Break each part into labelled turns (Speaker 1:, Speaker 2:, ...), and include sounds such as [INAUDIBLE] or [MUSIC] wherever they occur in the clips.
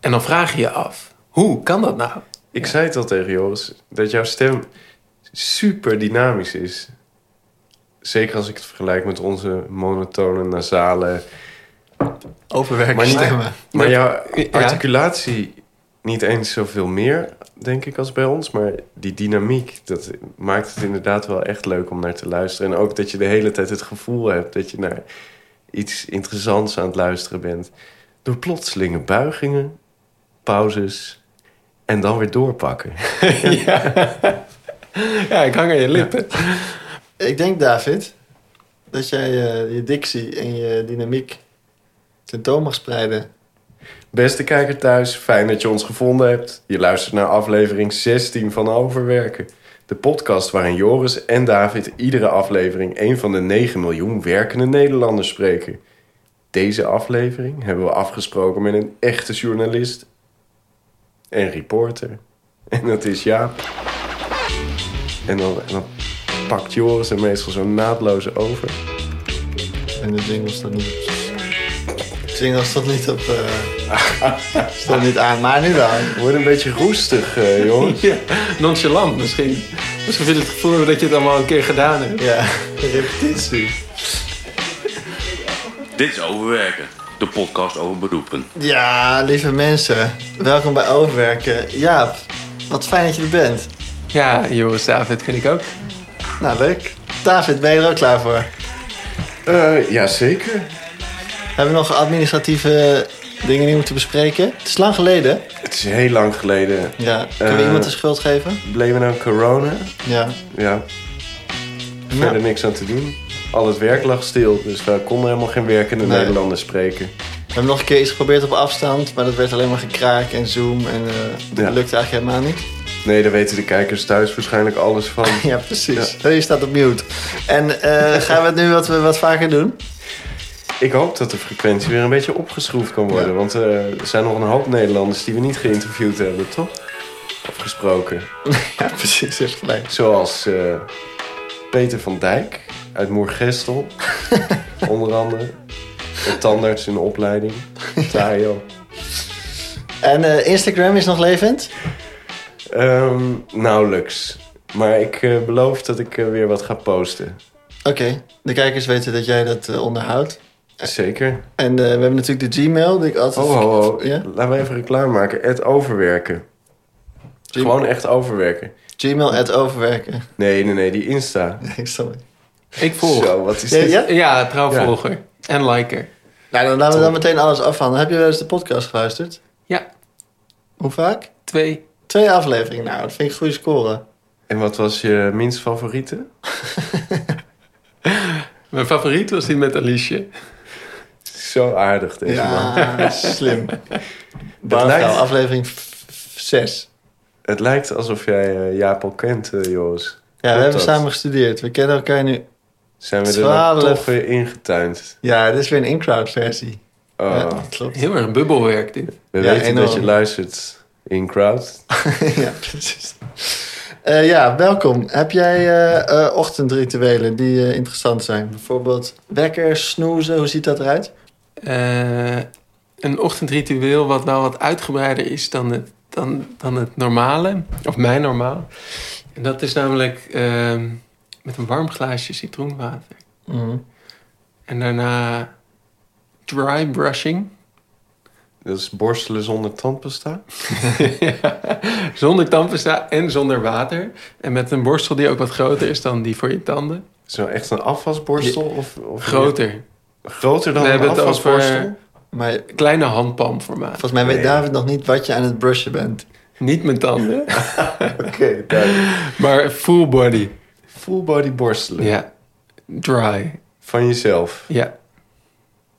Speaker 1: En dan vraag je je af, hoe kan dat nou?
Speaker 2: Ik zei het al tegen Joris, dat jouw stem super dynamisch is. Zeker als ik het vergelijk met onze monotone, nasale...
Speaker 1: Overwerken
Speaker 2: Maar niet-
Speaker 1: stemmen.
Speaker 2: Maar
Speaker 1: Ja.
Speaker 2: jouw
Speaker 1: Ja.
Speaker 2: articulatie niet eens zoveel meer, denk ik, als bij ons. Maar die dynamiek, dat maakt het inderdaad wel echt leuk om naar te luisteren. En ook dat je de hele tijd het gevoel hebt dat je naar iets interessants aan het luisteren bent. Door plotselinge buigingen, pauzes en dan weer doorpakken.
Speaker 1: [LAUGHS] ja. ja, ik hang aan je lippen.
Speaker 3: Ik denk, David, dat jij eh, je dictie en je dynamiek tentoon mag spreiden.
Speaker 2: Beste kijker thuis, fijn dat je ons gevonden hebt. Je luistert naar aflevering 16 van Overwerken. De podcast waarin Joris en David iedere aflevering een van de 9 miljoen werkende Nederlanders spreken. Deze aflevering hebben we afgesproken met een echte journalist en reporter. En dat is Jaap. En dan, en dan pakt Joris hem meestal zo naadloos over.
Speaker 3: En de jingle staat niet op. De jingle staat niet op. eh, [LAUGHS] staat niet aan, maar nu wel.
Speaker 2: Wordt een beetje roestig, eh, Joris.
Speaker 1: Ja, nonchalant misschien. Misschien vind je het gevoel hebben dat je het allemaal een keer gedaan hebt.
Speaker 3: Ja, repetitie.
Speaker 4: Dit is Overwerken, de podcast over beroepen.
Speaker 3: Ja, lieve mensen, welkom bij Overwerken. Jaap, wat fijn dat je er bent.
Speaker 1: Ja, Joris David vind ik ook.
Speaker 3: Nou, leuk. David, ben je er ook klaar voor?
Speaker 2: Eh jazeker.
Speaker 3: Hebben we nog administratieve dingen die we moeten bespreken? Het is lang geleden.
Speaker 2: Het is heel lang geleden.
Speaker 3: Ja, kunnen we
Speaker 2: Eh.
Speaker 3: iemand de schuld geven?
Speaker 2: Bleven nou corona?
Speaker 3: Ja.
Speaker 2: Ja, verder
Speaker 3: Nou,
Speaker 2: niks aan te doen. Al het werk lag stil, dus we konden helemaal geen werkende
Speaker 3: Nee.
Speaker 2: Nederlanders spreken.
Speaker 3: we hebben nog een keer iets geprobeerd op afstand, maar dat werd alleen maar gekraak en zoom en eh, dat
Speaker 2: Ja.
Speaker 3: lukte eigenlijk helemaal niet.
Speaker 2: Nee, daar weten de kijkers thuis waarschijnlijk alles van.
Speaker 3: [LAUGHS] Ja, precies. Oh, Je staat op mute. En [LAUGHS] eh, gaan we het nu wat, we wat vaker doen?
Speaker 2: Ik hoop dat de frequentie weer een beetje opgeschroefd kan worden.
Speaker 3: Ja.
Speaker 2: Want eh, er zijn nog een hoop Nederlanders die we niet geïnterviewd hebben, toch? Of gesproken.
Speaker 3: [LAUGHS] Ja, precies. Echt gelijk.
Speaker 2: Zoals eh, Peter van Dijk uit
Speaker 3: [LAUGHS]
Speaker 2: Moergestel. onder andere. Een tandarts in de opleiding. Tayo.
Speaker 3: En eh, Instagram is nog levend?
Speaker 2: Ehm, nauwelijks. Maar ik eh, beloof dat ik eh, weer wat ga posten.
Speaker 3: Oké, de kijkers weten dat jij dat eh, onderhoudt.
Speaker 2: Zeker.
Speaker 3: En eh, we hebben natuurlijk de Gmail, die ik altijd...
Speaker 2: Oh, oh, oh.
Speaker 3: Ja?
Speaker 2: Laten we even reclame maken. Het overwerken.
Speaker 3: Gmail-
Speaker 2: Gewoon echt overwerken.
Speaker 3: Gmail at overwerken. [LAUGHS]
Speaker 2: Nee, nee, nee. Die Insta.
Speaker 3: Nee, sorry.
Speaker 1: Ik volg.
Speaker 2: Zo, wat is
Speaker 3: Ja,
Speaker 2: dit?
Speaker 3: ja?
Speaker 1: Ja, trouwvolger. En liker.
Speaker 3: Nou, dan laten we dan meteen alles afhandelen. Heb je wel eens de podcast geluisterd?
Speaker 1: Ja,
Speaker 3: Hoe vaak?
Speaker 1: twee.
Speaker 3: Twee afleveringen. Nou, dat vind ik een goede score.
Speaker 2: En wat was je minst favoriete?
Speaker 1: Mijn favoriet was die met Alicia.
Speaker 2: Zo aardig deze man.
Speaker 3: [LAUGHS] Ja, slim. Barvrouw,
Speaker 2: lijkt-
Speaker 3: aflevering 6.
Speaker 2: Het lijkt alsof jij eh, Jaap al kent, eh, Joris.
Speaker 3: Ja, we
Speaker 2: Klopt
Speaker 3: hebben
Speaker 2: dat?
Speaker 3: samen gestudeerd. We kennen elkaar nu.
Speaker 2: Zijn we er
Speaker 3: Twaalf.
Speaker 2: dan toch weer ingetuind.
Speaker 3: Ja, dit is weer een in-crowd versie.
Speaker 2: Oh,
Speaker 3: Ja, klopt. [LAUGHS]
Speaker 1: Heel erg bubbelwerk dit.
Speaker 2: We
Speaker 3: Ja,
Speaker 2: weten dat je
Speaker 3: enorm.
Speaker 2: luistert in crowd.
Speaker 3: ja, precies. Eh, ja, welkom. Heb jij eh, eh, ochtendrituelen die eh, interessant zijn? Bijvoorbeeld wekker, snoezen, hoe ziet dat eruit?
Speaker 1: Eh, een ochtendritueel wat nou wat uitgebreider is dan het, dan, dan het normale. Of mijn normaal. En dat is namelijk ehm, met een warm glaasje citroenwater.
Speaker 3: Mhm.
Speaker 1: En daarna dry brushing. [LAUGHS]
Speaker 2: Dat is borstelen zonder tandpasta.
Speaker 1: Ja. zonder tandpasta en zonder water. En met een borstel die ook wat groter is dan die voor je tanden.
Speaker 2: Zo echt een afwasborstel? Of, of
Speaker 1: Groter.
Speaker 2: Groter dan
Speaker 1: We
Speaker 2: een
Speaker 1: hebben het
Speaker 2: afwasborstel?
Speaker 1: over-
Speaker 3: Maar
Speaker 1: Kleine handpalmformaat.
Speaker 3: volgens mij weet
Speaker 2: Nee.
Speaker 3: David nog niet wat je aan het brushen bent.
Speaker 1: Niet mijn tanden, [LAUGHS]
Speaker 2: Oké, duidelijk.
Speaker 1: maar full body.
Speaker 2: Full body borstelen.
Speaker 1: Ja. Dry.
Speaker 2: Van jezelf.
Speaker 1: Ja.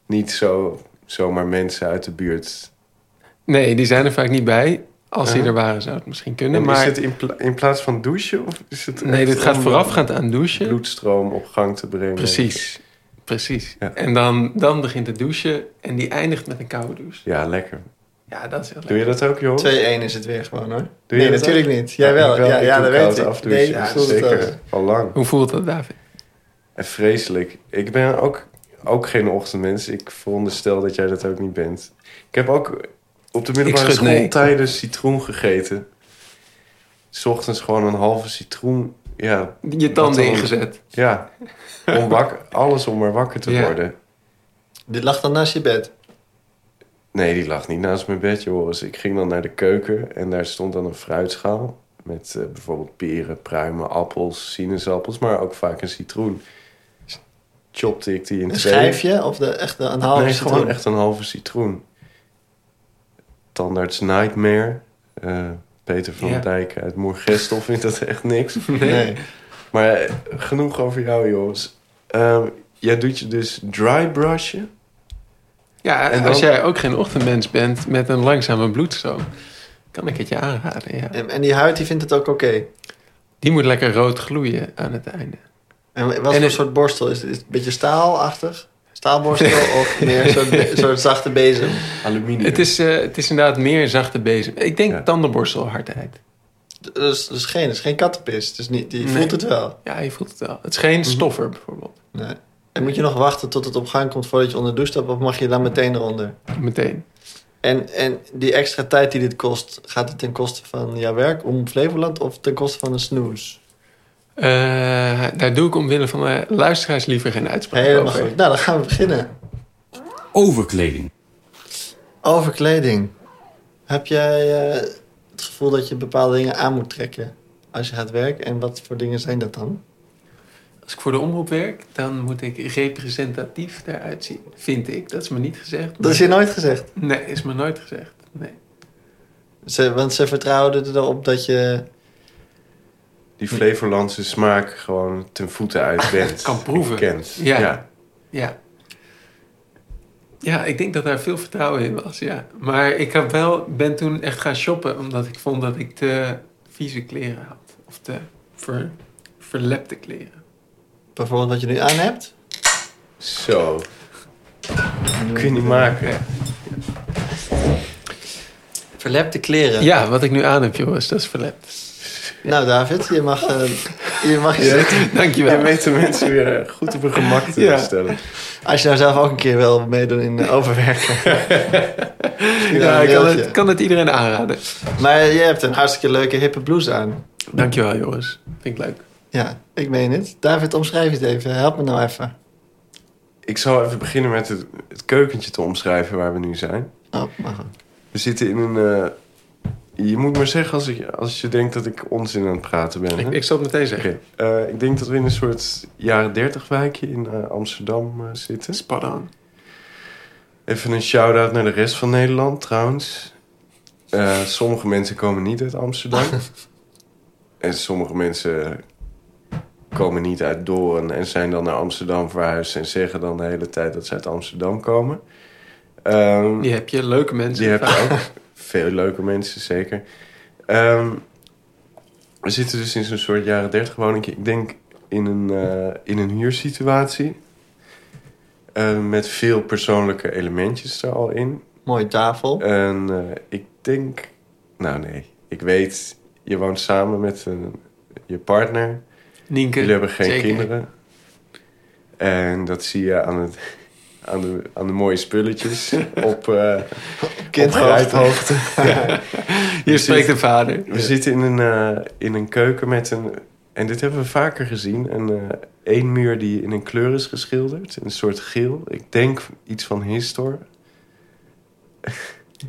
Speaker 2: Niet zo, zomaar mensen uit de buurt.
Speaker 1: Nee, die zijn er vaak niet bij. Als die
Speaker 2: Uh-huh.
Speaker 1: er waren, zou het misschien kunnen.
Speaker 2: En
Speaker 1: Maar
Speaker 2: is het in, pla- in plaats van douchen? Of is het
Speaker 1: nee,
Speaker 2: echt
Speaker 1: dit gaat
Speaker 2: om
Speaker 1: voorafgaand aan
Speaker 2: de
Speaker 1: douchen.
Speaker 2: bloedstroom op gang te brengen.
Speaker 1: Precies. Precies.
Speaker 2: Ja.
Speaker 1: En dan, dan begint het douchen en die eindigt met een koude douche.
Speaker 2: Ja, lekker.
Speaker 1: Ja, dat is heel leuk.
Speaker 2: Doe je dat ook, joh?
Speaker 3: 2-1 is het weer gewoon hoor.
Speaker 2: Doe je
Speaker 3: nee,
Speaker 2: dat
Speaker 3: natuurlijk
Speaker 2: ook?
Speaker 3: niet. Jij wel. Ja, ja, dat weet ik.
Speaker 2: Afdouchen.
Speaker 3: Nee, ja,
Speaker 2: zeker.
Speaker 3: zeker.
Speaker 2: Al lang.
Speaker 1: Hoe voelt dat, David?
Speaker 2: En vreselijk. Ik ben ook, ook geen ochtendmens. Ik veronderstel dat jij dat ook niet bent. Ik heb ook op de middelbare
Speaker 1: Ik schud
Speaker 2: school
Speaker 1: nee.
Speaker 2: tijdens citroen gegeten. 's ochtends gewoon een halve citroen. Ja,
Speaker 1: Je
Speaker 2: Wat
Speaker 1: tanden
Speaker 2: dan?
Speaker 1: ingezet.
Speaker 2: ja. Om wakker, alles om maar wakker te
Speaker 1: Ja.
Speaker 2: worden.
Speaker 3: Dit lag dan naast je bed.
Speaker 2: Nee, die lag niet naast mijn bedje, Joris. Ik ging dan naar de keuken en daar stond dan een fruitschaal. Met eh, bijvoorbeeld peren, pruimen, appels, sinaasappels, maar ook vaak een citroen. Chopte ik die in
Speaker 3: Een
Speaker 2: twee.
Speaker 3: schijfje of de, echt een
Speaker 1: Oh,
Speaker 3: halve
Speaker 2: nee,
Speaker 3: citroen?
Speaker 2: gewoon echt een halve citroen. Tandarts Nightmare. Eh, Peter van
Speaker 1: Ja.
Speaker 2: Dijk uit Moergestel vindt dat echt
Speaker 1: [LAUGHS]
Speaker 2: niks.
Speaker 1: Nee.
Speaker 3: Nee.
Speaker 2: Maar eh, genoeg over jou, Joris. Ehm, jij doet je dus dry brushen.
Speaker 1: Ja,
Speaker 2: En
Speaker 1: als
Speaker 2: dan-
Speaker 1: jij ook geen ochtendmens bent met een langzame bloedstroom, kan ik het je aanraden. Ja.
Speaker 3: En, en die huid die vindt het ook oké.
Speaker 1: Die moet lekker rood gloeien aan het einde.
Speaker 3: En wat
Speaker 1: En
Speaker 3: voor
Speaker 1: het-
Speaker 3: soort borstel? Is het is het een beetje staalachtig? Staalborstel
Speaker 1: [LAUGHS]
Speaker 3: of meer een soort, be- soort zachte bezem?
Speaker 2: Aluminium.
Speaker 1: Het is, eh, het is inderdaad meer zachte bezem. Ik denk
Speaker 2: Ja.
Speaker 1: tandenborstelhardheid.
Speaker 3: Dus, dus geen, dus geen kattenpis. Dus niet, die
Speaker 1: Nee.
Speaker 3: voelt het wel.
Speaker 1: Ja, je voelt het wel. Het is geen
Speaker 2: Mhm.
Speaker 1: stoffer bijvoorbeeld.
Speaker 3: Nee. En moet je nog wachten tot het op gang komt voordat je onder de douche stapt? Of mag je dan meteen eronder?
Speaker 1: Meteen.
Speaker 3: En, en die extra tijd die dit kost, gaat het ten koste van jouw werk om Flevoland of ten koste van een snoes?
Speaker 1: Eh, daar doe ik omwille van de luisteraars liever geen uitspraak
Speaker 3: Helemaal
Speaker 1: over.
Speaker 3: goed. Nou, dan gaan we beginnen.
Speaker 4: Overkleding.
Speaker 3: Over kleding. Heb jij eh, het gevoel dat je bepaalde dingen aan moet trekken als je gaat werken? En wat voor dingen zijn dat dan?
Speaker 1: Als ik voor de omroep werk, dan moet ik representatief eruit zien. Vind ik. Dat is me niet gezegd.
Speaker 3: Dat is je nooit gezegd.
Speaker 1: Nee, is me nooit gezegd. Nee.
Speaker 3: Ze, want ze vertrouwden erop dat je...
Speaker 2: Die Flevolandse smaak gewoon ten voeten uit bent.
Speaker 1: Ah, Kan proeven.
Speaker 2: en Kent.
Speaker 1: Ja. Ja. Ja, ik denk dat daar veel vertrouwen in was, ja. Maar ik heb wel, ben toen echt gaan shoppen, omdat ik vond dat ik te vieze kleren had. Of te ver, verlepte kleren.
Speaker 3: Bijvoorbeeld wat je nu aan hebt.
Speaker 2: Zo. Kun je niet maken.
Speaker 3: Verlepte kleren.
Speaker 1: Ja, wat ik nu aan heb, jongens, dat is verlept.
Speaker 3: Nou, David, je mag, eh, je mag je zitten.
Speaker 2: Je
Speaker 1: [LAUGHS] Dankjewel.
Speaker 2: weet de mensen weer eh, goed op hun gemak te
Speaker 1: Ja.
Speaker 2: stellen.
Speaker 3: Als je nou zelf ook een keer wil meedoen in eh,
Speaker 1: [LAUGHS]
Speaker 3: overwerken.
Speaker 1: Ja,
Speaker 3: een
Speaker 1: ik kan
Speaker 3: mailtje.
Speaker 1: het, kan het iedereen aanraden.
Speaker 3: Maar je hebt een hartstikke leuke hippe blouse aan.
Speaker 1: Dankjewel, jongens. Vind ik leuk.
Speaker 3: Ja, ik meen het. David, omschrijf het even. Help me nou even.
Speaker 2: Ik zal even beginnen met het, het keukentje te omschrijven waar we nu zijn.
Speaker 3: Oh, maar goed.
Speaker 2: We zitten in een... eh, je moet maar zeggen als, ik, als je denkt dat ik onzin aan het praten ben. hè?
Speaker 1: Ik, ik zal het meteen zeggen.
Speaker 2: Oké, eh, ik denk dat we in een soort jaren 30 wijkje in eh, Amsterdam eh, zitten.
Speaker 1: Spot on.
Speaker 2: Even een shout-out naar de rest van Nederland trouwens. Eh, sommige mensen komen niet uit
Speaker 1: [LAUGHS]
Speaker 2: Amsterdam. en sommige mensen komen niet uit Doorn en zijn dan naar Amsterdam verhuisd... en zeggen dan de hele tijd dat ze uit Amsterdam komen. Ehm,
Speaker 1: Die heb je, leuke mensen.
Speaker 2: die heb je ook. Veel leuke mensen, zeker. Ehm, we zitten dus in zo'n soort jaren 30 woning. Ik denk in een, eh, in een huursituatie. Eh, met veel persoonlijke elementjes er al in.
Speaker 3: Mooie tafel.
Speaker 2: En eh, ik denk... Nou nee, ik weet... Je woont samen met een, je partner.
Speaker 1: Nienke.
Speaker 2: Jullie hebben geen
Speaker 1: zeker.
Speaker 2: kinderen. En dat zie je aan, het, aan, de, aan de mooie spulletjes op, eh op grijphoogte.
Speaker 1: Hier
Speaker 2: Je
Speaker 1: spreekt
Speaker 2: zit-
Speaker 1: een vader.
Speaker 2: We zitten in een, eh, in een keuken met een... En dit hebben we vaker gezien. Een eh, één muur die in een kleur is geschilderd. Een soort geel. Ik denk iets van Histor. [LAUGHS]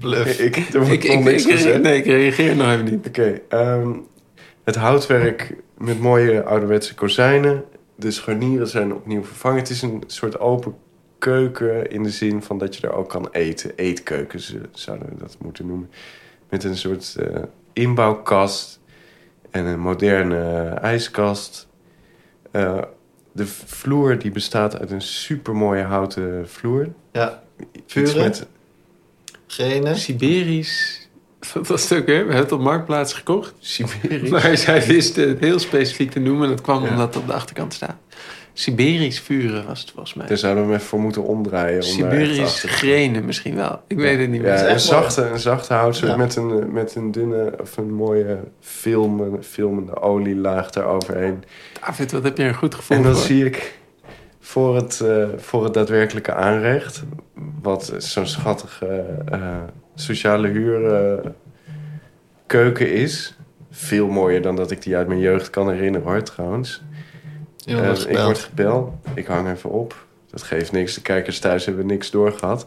Speaker 3: Bluff.
Speaker 2: Ik, er wordt
Speaker 1: Ik,
Speaker 2: nog
Speaker 1: ik,
Speaker 2: niks
Speaker 1: ik-
Speaker 2: gezegd.
Speaker 1: nee, ik reageer nog even niet.
Speaker 2: Oké. ehm, het houtwerk met mooie ouderwetse kozijnen. De scharnieren zijn opnieuw vervangen. Het is een soort open keuken in de zin van dat je er ook kan eten. Eetkeuken ze- zouden we dat moeten noemen. Met een soort eh, inbouwkast en een moderne eh, ijskast. Eh, de vloer die bestaat uit een supermooie houten vloer.
Speaker 3: [LAUGHS] Ja,
Speaker 2: Iets
Speaker 3: Vuren?
Speaker 2: met-
Speaker 3: gene.
Speaker 1: Siberisch. Dat stuk, hè? We hebben het op Marktplaats gekocht. [LAUGHS]
Speaker 2: Siberisch.
Speaker 1: Maar zij wisten het heel specifiek te noemen. Dat kwam
Speaker 2: Ja.
Speaker 1: omdat het op de achterkant staat. Siberisch vuren was het volgens mij.
Speaker 2: Daar zouden we hem even voor moeten omdraaien. om daar echt
Speaker 1: Siberisch
Speaker 2: achter te
Speaker 1: grenen misschien wel. Ik weet het niet meer.
Speaker 2: Ja,
Speaker 3: echt
Speaker 2: een zachte, een zachte houtsoort
Speaker 3: Ja.
Speaker 2: met, een, met een dunne of een mooie filmen, filmende olielaag daaroverheen.
Speaker 1: David, wat heb je een goed gevoel
Speaker 2: En dan
Speaker 1: voor.
Speaker 2: zie ik voor het, eh, voor het daadwerkelijke aanrecht, wat zo'n schattige eh, sociale huur eh, keuken is. Veel mooier dan dat ik die uit mijn jeugd kan herinneren hoor, trouwens. Eh,
Speaker 3: Iemand
Speaker 2: ik
Speaker 3: wordt gebeld. [LAUGHS]
Speaker 2: word gebeld. Ik hang even op. Dat geeft niks. De kijkers thuis hebben niks doorgehad.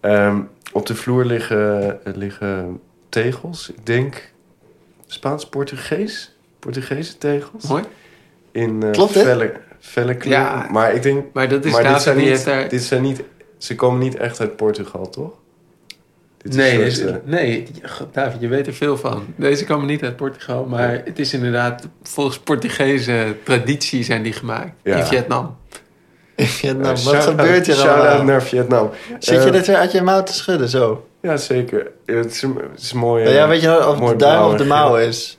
Speaker 2: Ehm, op de vloer liggen, eh, liggen tegels. Ik denk Spaans-Portugees. Portugese tegels.
Speaker 1: Mooi.
Speaker 2: In eh,
Speaker 3: Klopt, hè?
Speaker 2: felle, felle kleuren.
Speaker 1: Ja.
Speaker 2: Maar ik denk...
Speaker 1: Maar dat is
Speaker 2: maar dit
Speaker 1: David
Speaker 2: zijn,
Speaker 1: die
Speaker 2: niet,
Speaker 1: heeft daar...
Speaker 2: dit zijn niet... Ze komen niet echt uit Portugal, toch? Dit is
Speaker 1: nee,
Speaker 2: een
Speaker 1: dit
Speaker 2: soort, eh,
Speaker 1: is- nee, God, David, je weet er veel van. Deze komen niet uit Portugal, maar het is inderdaad... volgens Portugese traditie zijn die gemaakt
Speaker 2: Ja.
Speaker 1: in Vietnam.
Speaker 2: eh,
Speaker 3: In
Speaker 1: Nou,
Speaker 3: Vietnam, nou, wat
Speaker 2: shout-out-
Speaker 3: gebeurt hier
Speaker 2: shout-out
Speaker 3: allemaal? nou?
Speaker 2: naar Vietnam.
Speaker 3: Zit je
Speaker 2: Eh,
Speaker 3: dit weer uit je mouw te schudden, zo?
Speaker 2: Ja, zeker. Het is, het is mooi.
Speaker 3: Ja,
Speaker 2: eh,
Speaker 3: weet je nou of
Speaker 2: mooi
Speaker 3: de duim
Speaker 2: blauw
Speaker 3: of de
Speaker 2: en
Speaker 3: mouw is?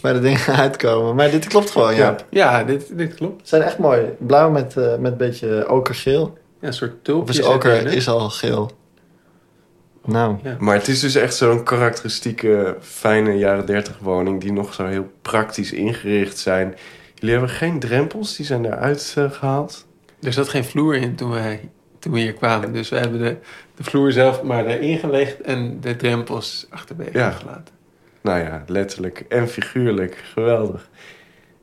Speaker 3: Waar de dingen [LAUGHS] uitkomen. Maar dit klopt gewoon, ja.
Speaker 2: Ja.
Speaker 3: Ze
Speaker 1: Ja, dit, dit klopt.
Speaker 3: zijn echt mooi. Blauw met, eh, met een beetje okergeel.
Speaker 1: Ja, een soort
Speaker 3: Of
Speaker 1: tulpjes.
Speaker 3: is oker is al geel? Nou,
Speaker 2: Maar het is dus echt zo'n karakteristieke, fijne jaren 30 woning die nog zo heel praktisch ingericht zijn. Jullie hebben geen drempels, die zijn eruit eh, gehaald.
Speaker 1: Er zat geen vloer in toen, wij, toen we hier kwamen. Dus we hebben de, de vloer zelf maar erin gelegd... en de drempels achterwege
Speaker 2: Ja.
Speaker 1: gelaten.
Speaker 2: Nou ja, letterlijk en figuurlijk. Geweldig.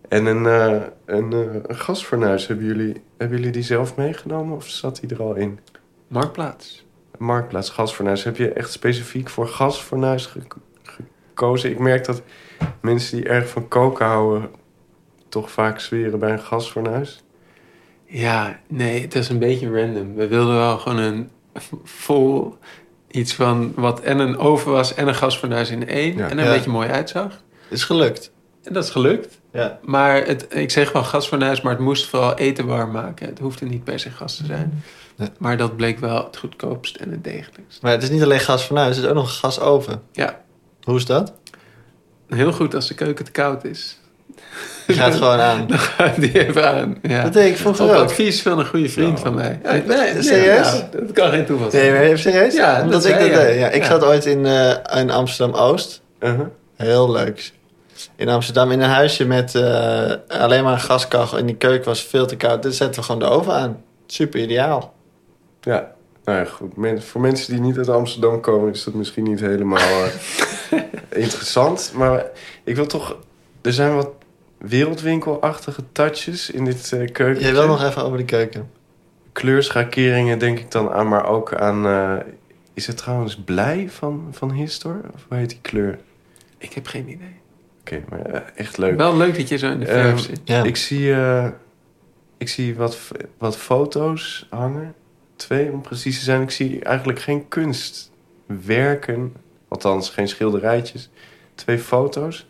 Speaker 2: En een, eh, een, eh, een gasfornuis, hebben jullie, hebben jullie die zelf meegenomen of zat die er al in?
Speaker 1: Marktplaats.
Speaker 2: Marktplaats, gasfornuis. Heb je echt specifiek voor gasfornuis ge- gekozen? Ik merk dat mensen die erg van koken houden... toch vaak zweren bij een gasfornuis.
Speaker 1: Ja, nee, het is een beetje random. We wilden wel gewoon een vol iets van wat en een oven was en een gasfornuis in één.
Speaker 2: Ja.
Speaker 1: En een
Speaker 3: Ja.
Speaker 1: beetje mooi uitzag.
Speaker 3: is gelukt.
Speaker 1: En dat is gelukt.
Speaker 3: Ja.
Speaker 1: Maar het, ik zeg wel gasfornuis, maar het moest vooral eten warm maken. Het hoefde niet per se gas te zijn.
Speaker 3: Ja.
Speaker 1: Maar dat bleek wel het goedkoopst en het degelijkst.
Speaker 3: Maar het is niet alleen gas van huis, het is ook nog gas oven.
Speaker 1: Ja.
Speaker 3: Hoe is dat?
Speaker 1: Heel goed als de keuken te koud is. [LAUGHS]
Speaker 3: Je gaat gewoon
Speaker 2: [LAUGHS]
Speaker 3: aan.
Speaker 1: Dan gaat die even aan. Ja.
Speaker 3: Dat deed ik vroeger
Speaker 1: Op
Speaker 3: ook.
Speaker 1: advies van een goede vriend
Speaker 2: Ja.
Speaker 1: van mij. Ja, nee, nee,
Speaker 3: Serieus?
Speaker 1: nou, dat kan geen toeval zijn.
Speaker 3: Nee, maar even serieus?
Speaker 1: Ja, dat
Speaker 3: Omdat ik dat
Speaker 1: zei je.
Speaker 3: deed. Ja, ik
Speaker 1: Ja.
Speaker 3: zat ooit in, eh, in Amsterdam-Oost.
Speaker 2: Uh-huh.
Speaker 3: Heel leuk. In Amsterdam in een huisje met eh, alleen maar een gaskachel. En die keuken was veel te koud. Dus zetten we gewoon de oven aan. Super ideaal.
Speaker 2: Ja, nou ja, goed. Men- voor mensen die niet uit Amsterdam komen, is dat misschien niet helemaal
Speaker 3: [LAUGHS]
Speaker 2: eh, interessant. Maar ik wil toch. Er zijn wat wereldwinkelachtige touches in dit eh keukentje.
Speaker 3: Jij wil nog even over de keuken.
Speaker 2: Kleurschakeringen denk ik dan aan, maar ook aan. eh, is het trouwens blij van, van Histor? Of hoe heet die kleur?
Speaker 1: Ik heb geen idee.
Speaker 2: Oké, maar eh, echt leuk.
Speaker 1: Wel leuk dat je zo in de verf
Speaker 2: Ehm,
Speaker 1: zit.
Speaker 3: Ja.
Speaker 2: Ik zie, eh, ik zie wat, f- wat foto's hangen. Twee om precies te zijn. Ik zie eigenlijk geen kunstwerken. Althans, geen schilderijtjes. Twee foto's.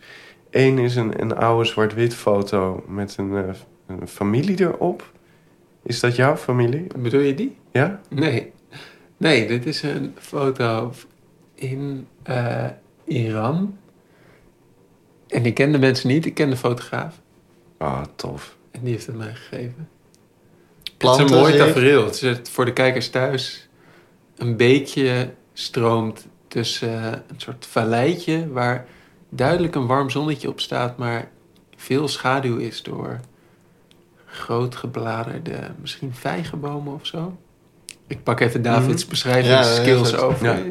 Speaker 2: Eén is een, een oude zwart-wit foto met een, eh, een familie erop. Is dat jouw familie?
Speaker 1: Bedoel je die?
Speaker 2: Ja?
Speaker 1: Nee. Nee, dit is een foto in eh, Iran. En ik ken de mensen niet, ik ken de fotograaf.
Speaker 2: Ah, tof.
Speaker 1: En die heeft het mij gegeven.
Speaker 3: Planten,
Speaker 1: het is een mooi
Speaker 3: zie ik.
Speaker 1: tafereel. Het is het- voor de kijkers thuis. Een beekje stroomt tussen eh, een soort valleitje... waar duidelijk een warm zonnetje op staat... maar veel schaduw is door grootgebladerde, misschien vijgenbomen of zo. Ik pak even Davids beschrijvingsskills
Speaker 3: Mhm. Ja, ja,
Speaker 1: over.
Speaker 2: Ja.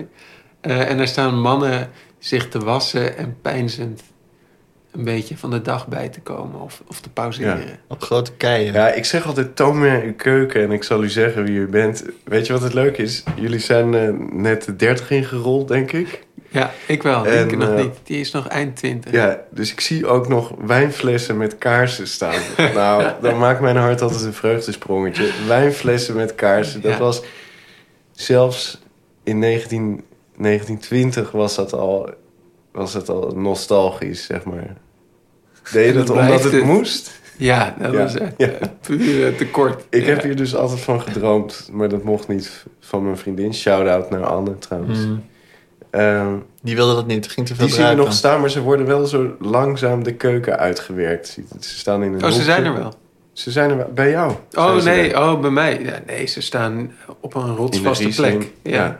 Speaker 1: Eh, en daar staan mannen zich te wassen en peinzend... een beetje van de dag bij te komen of, of te pauzeren.
Speaker 3: Op grote keien.
Speaker 2: Ja, ik zeg altijd, toon me uw keuken en ik zal u zeggen wie u bent. Weet je wat het leuke is? Jullie zijn eh, net de 30 ingerold, denk ik.
Speaker 1: Ja, ik wel.
Speaker 2: En,
Speaker 1: Nienke nog
Speaker 2: eh,
Speaker 1: niet. Die is nog eind 20.
Speaker 2: Ja, dus ik zie ook nog wijnflessen met kaarsen
Speaker 1: [LAUGHS]
Speaker 2: staan. nou, dan maakt mijn hart altijd een vreugdesprongetje. Wijnflessen met kaarsen, dat
Speaker 1: Ja.
Speaker 2: was zelfs in 19, 1920 was dat al, was dat al nostalgisch, zeg maar. Deed je
Speaker 1: En
Speaker 2: dat
Speaker 1: dat
Speaker 2: omdat
Speaker 1: blijft
Speaker 2: het
Speaker 1: het.
Speaker 2: moest?
Speaker 1: Ja, dat
Speaker 2: Ja,
Speaker 1: was echt
Speaker 2: ja.
Speaker 1: eh, puur eh, tekort.
Speaker 2: Ik
Speaker 1: Ja.
Speaker 2: heb hier dus altijd van gedroomd, maar dat mocht niet van mijn vriendin. Shout-out naar Anne trouwens.
Speaker 3: Mm.
Speaker 2: Ehm,
Speaker 3: Die wilde dat niet. Ging te veel
Speaker 2: die zien we
Speaker 3: druipen.
Speaker 2: nog staan, maar ze worden wel zo langzaam de keuken uitgewerkt. Ze staan in een
Speaker 1: Oh, ze
Speaker 2: hoekje.
Speaker 1: zijn er wel.
Speaker 2: Ze zijn er wel- bij jou. zijn
Speaker 1: Oh
Speaker 2: ze
Speaker 1: nee,
Speaker 2: er.
Speaker 1: oh bij mij. Ja, nee, ze staan op een rotsvaste
Speaker 2: In de Riesling,
Speaker 1: plek. Ja.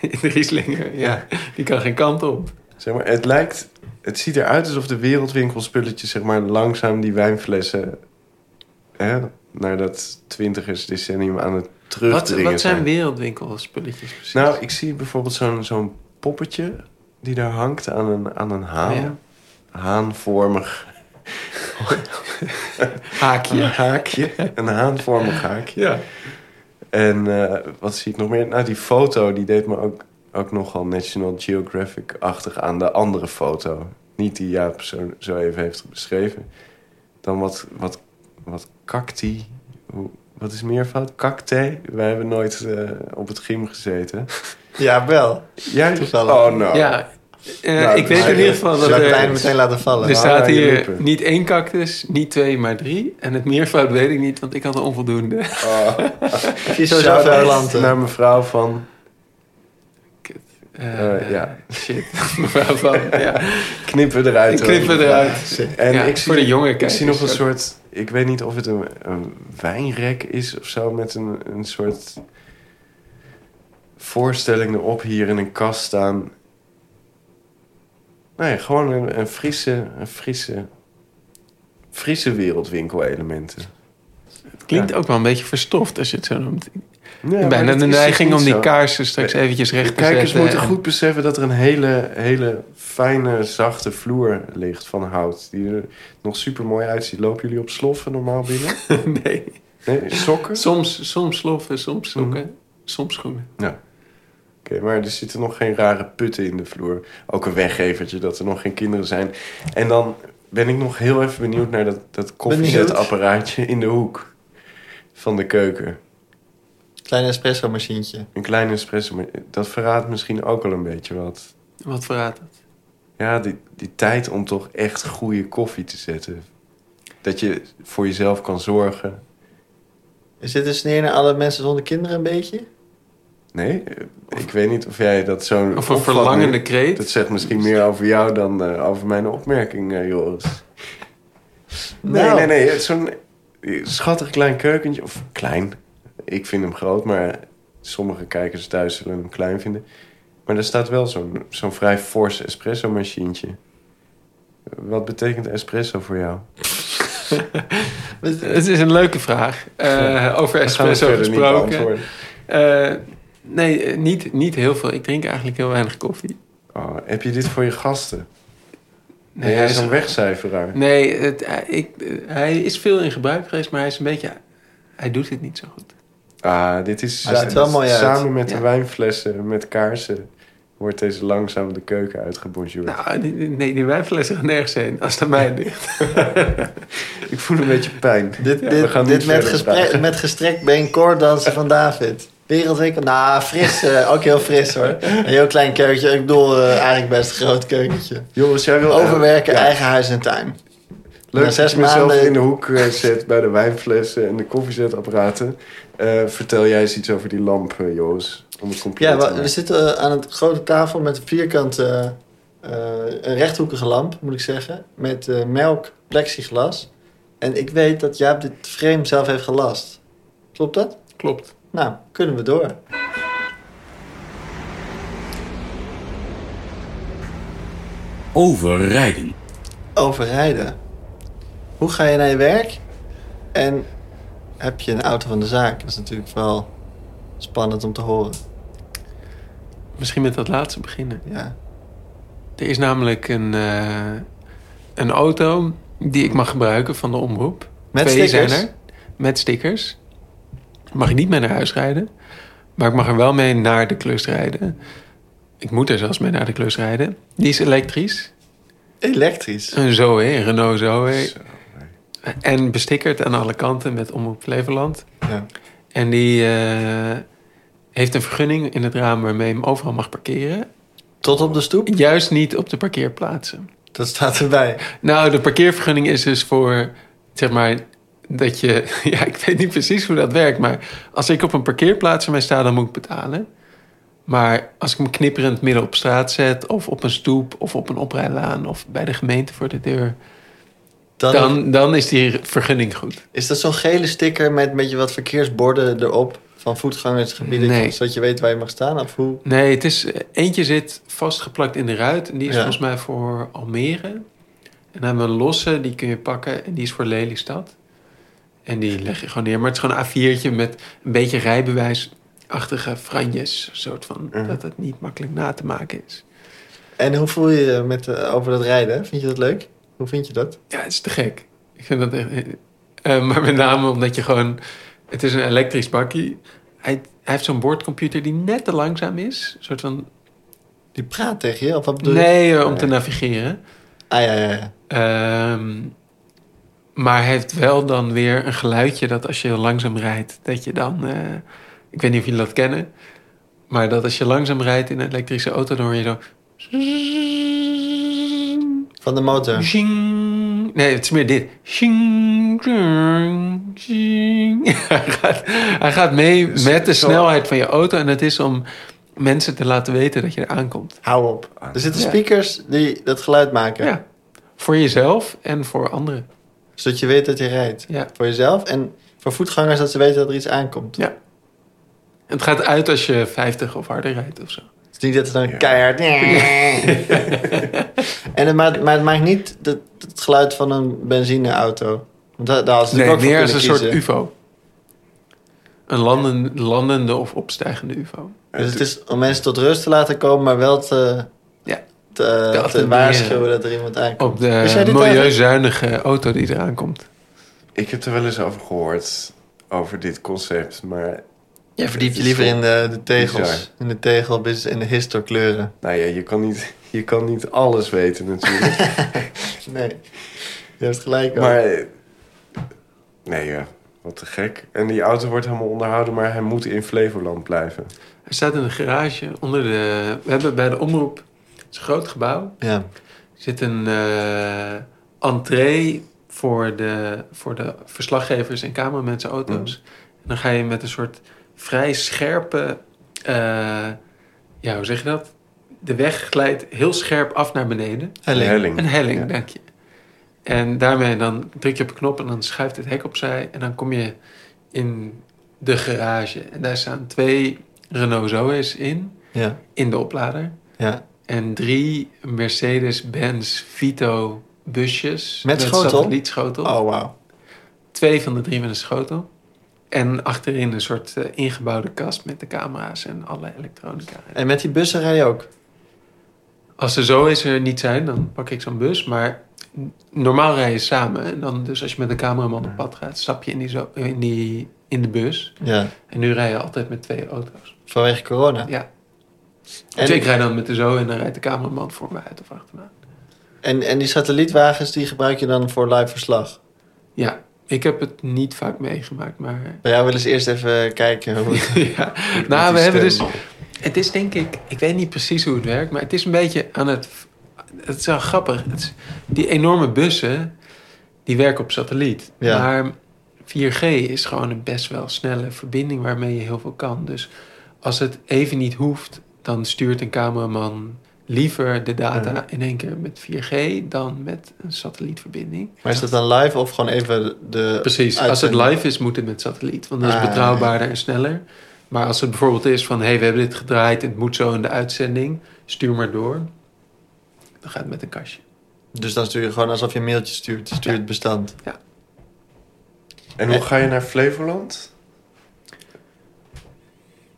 Speaker 1: In [LAUGHS] de Rieslinger, ja. Die kan geen kant op.
Speaker 2: Zeg maar, het lijkt, het ziet eruit alsof de wereldwinkelspulletjes zeg maar langzaam die wijnflessen hè, naar dat twintigers decennium aan het
Speaker 1: Wat,
Speaker 2: terugdringen
Speaker 1: wat zijn
Speaker 2: zijn.
Speaker 1: wereldwinkelspulletjes precies?
Speaker 2: Nou, ik zie bijvoorbeeld zo'n zo'n poppetje die daar hangt aan een, aan een haan.
Speaker 1: Oh, Ja.
Speaker 2: Haanvormig
Speaker 1: [LAUGHS] Haakje.
Speaker 2: haakje. Een haanvormig haakje.
Speaker 1: Ja.
Speaker 2: En eh, wat zie ik nog meer? Nou, die foto die deed me ook, ook nogal National Geographic-achtig aan de andere foto. Niet die Jaap zo, zo even heeft beschreven. Dan wat, wat, wat cacti. Hoe, wat is meervoud? Cacti? Wij hebben nooit eh, op het gym gezeten.
Speaker 3: Ja, wel.
Speaker 2: Jij?
Speaker 3: Toevallig.
Speaker 2: Oh, nou.
Speaker 1: Ja. Eh,
Speaker 2: Nou,
Speaker 1: ik weet
Speaker 2: maar,
Speaker 1: in ieder
Speaker 2: eh,
Speaker 1: geval dat
Speaker 3: Zou ik bijna
Speaker 1: er,
Speaker 3: meteen laten vallen.
Speaker 1: er
Speaker 2: Dus-
Speaker 1: staat
Speaker 2: aan je
Speaker 1: hier
Speaker 2: lippen.
Speaker 1: niet één cactus, niet twee, maar drie. En het meervoud weet ik niet, want ik had een onvoldoende.
Speaker 2: Oh.
Speaker 3: Ik zie sowieso
Speaker 2: Shout-out
Speaker 3: veel planten.
Speaker 2: naar mevrouw van...
Speaker 1: Eh,
Speaker 2: Eh, ja.
Speaker 1: Shit. [LAUGHS] Mevrouw van, ja.
Speaker 2: Knippen eruit.
Speaker 1: Ik knip
Speaker 2: hoor.
Speaker 1: het eruit.
Speaker 3: Shit.
Speaker 2: En
Speaker 1: Ja,
Speaker 2: ik zie,
Speaker 1: voor de jonge
Speaker 2: Ik zie
Speaker 1: kijkers
Speaker 2: nog een
Speaker 1: ook.
Speaker 2: soort... Ik weet niet of het een, een wijnrek is of zo... met een, een soort voorstelling erop hier in een kast staan. Nee, gewoon een, een frisse... Een frisse Frisse wereldwinkel-elementen.
Speaker 1: Het klinkt ook wel een beetje verstoft als je het zo noemt.
Speaker 2: Ja, maar
Speaker 1: Bijna
Speaker 2: dat
Speaker 1: de
Speaker 2: is
Speaker 1: neiging
Speaker 2: niet
Speaker 1: om die
Speaker 2: zo.
Speaker 1: kaarsen straks
Speaker 2: Nee,
Speaker 1: eventjes recht
Speaker 2: De
Speaker 1: te
Speaker 2: kijkers
Speaker 1: zetten
Speaker 2: moeten
Speaker 1: en-
Speaker 2: goed beseffen dat er een hele, hele fijne, zachte vloer ligt van hout. Die er nog super mooi uitziet. Lopen jullie op sloffen normaal binnen?
Speaker 1: nee.
Speaker 2: [LAUGHS] Nee, Mhm. sokken?
Speaker 1: Soms, soms sloffen, soms sokken, soms schoenen.
Speaker 2: Oké, maar er zitten nog geen rare putten in de vloer. Ook een weggevertje dat er nog geen kinderen zijn. En dan ben ik nog heel even benieuwd naar dat, dat koffiezetapparaatje in de hoek van de keuken.
Speaker 3: Klein espresso machientje.
Speaker 2: Een klein espresso, maar dat verraadt misschien ook al een beetje wat.
Speaker 1: Wat verraadt dat?
Speaker 2: Ja, die, die tijd om toch echt goede koffie te zetten. Dat je voor jezelf kan zorgen.
Speaker 3: Is dit een sneer naar alle mensen zonder kinderen een beetje?
Speaker 2: Nee, eh, ik weet niet of jij dat zo...
Speaker 1: Of een
Speaker 2: opvat
Speaker 1: verlangende
Speaker 2: nu.
Speaker 1: kreet?
Speaker 2: Dat zegt misschien meer over jou dan eh, over mijn opmerking, eh, Joris. Nee,
Speaker 3: Nou.
Speaker 2: nee, nee. het is Zo'n eh, schattig klein keukentje. Of klein. Ik vind hem groot, maar sommige kijkers thuis zullen hem klein vinden. Maar er staat wel zo'n zo'n vrij fors espresso-machientje. Wat betekent espresso voor jou?
Speaker 1: Het is een leuke vraag. Eh, over
Speaker 2: Daar gaan we
Speaker 1: espresso
Speaker 2: verder niet
Speaker 1: gesproken.
Speaker 2: beantwoorden.
Speaker 1: Eh, nee, eh, niet, niet heel veel. Ik drink eigenlijk heel weinig koffie.
Speaker 2: Oh, heb je dit voor je gasten? Nee,
Speaker 1: Nee,
Speaker 2: jij
Speaker 1: hij
Speaker 2: is
Speaker 1: is,
Speaker 2: een wegcijferaar.
Speaker 1: nee het, eh, ik, eh, hij is veel in gebruik geweest, maar hij is een beetje... Hij doet het niet zo goed.
Speaker 2: Ah, dit is
Speaker 3: Hij ziet er wel mooi uit.
Speaker 2: samen met de
Speaker 1: Ja.
Speaker 2: wijnflessen, met kaarsen, wordt deze langzaam de keuken uitgebonjourd.
Speaker 1: Nou, die- die- nee, die wijnflessen gaan nergens heen als het aan mij ligt. [LAUGHS]
Speaker 2: Ik voel een beetje pijn.
Speaker 3: Dit,
Speaker 2: Ja, we
Speaker 3: dit,
Speaker 2: gaan
Speaker 3: dit
Speaker 2: niet
Speaker 3: met,
Speaker 2: verder
Speaker 3: gespre-
Speaker 2: praten.
Speaker 3: met gestrekt been koorddansen van David. Wereldwinkel. Nou, fris. eh, ook heel fris hoor. Een heel klein keukentje. Ik bedoel, eh, eigenlijk best een groot keukentje.
Speaker 2: Joris, jij wil...
Speaker 3: Overwerken,
Speaker 2: Eh, Ja,
Speaker 3: eigen huis en tuin.
Speaker 2: Leuk
Speaker 3: Na
Speaker 2: dat
Speaker 3: zes
Speaker 2: ik mezelf
Speaker 3: maanden-
Speaker 2: in de hoek eh, zet bij de wijnflessen en de koffiezetapparaten. Eh, vertel jij eens iets over die lamp, eh, Joris. Om het compleet
Speaker 3: Ja,
Speaker 2: te
Speaker 3: we,
Speaker 2: maken.
Speaker 3: we zitten eh, aan een grote tafel met een vierkante, eh, een rechthoekige lamp, moet ik zeggen. Met eh, melk, plexiglas. En ik weet dat Jaap dit frame zelf heeft gelast. Klopt dat?
Speaker 1: Klopt.
Speaker 3: Nou, kunnen we door.
Speaker 4: Overrijden.
Speaker 3: Overrijden. Hoe ga je naar je werk? En heb je een auto van de zaak? Dat is natuurlijk wel spannend om te horen.
Speaker 1: Misschien met dat laatste beginnen.
Speaker 3: Ja.
Speaker 1: Er is namelijk een, eh, een auto die ik mag gebruiken van de omroep.
Speaker 3: Met
Speaker 1: Twee
Speaker 3: stickers?
Speaker 1: zijn er. Met stickers. Mag ik niet mee naar huis rijden. Maar ik mag er wel mee naar de klus rijden. Ik moet er zelfs mee naar de klus rijden. Die is elektrisch.
Speaker 3: Elektrisch.
Speaker 1: Een Zoe, een Renault Zoe. En bestickerd aan alle kanten met Omroep Flevoland.
Speaker 3: Ja.
Speaker 1: En die eh, heeft een vergunning in het raam waarmee je hem overal mag parkeren.
Speaker 3: Tot op de stoep?
Speaker 1: Juist niet op de parkeerplaatsen.
Speaker 3: Dat staat erbij.
Speaker 1: Nou, de parkeervergunning is dus voor, zeg maar, dat je... [LAUGHS] Ja, ik weet niet precies hoe dat werkt, maar als ik op een parkeerplaats voor mij sta, dan moet ik betalen. Maar als ik me knipperend midden op straat zet, of op een stoep, of op een oprijlaan, of bij de gemeente voor de deur,
Speaker 3: Dan,
Speaker 1: dan, dan is die vergunning goed.
Speaker 3: is dat zo'n gele sticker met, met je wat verkeersborden erop van voetgangersgebieden,
Speaker 1: Nee.
Speaker 3: zodat je weet waar je mag staan? Of hoe?
Speaker 1: Nee, het is, eentje zit vastgeplakt in de ruit en die is
Speaker 3: Ja.
Speaker 1: volgens mij voor Almere. En dan hebben we een losse, die kun je pakken en die is voor Lelystad. En die leg je gewoon neer. Maar het is gewoon een A4'tje met een beetje rijbewijsachtige franjes. soort van,
Speaker 2: Mhm.
Speaker 1: dat het niet makkelijk na te maken is.
Speaker 3: En hoe voel je je met, eh, over dat rijden? Vind je dat leuk? Hoe vind je dat?
Speaker 1: Ja, het is te gek. Ik vind dat echt... Eh, maar met name omdat je gewoon... Het is een elektrisch bakkie. Hij, hij heeft zo'n boordcomputer die net te langzaam is. Een soort van...
Speaker 3: Die praat tegen je? Of wat bedoel je?
Speaker 1: Nee, eh, om te
Speaker 2: Nee.
Speaker 1: navigeren.
Speaker 3: Ah ja, ja, ja.
Speaker 1: Ehm, maar heeft wel dan weer een geluidje dat als je heel langzaam rijdt, dat je dan. eh, ik weet niet of jullie dat kennen, maar dat als je langzaam rijdt in een elektrische auto, dan hoor je zo.
Speaker 3: Van de motor.
Speaker 1: Zing. Nee, het is meer dit. Zing, zing, zing. [LAUGHS] Hij gaat, hij gaat mee
Speaker 2: Dus
Speaker 1: met de
Speaker 2: zo-
Speaker 1: snelheid van je auto en het is om mensen te laten weten dat je er aankomt.
Speaker 3: Hou op.
Speaker 2: Ah,
Speaker 3: Er zitten
Speaker 1: ja.
Speaker 3: speakers die dat geluid maken.
Speaker 1: Ja. Voor jezelf en voor anderen.
Speaker 3: Zodat je weet dat je rijdt.
Speaker 1: Ja.
Speaker 3: Voor jezelf en voor voetgangers dat ze weten dat er iets aankomt.
Speaker 1: Ja. Het gaat uit als je 50 of harder rijdt of zo.
Speaker 3: Het is niet dat ze dan
Speaker 2: Ja.
Speaker 3: keihard...
Speaker 2: [LAUGHS]
Speaker 3: [LAUGHS] en het maakt, maar het maakt niet dat- het, geluid van een benzineauto. Want daar, daar hadden ze
Speaker 1: Nee,
Speaker 3: natuurlijk
Speaker 1: meer
Speaker 3: Dus ook
Speaker 1: als
Speaker 3: voor
Speaker 1: een
Speaker 3: kunnen
Speaker 1: soort
Speaker 3: kiezen.
Speaker 1: UFO. Een landen, landende of opstijgende UFO.
Speaker 3: Dus het is om mensen tot rust te laten komen, maar wel te,
Speaker 1: Ja.
Speaker 3: te,
Speaker 1: Te
Speaker 3: te
Speaker 1: attenderen.
Speaker 3: waarschuwen dat er iemand aankomt.
Speaker 1: Op
Speaker 3: Wist jij
Speaker 1: de
Speaker 3: dit
Speaker 1: milieuzuinige auto die eraan komt.
Speaker 2: Ik heb er wel eens over gehoord, over dit concept. Maar
Speaker 3: Jij verdiept je
Speaker 2: Het is
Speaker 3: liever in de, de tegels.
Speaker 2: bizar.
Speaker 3: In de tegel, in de histokleuren.
Speaker 2: nou ja, je kan niet, [LAUGHS] je kan niet alles weten natuurlijk.
Speaker 3: [LAUGHS] Nee, je hebt gelijk. ook.
Speaker 2: Maar eh, nee, ja, wat te gek. En die auto wordt helemaal onderhouden, maar hij moet in Flevoland blijven.
Speaker 1: Hij staat in een garage onder de... We hebben bij de omroep... Het is een groot gebouw.
Speaker 3: ja.
Speaker 1: Er zit een eh, entree voor de, voor de verslaggevers en cameramensen auto's. En dan ga je met een soort vrij scherpe... eh, ja, hoe zeg je dat? De weg glijdt heel scherp af naar beneden.
Speaker 3: Helling.
Speaker 1: Een helling,
Speaker 2: Mm. Ja.
Speaker 1: dank je. En daarmee dan druk je op een knop en dan schuift het hek opzij. En dan kom je in de garage. En daar staan twee Renault Zoe's in,
Speaker 3: Ja.
Speaker 1: in de oplader.
Speaker 3: ja.
Speaker 1: En drie Mercedes-Benz Vito busjes.
Speaker 3: Met schotel?
Speaker 1: satellietschotel.
Speaker 3: Oh, wauw.
Speaker 1: Twee van de drie met een schotel. En achterin een soort eh, ingebouwde kast met de camera's en alle elektronica.
Speaker 3: En met die bussen rij je ook?
Speaker 1: Als er zo is er niet zijn, dan pak ik zo'n bus. Maar n- normaal rij je samen. En dan dus als je met een cameraman op pad gaat, stap je in, die zo, in, die, in de bus.
Speaker 3: Ja.
Speaker 1: En nu rij je altijd met twee auto's.
Speaker 3: Vanwege corona.
Speaker 1: Ja. Dus ik
Speaker 3: En,
Speaker 1: rij dan met de zo en dan rijdt de cameraman voor me uit of achterna.
Speaker 3: en, en die satellietwagens die gebruik je dan voor live verslag?
Speaker 1: Ja, ik heb het niet vaak meegemaakt, maar...
Speaker 3: Bij jou willen ze eerst even kijken hoe... [LAUGHS]
Speaker 1: [LAUGHS] ja. Nou, we hebben dus... Het is denk ik, ik weet niet precies hoe het werkt, maar het is een beetje aan het. Het is wel grappig. Het is- die enorme bussen, die werken op satelliet.
Speaker 3: Ja.
Speaker 1: Maar 4G is gewoon een best wel snelle verbinding waarmee je heel veel kan. Dus als het even niet hoeft, dan stuurt een cameraman liever de data
Speaker 3: Ja.
Speaker 1: in één keer met 4G dan met een satellietverbinding.
Speaker 3: Maar is dat dan live of gewoon even de...
Speaker 1: Precies, als het
Speaker 3: uitzending?
Speaker 1: live is, moet het met satelliet. Want dat is
Speaker 3: Ah,
Speaker 1: betrouwbaarder en sneller. Maar als het bijvoorbeeld is van... hé, hey, we hebben dit gedraaid, het moet zo in de uitzending. Stuur maar door. Dan gaat het met een kastje.
Speaker 3: Dus dan stuur je gewoon alsof je een mailtje stuurt. Stuur het bestand.
Speaker 2: En hoe ga je naar Flevoland?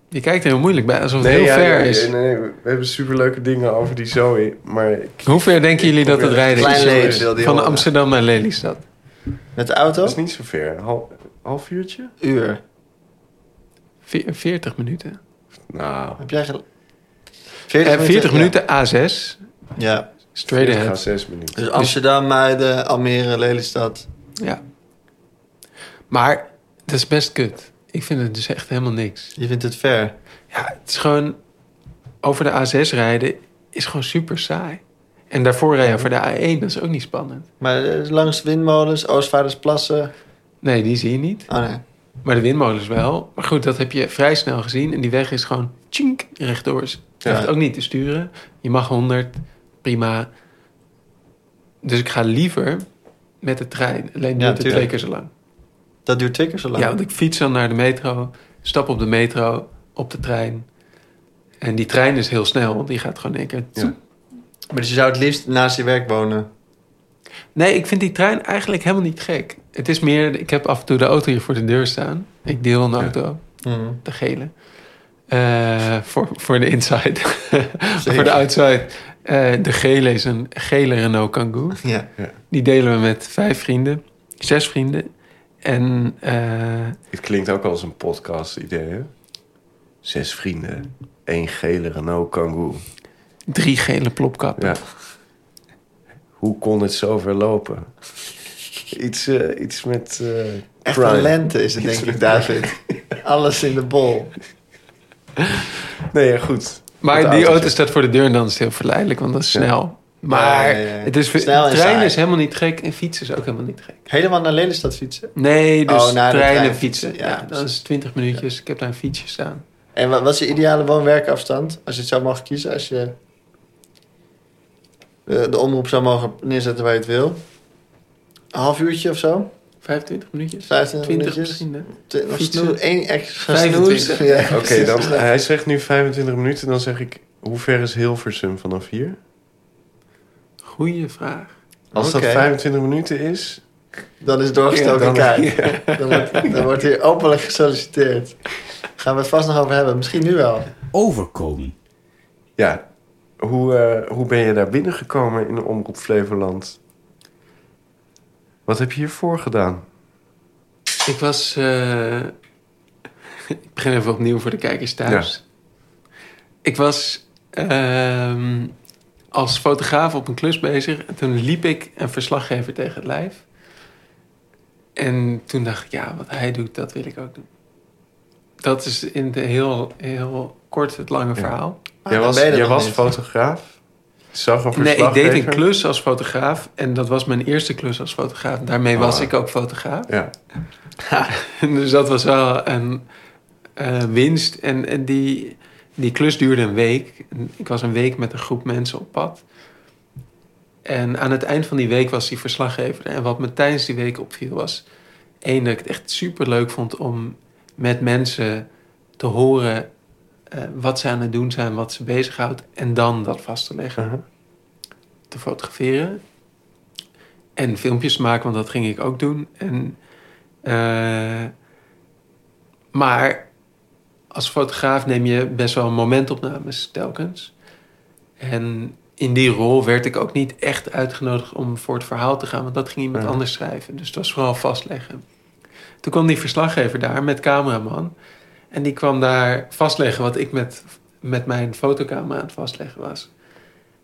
Speaker 1: Je kijkt er heel moeilijk bij, alsof het heel
Speaker 2: ja,
Speaker 1: ver
Speaker 2: nee,
Speaker 1: is.
Speaker 2: nee, nee, we hebben superleuke dingen over die Zoe, maar ik-
Speaker 1: Hoe ver denken jullie dat het rijden
Speaker 3: Klein
Speaker 1: is?
Speaker 3: leven wil die
Speaker 1: Van
Speaker 3: horen.
Speaker 1: Amsterdam naar Lelystad.
Speaker 3: Met de auto?
Speaker 2: dat is niet zo ver. Een hal- half uurtje?
Speaker 3: Uur.
Speaker 1: Ve- 40 minuten.
Speaker 2: Nou,
Speaker 3: Heb jij gel...
Speaker 1: Eh, 40
Speaker 3: ja.
Speaker 1: minuten A6.
Speaker 3: Ja.
Speaker 1: Straight
Speaker 2: ik ga
Speaker 1: ahead.
Speaker 2: zes minuten.
Speaker 3: Dus Amsterdam, Muiden, Almere, Lelystad.
Speaker 1: Ja. Maar dat is best kut. Ik vind het dus echt helemaal niks.
Speaker 3: Je vindt het ver.
Speaker 1: Ja, het is gewoon... Over de A6 rijden is gewoon super saai. En daarvoor rijden voor de A1, dat is ook niet spannend.
Speaker 3: Maar eh, langs windmolens, Oostvaardersplassen.
Speaker 1: Nee, die zie je niet.
Speaker 3: Oh nee.
Speaker 1: Maar de windmolens wel. Maar goed, dat heb je vrij snel gezien. En die weg is gewoon tjink rechtdoor. Is
Speaker 3: Ja.
Speaker 1: echt ook niet te sturen. Je mag 100, prima. Dus ik ga liever met de trein. Alleen duurt het
Speaker 3: tuurlijk.
Speaker 1: twee keer zo lang.
Speaker 3: Dat duurt twee keer zo lang.
Speaker 1: Ja, want ik fiets dan naar de metro, stap op de metro, op de trein. En die trein is heel snel, want die gaat gewoon in één keer...
Speaker 2: Ja.
Speaker 3: Maar dus je zou het liefst naast je werk wonen.
Speaker 1: Nee, ik vind die trein eigenlijk helemaal niet gek. Het is meer, ik heb af en toe de auto hier voor de deur staan. Ik deel een
Speaker 2: Ja.
Speaker 1: auto, de gele. Eh, voor, voor de inside. [LAUGHS] voor de outside. Eh, de gele is een gele Renault Kangoo.
Speaker 3: Ja.
Speaker 1: Die delen we met vijf vrienden, zes vrienden. En eh,
Speaker 2: Het klinkt ook als een podcast-idee, hè? Zes vrienden, één gele Renault Kangoo.
Speaker 1: drie gele plopkappen.
Speaker 2: Ja. Hoe kon het zo ver lopen? [LAUGHS] Iets, eh, iets met eh,
Speaker 3: Echt
Speaker 2: crime.
Speaker 3: een lente is het, denk
Speaker 2: [LAUGHS]
Speaker 3: ik, David. Alles in de bol.
Speaker 2: Nee, ja, goed.
Speaker 1: Maar
Speaker 2: Met de
Speaker 1: die
Speaker 2: auto's.
Speaker 1: auto staat voor de deur en dan is het heel verleidelijk, want dat is
Speaker 2: Ja.
Speaker 1: snel. Maar
Speaker 3: Ja, ja, ja.
Speaker 1: Het is,
Speaker 3: Snel en
Speaker 1: treinen
Speaker 3: saai.
Speaker 1: is helemaal niet gek en fietsen is ook helemaal niet gek.
Speaker 3: Helemaal naar Lelystad fietsen.
Speaker 1: Nee, dus
Speaker 3: Oh, naar de
Speaker 1: treinen
Speaker 3: trein,
Speaker 1: fietsen.
Speaker 3: fietsen,
Speaker 1: Ja,
Speaker 3: ja,
Speaker 1: dan is het 20 minuutjes. Ik heb daar een fietsje staan.
Speaker 3: En wa- wat is je ideale woon-werkafstand? Als je het zou mogen kiezen, als je eh, de, de omroep zou mogen neerzetten waar je het wil. Een half uurtje of zo?
Speaker 1: 25 minuutjes?
Speaker 3: 25
Speaker 1: 20
Speaker 3: minuutjes?
Speaker 1: misschien, hè?
Speaker 3: Te- Nog
Speaker 1: Fietsen.
Speaker 3: snoe- één extra
Speaker 1: 25.
Speaker 3: snoes. [LAUGHS] Ja,
Speaker 2: Oké,
Speaker 3: [LAUGHS] precies.
Speaker 2: dan, hij zegt nu 25 minuten. Dan zeg ik, hoe ver is Hilversum vanaf hier?
Speaker 1: Goeie vraag.
Speaker 2: Als
Speaker 3: Oké.
Speaker 2: dat 25 minuten is...
Speaker 3: [LAUGHS] Dan is
Speaker 2: [LAUGHS]
Speaker 3: doorgestoken
Speaker 2: Ja, dan-
Speaker 3: kaart. Dan, wordt, dan wordt hier openlijk gesolliciteerd. Gaan we het vast nog over hebben. Misschien nu wel.
Speaker 4: Overkomen.
Speaker 2: Ja, hoe, eh, hoe ben je daar binnengekomen in de Omroep Flevoland? Wat heb je hiervoor gedaan?
Speaker 1: Ik was... eh, [LAUGHS] ik begin even opnieuw voor de kijkers thuis. Ik was ehm, als fotograaf op een klus bezig. En toen liep ik een verslaggever tegen het lijf. En toen dacht ik, ja, wat hij doet, dat wil ik ook doen. Dat is in de heel, heel kort het lange
Speaker 2: Ja.
Speaker 1: verhaal.
Speaker 3: Ah,
Speaker 2: jij
Speaker 3: dan
Speaker 2: was,
Speaker 3: ben je er
Speaker 2: jij
Speaker 3: nog
Speaker 2: was
Speaker 3: niet.
Speaker 2: fotograaf? Zag een
Speaker 1: Nee, ik
Speaker 2: verslaggever?
Speaker 1: deed een klus als fotograaf. En dat was mijn eerste klus als fotograaf. Daarmee was
Speaker 2: Ah.
Speaker 1: ik ook fotograaf. [LAUGHS]
Speaker 2: Ja,
Speaker 1: dus dat was wel een eh, winst. En, en die, die klus duurde een week. En Ik was een week met een groep mensen op pad. En aan het eind van die week was die verslaggever. En wat me tijdens die week opviel was... één, dat ik het echt super leuk vond om met mensen te horen... eh, wat ze aan het doen zijn, wat ze bezighoudt... en dan dat vast te leggen
Speaker 2: aha.
Speaker 1: te fotograferen. En filmpjes te maken, want dat ging ik ook doen. En, eh, maar als fotograaf neem je best wel momentopnames telkens. En in die rol werd ik ook niet echt uitgenodigd om voor het verhaal te gaan, want dat ging iemand
Speaker 2: Ja.
Speaker 1: anders schrijven. Dus het was vooral vastleggen. Toen kwam die verslaggever daar met cameraman. En die kwam daar vastleggen wat ik met, met mijn fotocamera aan het vastleggen was.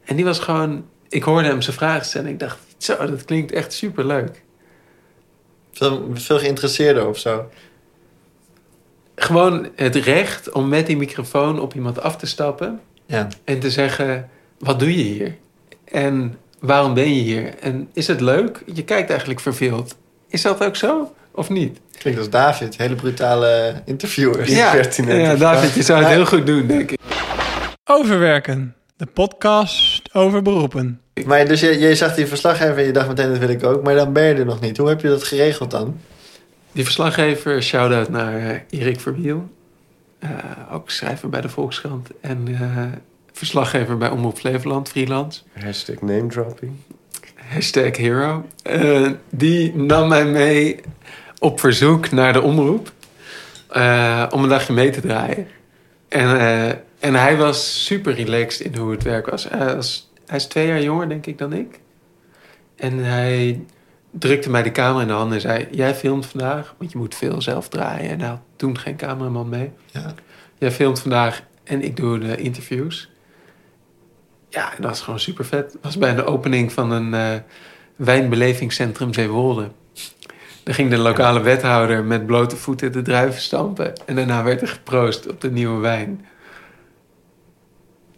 Speaker 1: En die was gewoon... Ik hoorde hem zijn vragen stellen en ik dacht... Zo, dat klinkt echt superleuk.
Speaker 3: Veel, veel geïnteresseerder of zo.
Speaker 1: Gewoon het recht om met die microfoon op iemand af te stappen...
Speaker 3: Ja.
Speaker 1: en te zeggen, wat doe je hier? En waarom ben je hier? En is het leuk? Je kijkt eigenlijk verveeld. Is dat ook zo? Of niet?
Speaker 3: Klinkt als David. Hele brutale interviewer.
Speaker 2: pertinente
Speaker 1: ja David, je zou het
Speaker 3: Ja.
Speaker 1: heel goed doen, denk ik.
Speaker 5: Overwerken, de podcast over beroepen.
Speaker 3: Maar dus je, je zag die verslaggever en je dacht meteen dat wil ik ook. Maar dan ben je er nog niet. Hoe heb je dat geregeld dan?
Speaker 1: Die verslaggever, shout-out naar eh, Erik Verwiel. Eh, ook schrijver bij de Volkskrant. En eh, verslaggever bij Omroep Flevoland, freelance.
Speaker 2: Hashtag name dropping.
Speaker 1: Hashtag hero. Eh, die nam mij mee op verzoek naar de omroep. eh, om een dagje mee te draaien. En, eh, en hij was super relaxed in hoe het werk was. Hij, was. hij is twee jaar jonger, denk ik, dan ik. En hij drukte mij de camera in de handen en zei... Jij filmt vandaag, want je moet veel zelf draaien. En hij had toen geen cameraman mee.
Speaker 3: Ja.
Speaker 1: Jij filmt vandaag en ik doe de interviews. Ja, en dat is gewoon super vet. Dat was bij de opening van een eh, wijnbelevingscentrum Zeewolde. Daar ging de lokale wethouder met blote voeten de druiven stampen. En daarna werd er geproost op de nieuwe wijn.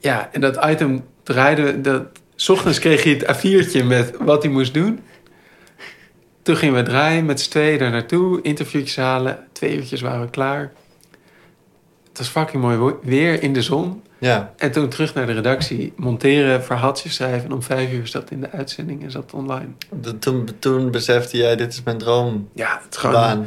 Speaker 1: Ja, en dat item draaide... Dat, 's ochtends kreeg hij het A4'tje met wat hij moest doen. Toen gingen we draaien met z'n tweeën daar naartoe. Interviewtjes halen. Twee uurtjes waren we klaar. Het was fucking mooi wo- weer in de zon.
Speaker 3: Ja.
Speaker 1: En toen terug naar de redactie. Monteren, verhaaltjes schrijven. En om vijf uur zat in de uitzending en zat online.
Speaker 3: De- toen, toen besefte jij, dit is mijn droombaan.
Speaker 1: Ja, het is gewoon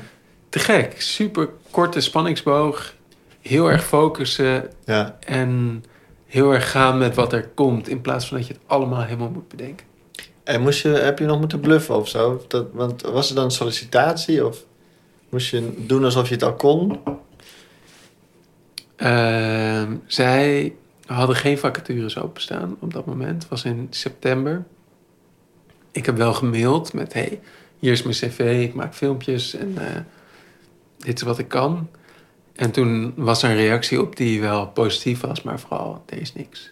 Speaker 1: te gek. Super korte spanningsboog. Heel erg focussen.
Speaker 3: Ja.
Speaker 1: En heel erg gaan met wat er komt. In plaats van dat je het allemaal helemaal moet bedenken.
Speaker 3: En moest je, heb je nog moeten bluffen of zo? Dat, want was er dan een sollicitatie of moest je doen alsof je het al kon?
Speaker 1: Ehm, zij hadden geen vacatures openstaan op dat moment. Het was in september. Ik heb wel gemaild met... hey, hier is mijn cv, ik maak filmpjes en eh, dit is wat ik kan. En toen was er een reactie op die wel positief was, maar vooral, er is niks.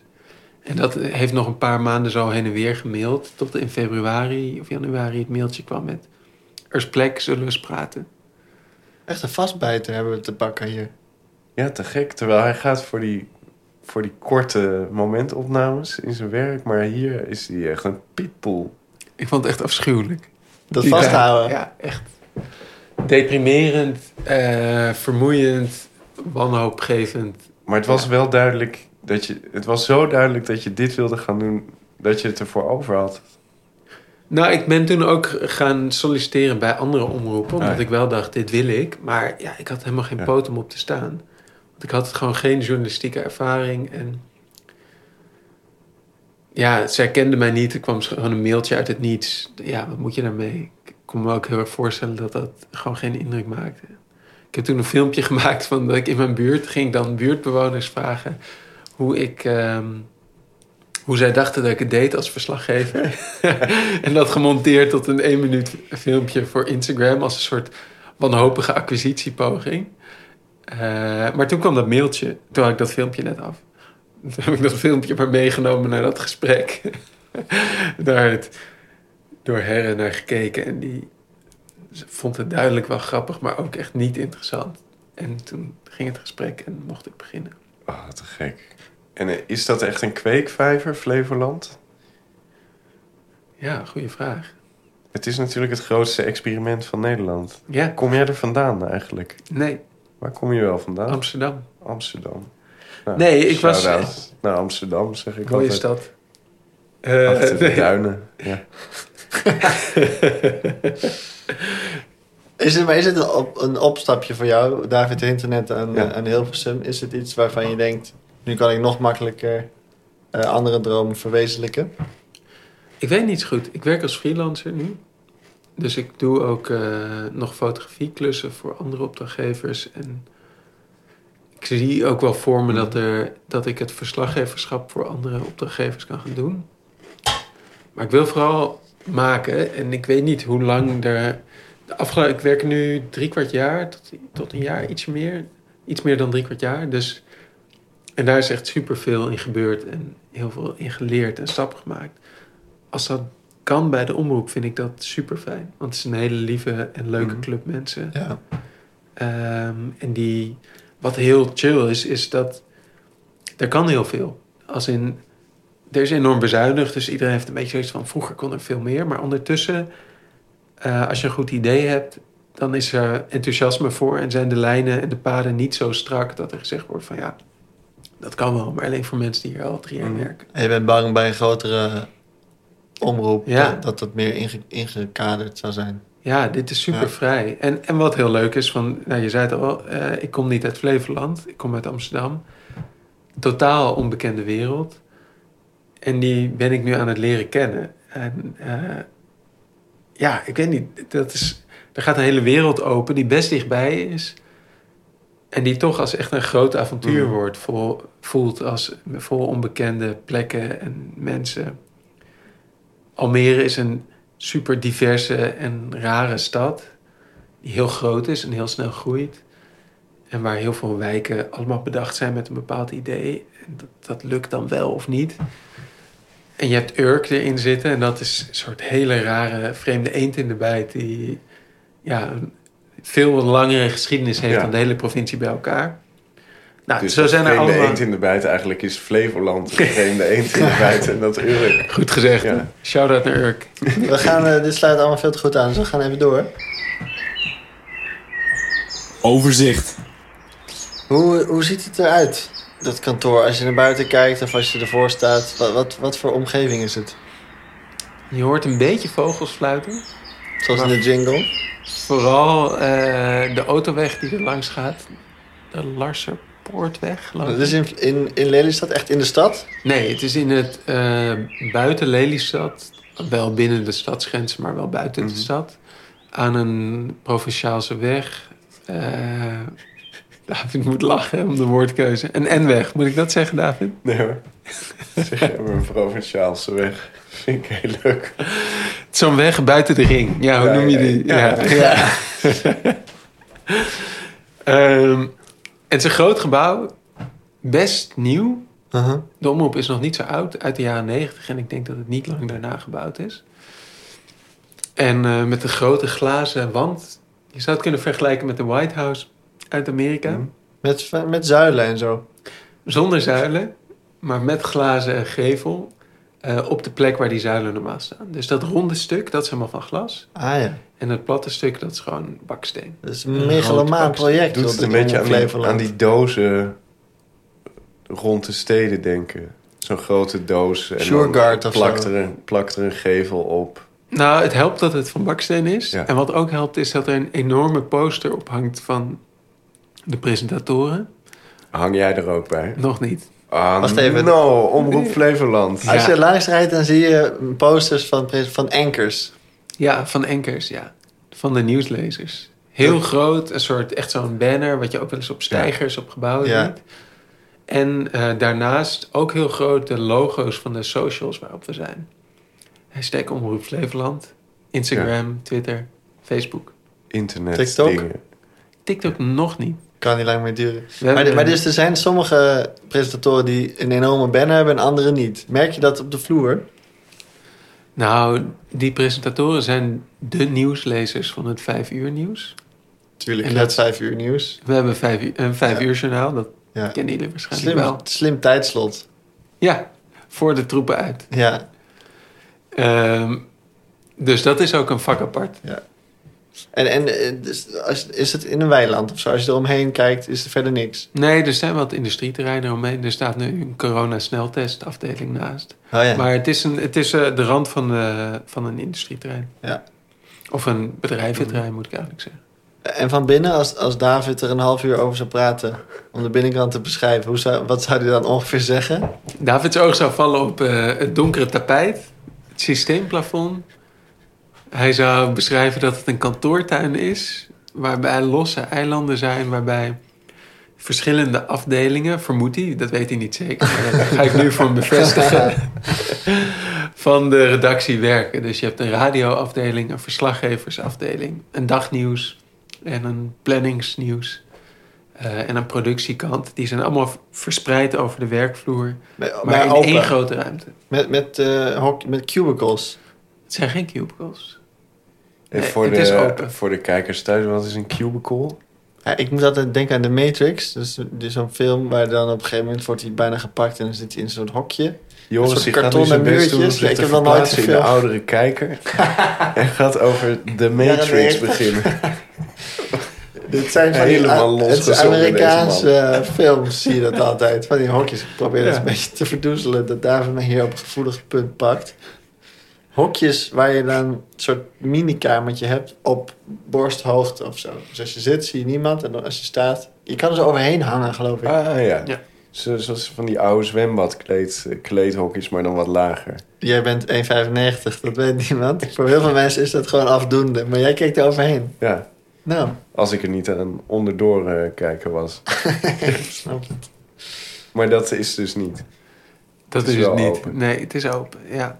Speaker 1: En dat heeft nog een paar maanden zo heen en weer gemaild... tot in februari of januari het mailtje kwam met... er is plek, zullen we eens praten.
Speaker 3: Echt een vastbijter hebben we te pakken hier.
Speaker 2: Ja, te gek. Terwijl hij gaat voor die, voor die korte momentopnames in zijn werk. Maar hier is hij echt een pitbull.
Speaker 1: Ik vond het echt afschuwelijk.
Speaker 3: Dat
Speaker 1: Ja.
Speaker 3: vasthouden.
Speaker 1: Ja, echt. Deprimerend, eh, vermoeiend, wanhoopgevend.
Speaker 2: Maar het was
Speaker 1: Ja.
Speaker 2: wel duidelijk dat je... Het was zo duidelijk dat je dit wilde gaan doen... dat je het ervoor over had.
Speaker 1: Nou, ik ben toen ook gaan solliciteren bij andere omroepen. Omdat
Speaker 2: Ah, ja.
Speaker 1: ik wel dacht, dit wil ik. Maar ja, ik had helemaal geen
Speaker 2: Ja.
Speaker 1: poot om op te staan. Want ik had gewoon geen journalistieke ervaring. En ja, zij kende mij niet. Er kwam gewoon een mailtje uit het niets. Ja, wat moet je daarmee? Ik kon me ook heel erg voorstellen dat dat gewoon geen indruk maakte. Ik heb toen een filmpje [LAUGHS] gemaakt van dat ik in mijn buurt ging dan buurtbewoners vragen hoe ik. ehm, hoe zij dachten dat ik het deed als verslaggever. [LAUGHS] en dat gemonteerd tot een 1 minuut filmpje voor Instagram als een soort wanhopige acquisitiepoging. Eh, maar toen kwam dat mailtje. Toen had ik dat filmpje net af. [LAUGHS] Toen heb ik dat filmpje maar meegenomen naar dat gesprek. [LAUGHS] Daar het door herren naar gekeken. En die ze vond het duidelijk wel grappig, maar ook echt niet interessant. En toen ging het gesprek en mocht ik beginnen.
Speaker 2: Ah, te gek. En eh, is dat echt een kweekvijver, Flevoland?
Speaker 1: Ja, goede vraag.
Speaker 2: Het is natuurlijk het grootste experiment van Nederland.
Speaker 1: Ja,
Speaker 2: Kom jij er vandaan eigenlijk?
Speaker 1: nee,
Speaker 2: Waar kom je wel vandaan?
Speaker 1: Amsterdam.
Speaker 2: Amsterdam. Nou,
Speaker 1: Nee, ik was- eh,
Speaker 2: shout-out naar Amsterdam, zeg ik
Speaker 1: Mooie
Speaker 2: altijd.
Speaker 1: stad.
Speaker 2: Achter de
Speaker 1: Eh, [LAUGHS]
Speaker 2: duinen. Ja.
Speaker 3: Is het, maar is het een, op- een opstapje voor jou, David Hinternet, aan,
Speaker 2: Ja.
Speaker 3: eh, aan Hilversum? Is het iets waarvan je denkt, nu kan ik nog makkelijker eh, andere dromen verwezenlijken?
Speaker 1: Ik weet niet zo goed. Ik werk als freelancer nu. Dus ik doe ook eh, nog fotografieklussen voor andere opdrachtgevers. En ik zie ook wel voor me dat, er, dat ik het verslaggeverschap voor andere opdrachtgevers kan gaan doen. Maar ik wil vooral maken. En ik weet niet hoe lang er... De afgelo- ik werk nu drie kwart jaar tot, tot een jaar, iets meer. Iets meer dan drie kwart jaar. Dus, en daar is echt superveel in gebeurd. En heel veel in geleerd en stappen gemaakt als dat kan bij de omroep, vind ik dat super fijn. Want het is een hele lieve en leuke
Speaker 2: Mhm.
Speaker 1: club mensen.
Speaker 3: Ja.
Speaker 1: Ehm, en die, wat heel chill is, is dat er kan heel veel. Als in, er is enorm bezuinigd, dus iedereen heeft een beetje zoiets van... vroeger kon er veel meer, maar ondertussen, eh, als je een goed idee hebt... dan is er enthousiasme voor en zijn de lijnen en de paden niet zo strak... dat er gezegd wordt van ja, dat kan wel, maar alleen voor mensen die hier al drie jaar
Speaker 2: Mhm.
Speaker 1: werken.
Speaker 3: En je bent bang bij een grotere eh, omroep
Speaker 1: Ja.
Speaker 3: dat, dat dat meer inge- ingekaderd zou zijn.
Speaker 1: Ja, dit is super
Speaker 3: Ja.
Speaker 1: vrij. En, en wat heel leuk is, van, nou, je zei het al, eh, ik kom niet uit Flevoland, ik kom uit Amsterdam. Totaal onbekende wereld. En die ben ik nu aan het leren kennen. En eh, ja, ik weet niet, dat is, er gaat een hele wereld open die best dichtbij is. En die toch als echt een groot avontuur
Speaker 2: Mhm.
Speaker 1: wordt, vol, voelt als vol onbekende plekken en mensen. Almere is een super diverse en rare stad. Die heel groot is en heel snel groeit. En waar heel veel wijken allemaal bedacht zijn met een bepaald idee. En dat, dat lukt dan wel of niet. En je hebt Urk erin zitten. En dat is een soort hele rare vreemde eend in de bijt. Die ja, een veel langere geschiedenis heeft
Speaker 2: Ja.
Speaker 1: dan de hele provincie bij elkaar. Nou,
Speaker 2: Dus
Speaker 1: zo
Speaker 2: dat
Speaker 1: zijn er
Speaker 2: vreemde
Speaker 1: allemaal...
Speaker 2: eend in de bijt eigenlijk is
Speaker 1: [LAUGHS]
Speaker 2: Flevoland. De vreemde eend in de bijt en dat Urk.
Speaker 1: Goed gezegd.
Speaker 2: Ja.
Speaker 1: Shout-out naar Urk.
Speaker 3: [LAUGHS] We gaan, eh, dit sluit allemaal veel te goed aan, dus we gaan even door.
Speaker 4: Overzicht.
Speaker 3: Hoe, hoe ziet het eruit, dat kantoor? Als je naar buiten kijkt of als je ervoor staat, wat, wat, wat voor omgeving is het?
Speaker 1: Je hoort een beetje vogels fluiten.
Speaker 3: Zoals in de jingle.
Speaker 1: Vooral eh, de autoweg die er langs gaat. De Larserpoortweg. geloof ik.
Speaker 3: Dat is in, in, in Lelystad, echt in de stad.
Speaker 1: Nee, het is in het eh, buiten Lelystad wel binnen de stadsgrenzen, maar wel buiten
Speaker 2: Mhm.
Speaker 1: de stad. Aan een provinciaalse weg. Eh, David moet lachen om de woordkeuze. Een N-weg, moet ik dat zeggen, David?
Speaker 2: Nee
Speaker 1: [LAUGHS]
Speaker 2: hoor. Zeg jij maar een provinciaalse weg. Vind ik heel leuk.
Speaker 1: Zo'n weg buiten de ring. Ja, hoe
Speaker 2: Ja,
Speaker 1: noem je
Speaker 2: ja,
Speaker 1: die?
Speaker 2: ja.
Speaker 1: [LAUGHS] Ehm, het is een groot gebouw. Best nieuw.
Speaker 3: Uh-huh.
Speaker 1: De omroep is nog niet zo oud, uit de jaren 90 En ik denk dat het niet lang daarna gebouwd is. En eh, met een grote glazen wand. Je zou het kunnen vergelijken met de White House uit Amerika.
Speaker 2: Mhm.
Speaker 3: met, met zuilen en zo.
Speaker 1: Zonder zuilen, maar met glazen gevel. eh, op de plek waar die zuilen normaal staan. Dus dat ronde stuk, dat is helemaal van glas.
Speaker 3: Ah ja,
Speaker 1: En het platte stuk, dat is gewoon baksteen.
Speaker 3: dat is een
Speaker 1: Een
Speaker 3: megalomaan
Speaker 1: rood
Speaker 3: project.
Speaker 2: Doet
Speaker 3: joh,
Speaker 2: het
Speaker 3: dat
Speaker 2: een beetje
Speaker 3: in
Speaker 2: aan die,
Speaker 3: Flevoland.
Speaker 2: aan die dozen rond de steden denken. Zo'n grote doos. En
Speaker 3: Shore
Speaker 2: dan
Speaker 3: Guard of
Speaker 2: plakt
Speaker 3: zo.
Speaker 2: er, een, plakt er een gevel op.
Speaker 1: Nou, het helpt dat het van baksteen is.
Speaker 2: Ja.
Speaker 1: En wat ook helpt is dat er een enorme poster ophangt van de presentatoren.
Speaker 2: Hang jij er ook bij?
Speaker 1: Nog niet.
Speaker 2: Ah,
Speaker 3: Wacht even.
Speaker 2: no, Omroep Flevoland.
Speaker 1: Ja.
Speaker 3: Als je langs rijdt, dan zie je posters van, pres- van anchors.
Speaker 1: Ja, van Enkers, ja. Van de nieuwslezers. Heel groot, een soort, echt zo'n banner... wat je ook wel eens op stijgers, op gebouwen
Speaker 3: Ja.
Speaker 1: ziet. En eh, daarnaast ook heel groot de logo's van de socials waarop we zijn. Hashtag Omroep Flevoland. Instagram, Twitter, Facebook.
Speaker 2: Internet
Speaker 3: TikTok?
Speaker 2: dingen.
Speaker 1: TikTok nog niet.
Speaker 3: Kan niet lang meer duren.
Speaker 1: We
Speaker 3: Maar,
Speaker 1: hebben-
Speaker 3: maar dus er zijn sommige presentatoren die een enorme banner hebben en anderen niet. Merk je dat op de vloer?
Speaker 1: Nou, die presentatoren zijn de nieuwslezers van het vijf uur nieuws.
Speaker 3: Tuurlijk,
Speaker 1: En
Speaker 3: en dat vijf uur nieuws.
Speaker 1: We hebben vijf uur, een vijf
Speaker 3: Ja.
Speaker 1: uur journaal, dat
Speaker 3: Ja.
Speaker 1: kennen jullie waarschijnlijk
Speaker 3: Slim,
Speaker 1: wel.
Speaker 3: slim tijdslot.
Speaker 1: Ja, voor de troepen uit.
Speaker 3: Ja.
Speaker 1: Ehm, dus dat is ook een vak apart.
Speaker 3: En, en eh, dus als, is het in een weiland of zo? Als je eromheen kijkt, is er verder niks.
Speaker 1: Nee, er zijn wat industrieterreinen omheen. Er staat nu een corona-sneltestafdeling naast.
Speaker 3: Oh ja.
Speaker 1: Maar het is, een, het is eh, de rand van, de, van een industrieterrein.
Speaker 3: Ja.
Speaker 1: Of een bedrijventerrein, moet ik eigenlijk zeggen.
Speaker 3: En van binnen, als, als David er een half uur over zou praten... om de binnenkant te beschrijven, hoe zou, wat zou hij dan ongeveer zeggen?
Speaker 1: Davids oog zou vallen op eh, het donkere tapijt, het systeemplafond. Hij zou beschrijven dat het een kantoortuin is, waarbij losse eilanden zijn, waarbij verschillende afdelingen, vermoedt hij, dat weet hij niet zeker, maar dat ga ik nu voor hem bevestigen, van de redactie werken. Dus je hebt een radioafdeling, een verslaggeversafdeling, een dagnieuws en een planningsnieuws. eh, en een productiekant. Die zijn allemaal v- verspreid over de werkvloer.
Speaker 3: Maar,
Speaker 1: Maar in
Speaker 3: open.
Speaker 1: één grote ruimte.
Speaker 3: Met, met, eh, hok, met cubicles.
Speaker 1: Het zijn geen cubicles.
Speaker 2: En
Speaker 1: Nee,
Speaker 2: voor,
Speaker 1: het
Speaker 2: de,
Speaker 1: is open.
Speaker 2: voor de kijkers thuis, wat is een cubicle?
Speaker 3: Ja, ik moet altijd denken aan de Matrix. Dus dit is zo'n film waar dan op een gegeven moment wordt hij bijna gepakt... en dan zit hij in zo'n hokje. Een
Speaker 2: Joris,
Speaker 3: soort
Speaker 2: die gaat nu
Speaker 3: kartonnen
Speaker 2: zijn best
Speaker 3: muurtjes.
Speaker 2: doen om
Speaker 3: Ja,
Speaker 2: zich
Speaker 3: ik
Speaker 2: te
Speaker 3: heb nog nooit
Speaker 2: verplaatsen in de
Speaker 3: gefilmd.
Speaker 2: oudere
Speaker 3: [LAUGHS]
Speaker 2: kijker. en gaat over de Matrix
Speaker 3: Ja, nee. [LAUGHS]
Speaker 2: beginnen.
Speaker 3: Dit zijn van
Speaker 2: Helemaal
Speaker 3: die, Het is
Speaker 2: losgezongen,
Speaker 3: Amerikaanse
Speaker 2: deze
Speaker 3: eh, films zie je dat altijd. Van die hokjes. Ik probeer het
Speaker 1: Ja.
Speaker 3: een beetje te verdoezelen. Dat David me hier op een gevoelig punt pakt. Hokjes waar je dan een soort minikamertje hebt op borsthoogte of zo. Dus als je zit zie je niemand. En dan als je staat... Je kan er zo overheen hangen geloof ik.
Speaker 2: Ah ja.
Speaker 1: Ja.
Speaker 2: Zo- Zoals van die oude zwembadkleed, eh, kleedhokjes, maar dan wat lager.
Speaker 3: Jij bent 1,95. Dat weet niemand. Voor heel veel mensen is dat gewoon afdoende. Maar jij kijkt er overheen.
Speaker 2: Ja,
Speaker 3: Nou,
Speaker 2: als ik er niet aan onderdoor eh, kijken was.
Speaker 3: snap het.
Speaker 2: Maar dat is dus niet.
Speaker 1: Dat
Speaker 2: Het is
Speaker 1: is het
Speaker 2: wel
Speaker 1: niet.
Speaker 2: open.
Speaker 1: Nee, het is open. Ja.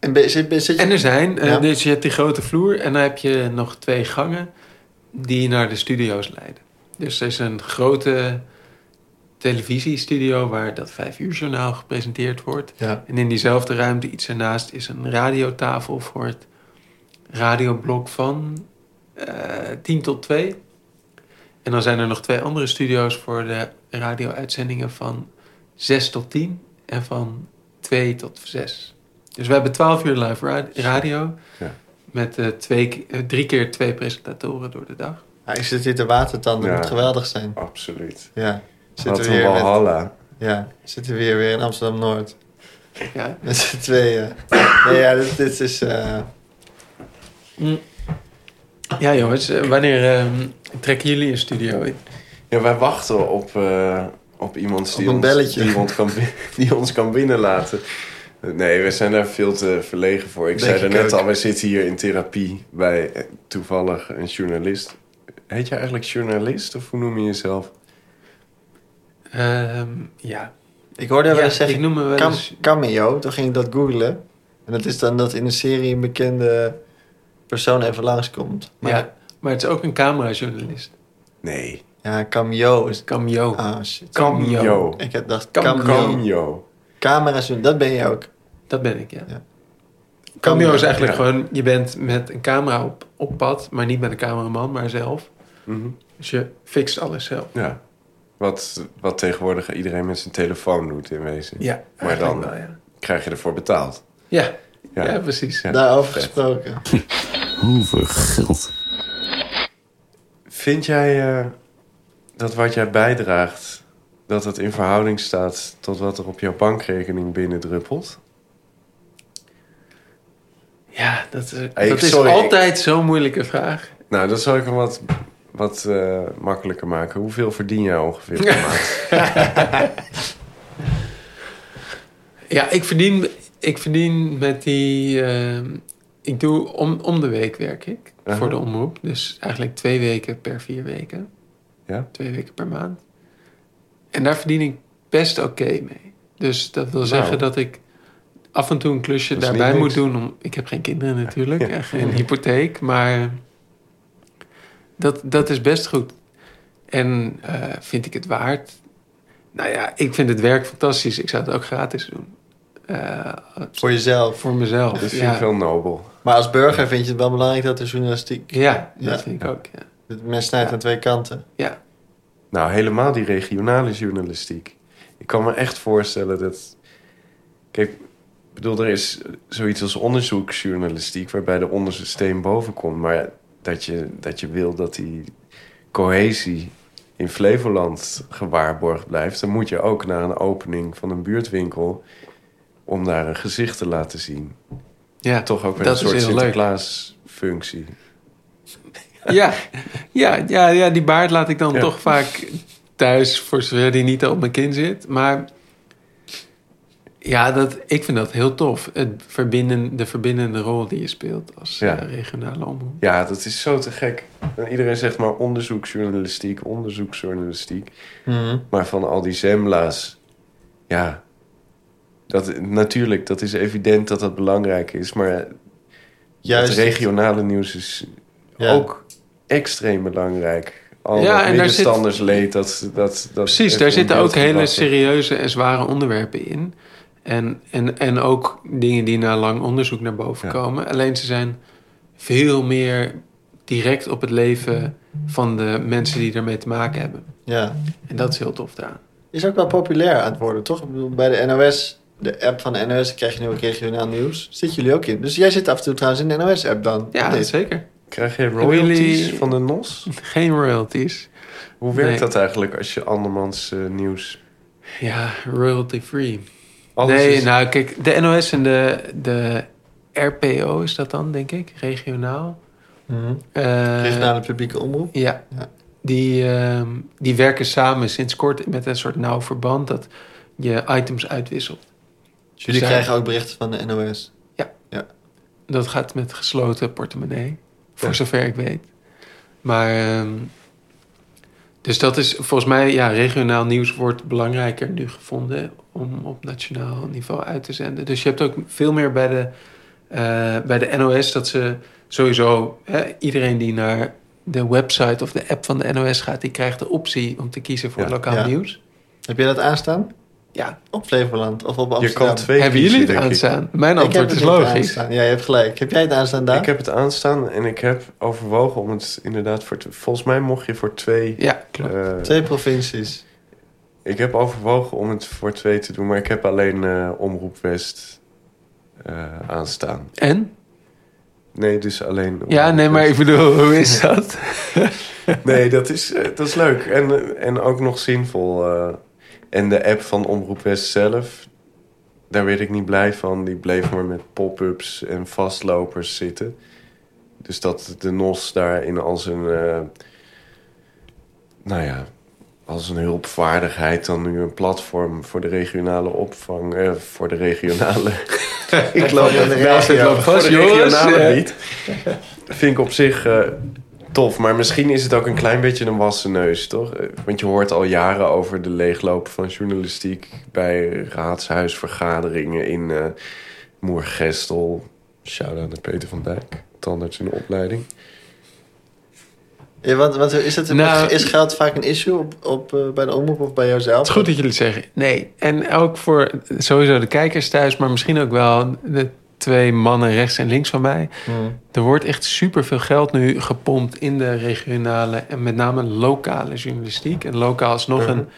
Speaker 3: En ben- zit, ben- zit je...
Speaker 1: En er zijn, eh,
Speaker 3: Ja.
Speaker 1: dus je hebt die grote vloer en dan heb je nog twee gangen die naar de studio's leiden. Dus er is een grote televisiestudio waar dat vijf uur journaal gepresenteerd wordt.
Speaker 3: Ja.
Speaker 1: En in diezelfde ruimte iets ernaast is een radiotafel voor het radioblok van eh 10 tot 2. En dan zijn er nog twee andere studio's voor de radio-uitzendingen van 6 tot 10 en van 2 tot 6. Dus we hebben 12 uur live ra- radio
Speaker 2: Ja.
Speaker 1: met eh, twee, ke- eh, drie keer twee presentatoren door de dag.
Speaker 3: Ah, ik zit hier te watertanden. Dat
Speaker 2: Ja.
Speaker 3: moet geweldig zijn.
Speaker 2: Absoluut.
Speaker 3: Ja, zitten
Speaker 2: Wat
Speaker 3: we
Speaker 2: een
Speaker 3: weer, met,
Speaker 2: walhalla.
Speaker 3: ja, zitten we hier weer in Amsterdam-Noord. [LAUGHS]
Speaker 1: Ja.
Speaker 3: Met z'n tweeën. Nee, ja, dit, dit is... eh,
Speaker 1: Mm. Ja jongens, eh, wanneer ehm, trekken jullie een studio in?
Speaker 2: Ja, wij wachten op, eh, op iemand die,
Speaker 3: Op een
Speaker 2: ons, [LAUGHS]
Speaker 3: belletje.
Speaker 2: die, ons kan, bin- die ons kan binnenlaten. Nee, we zijn daar veel te verlegen voor. Ik
Speaker 3: Denk
Speaker 2: zei
Speaker 3: ik
Speaker 2: daarnet
Speaker 3: ook.
Speaker 2: al, wij zitten hier in therapie bij eh, toevallig een journalist. Heet jij eigenlijk journalist of hoe noem je jezelf?
Speaker 1: Ehm, ja.
Speaker 3: Ik hoorde wel
Speaker 1: ja,
Speaker 3: eens zeggen,
Speaker 1: ik noem me wel
Speaker 3: Cam-
Speaker 1: eens...
Speaker 3: cameo, toen ging ik dat googlen. En dat is dan dat in een serie een bekende persoon even langskomt. Maar ja,
Speaker 1: ja, maar het is ook een camerajournalist.
Speaker 2: Nee.
Speaker 3: cameo is...
Speaker 1: Cameo.
Speaker 3: Ah, shit.
Speaker 1: Cameo.
Speaker 2: Yo.
Speaker 3: Ik heb dacht,
Speaker 1: Cam-
Speaker 3: cameo.
Speaker 2: Cameo.
Speaker 3: Camera's doen, dat ben je ook.
Speaker 1: Dat ben ik, ja.
Speaker 3: Ja.
Speaker 1: Cameo is eigenlijk
Speaker 2: Ja.
Speaker 1: gewoon, je bent met een camera op, op pad, maar niet met een cameraman, maar zelf.
Speaker 2: Mhm.
Speaker 1: Dus je fixt alles zelf.
Speaker 2: Ja. Wat, wat tegenwoordig iedereen met zijn telefoon doet in wezen.
Speaker 1: Ja,
Speaker 2: Maar
Speaker 1: eigenlijk
Speaker 2: dan-
Speaker 1: wel, ja.
Speaker 2: Krijg je ervoor betaald.
Speaker 1: Ja, ja.
Speaker 2: Ja.
Speaker 1: precies.
Speaker 2: Ja.
Speaker 3: Daarover
Speaker 2: vet.
Speaker 3: gesproken.
Speaker 4: Hoeveel geld?
Speaker 2: Vind jij eh, dat wat jij bijdraagt, dat het in verhouding staat tot wat er op jouw bankrekening binnendruppelt?
Speaker 1: Ja, dat, is-
Speaker 2: Hey,
Speaker 1: dat is
Speaker 2: sorry, ik-
Speaker 1: altijd zo'n moeilijke vraag.
Speaker 2: Nou, dat zal ik hem wat, wat eh, makkelijker maken. Hoeveel verdien jij
Speaker 1: [LAUGHS]
Speaker 2: ongeveer per maand?
Speaker 1: Ja, ik verdien, ik verdien met die... ehm, ik doe om, om de week werk ik
Speaker 2: Aha.
Speaker 1: voor de omroep. Dus eigenlijk twee weken per vier weken.
Speaker 2: Ja.
Speaker 1: Twee weken per maand. En daar verdien ik best oké mee. Dus dat wil zeggen dat ik af en toe een klusje
Speaker 2: Dat is
Speaker 1: daarbij
Speaker 2: niet
Speaker 1: moet
Speaker 2: niks.
Speaker 1: doen. Om, ik heb geen kinderen natuurlijk
Speaker 2: Ja.
Speaker 1: en geen hypotheek. Maar dat, dat is best goed. En eh, vind ik het waard? Nou ja, ik vind het werk fantastisch. Ik zou het ook gratis doen. Eh,
Speaker 3: Voor jezelf.
Speaker 1: voor mezelf.
Speaker 2: Dat vind
Speaker 1: ja.
Speaker 2: ik wel nobel.
Speaker 3: Maar als burger vind je het wel belangrijk dat er journalistiek...
Speaker 1: Ja,
Speaker 3: Ja.
Speaker 1: dat vind ik ook. Ja.
Speaker 3: dat Men snijdt aan twee kanten.
Speaker 1: Ja.
Speaker 2: Nou, helemaal die regionale journalistiek. Ik kan me echt voorstellen dat. Kijk, ik bedoel, er is zoiets als onderzoeksjournalistiek, waarbij de onderste steen boven komt. Maar dat je, dat je wil dat die cohesie in Flevoland gewaarborgd blijft, dan moet je ook naar een opening van een buurtwinkel om daar een gezicht te laten zien.
Speaker 1: Ja.
Speaker 2: Toch ook weer
Speaker 1: Dat
Speaker 2: een
Speaker 1: is
Speaker 2: soort
Speaker 1: heel leuk.
Speaker 2: Sinterklaas-functie.
Speaker 1: Ja. Ja, ja, ja, die baard laat ik dan
Speaker 2: Ja.
Speaker 1: toch vaak thuis, voor zover die niet op mijn kin zit. Maar ja, dat, ik vind dat heel tof. Het verbinden, de verbindende rol die je speelt als
Speaker 2: Ja.
Speaker 1: eh, regionale omroep.
Speaker 2: Ja, dat is zo te gek. En iedereen zegt maar onderzoeksjournalistiek, onderzoeksjournalistiek.
Speaker 3: Mhm.
Speaker 2: Maar van al die zembla's, ja, dat, natuurlijk, dat is evident dat dat belangrijk is. Maar
Speaker 3: Juist.
Speaker 2: het regionale nieuws is
Speaker 3: Ja.
Speaker 2: ook extreem belangrijk. Al
Speaker 1: Ja, en
Speaker 2: ja,
Speaker 1: daar
Speaker 2: dat
Speaker 1: zit-
Speaker 2: middenstandersleed, dat, dat, dat...
Speaker 1: Precies,
Speaker 2: echt
Speaker 1: daar
Speaker 2: in
Speaker 1: zitten
Speaker 2: beeld
Speaker 1: ook hele
Speaker 2: gebracht wordt.
Speaker 1: serieuze en zware onderwerpen in. En, en, en ook dingen die na lang onderzoek naar boven
Speaker 2: Ja.
Speaker 1: komen. Alleen ze zijn veel meer direct op het leven van de mensen die ermee te maken hebben.
Speaker 3: Ja.
Speaker 1: En dat is heel tof daar.
Speaker 3: Is ook wel populair aan het worden, toch? Ik bedoel, bij de NOS, de app van de NOS, krijg je nu ook regionaal nieuws. Zitten jullie ook in? Dus jij zit af en toe trouwens in de NOS-app dan?
Speaker 1: Ja,
Speaker 3: Of niet?
Speaker 1: zeker.
Speaker 2: Krijg je royalties
Speaker 1: Jullie-
Speaker 2: van de NOS?
Speaker 1: Geen royalties.
Speaker 2: Hoe werkt
Speaker 1: Nee.
Speaker 2: dat eigenlijk als je andermans eh, nieuws...
Speaker 1: Ja, royalty free.
Speaker 2: Alles
Speaker 1: nee,
Speaker 2: is-
Speaker 1: nou kijk, de NOS en de, de RPO is dat dan, denk ik, regionaal.
Speaker 3: Mhm.
Speaker 1: Eh,
Speaker 3: Regionale publieke omroep.
Speaker 1: Ja.
Speaker 3: Ja.
Speaker 1: Die, ehm, die werken samen sinds kort met een soort nauw verband dat je items uitwisselt.
Speaker 3: Dus jullie
Speaker 1: Zij-
Speaker 3: krijgen ook berichten van de NOS.
Speaker 1: Dat gaat met gesloten portemonnee, voor
Speaker 2: Ja.
Speaker 1: zover ik weet. Maar, ehm, dus dat is volgens mij, ja, regionaal nieuws wordt belangrijker nu gevonden om op nationaal niveau uit te zenden. Dus je hebt ook veel meer bij de, eh, bij de NOS dat ze sowieso, hè, iedereen die naar de website of de app van de NOS gaat, die krijgt de optie om te kiezen voor
Speaker 2: Ja.
Speaker 1: lokaal
Speaker 3: Ja.
Speaker 1: nieuws.
Speaker 3: Heb jij dat aanstaan?
Speaker 1: Ja,
Speaker 3: Op Flevoland of op
Speaker 2: Je
Speaker 3: Amsterdam?
Speaker 2: kan twee
Speaker 1: hebben
Speaker 2: kiezen,
Speaker 1: jullie het
Speaker 2: denk ik.
Speaker 1: aanstaan? Mijn
Speaker 3: Ik heb
Speaker 1: antwoord
Speaker 3: het
Speaker 1: is
Speaker 3: niet
Speaker 1: logisch.
Speaker 3: aanstaan. Ja, je hebt gelijk. Heb jij het aanstaan daar?
Speaker 2: Ik heb het aanstaan en ik heb overwogen om het inderdaad voor... te- Volgens mij mocht je voor twee...
Speaker 1: Ja, klopt.
Speaker 2: eh,
Speaker 3: Twee provincies.
Speaker 2: ik heb overwogen om het voor twee te doen, maar ik heb alleen eh, Omroep West eh, aanstaan.
Speaker 1: En?
Speaker 2: Nee, dus alleen...
Speaker 1: Ja,
Speaker 2: Omroep
Speaker 1: nee, maar
Speaker 2: West.
Speaker 1: ik bedoel, hoe is dat?
Speaker 2: [LAUGHS] Nee, dat is, eh, dat is leuk en, eh, en ook nog zinvol. eh. en de app van Omroep West zelf, daar werd ik niet blij van. Die bleef maar met pop-ups en vastlopers zitten. Dus dat de NOS daar in al zijn... eh, nou ja, als een hulpvaardigheid dan nu een platform voor de regionale opvang. eh, voor de regionale. ik loop
Speaker 3: in de
Speaker 2: naast het
Speaker 3: regio.
Speaker 2: loop voor de
Speaker 1: Gast, jongens,
Speaker 2: regionale
Speaker 1: eh.
Speaker 2: lied. [LAUGHS] Vind ik op zich eh, tof. Maar misschien is het ook een klein beetje een wassen neus, toch? Eh, Want je hoort al jaren over de leegloop van journalistiek bij raadshuisvergaderingen in eh Moergestel. Shout out naar Peter van Dijk, tandarts in de opleiding.
Speaker 3: Ja, want, want is, het,
Speaker 1: Nou-
Speaker 3: is geld vaak een issue op, op, eh, bij de omroep of bij jouzelf?
Speaker 1: Het is goed dat jullie het zeggen. Nee, en ook voor sowieso de kijkers thuis, maar misschien ook wel de twee mannen rechts en links van mij.
Speaker 3: Hmm.
Speaker 1: Er wordt echt superveel geld nu gepompt in de regionale en met name lokale journalistiek. En lokaal is nog
Speaker 2: Mhm.
Speaker 1: een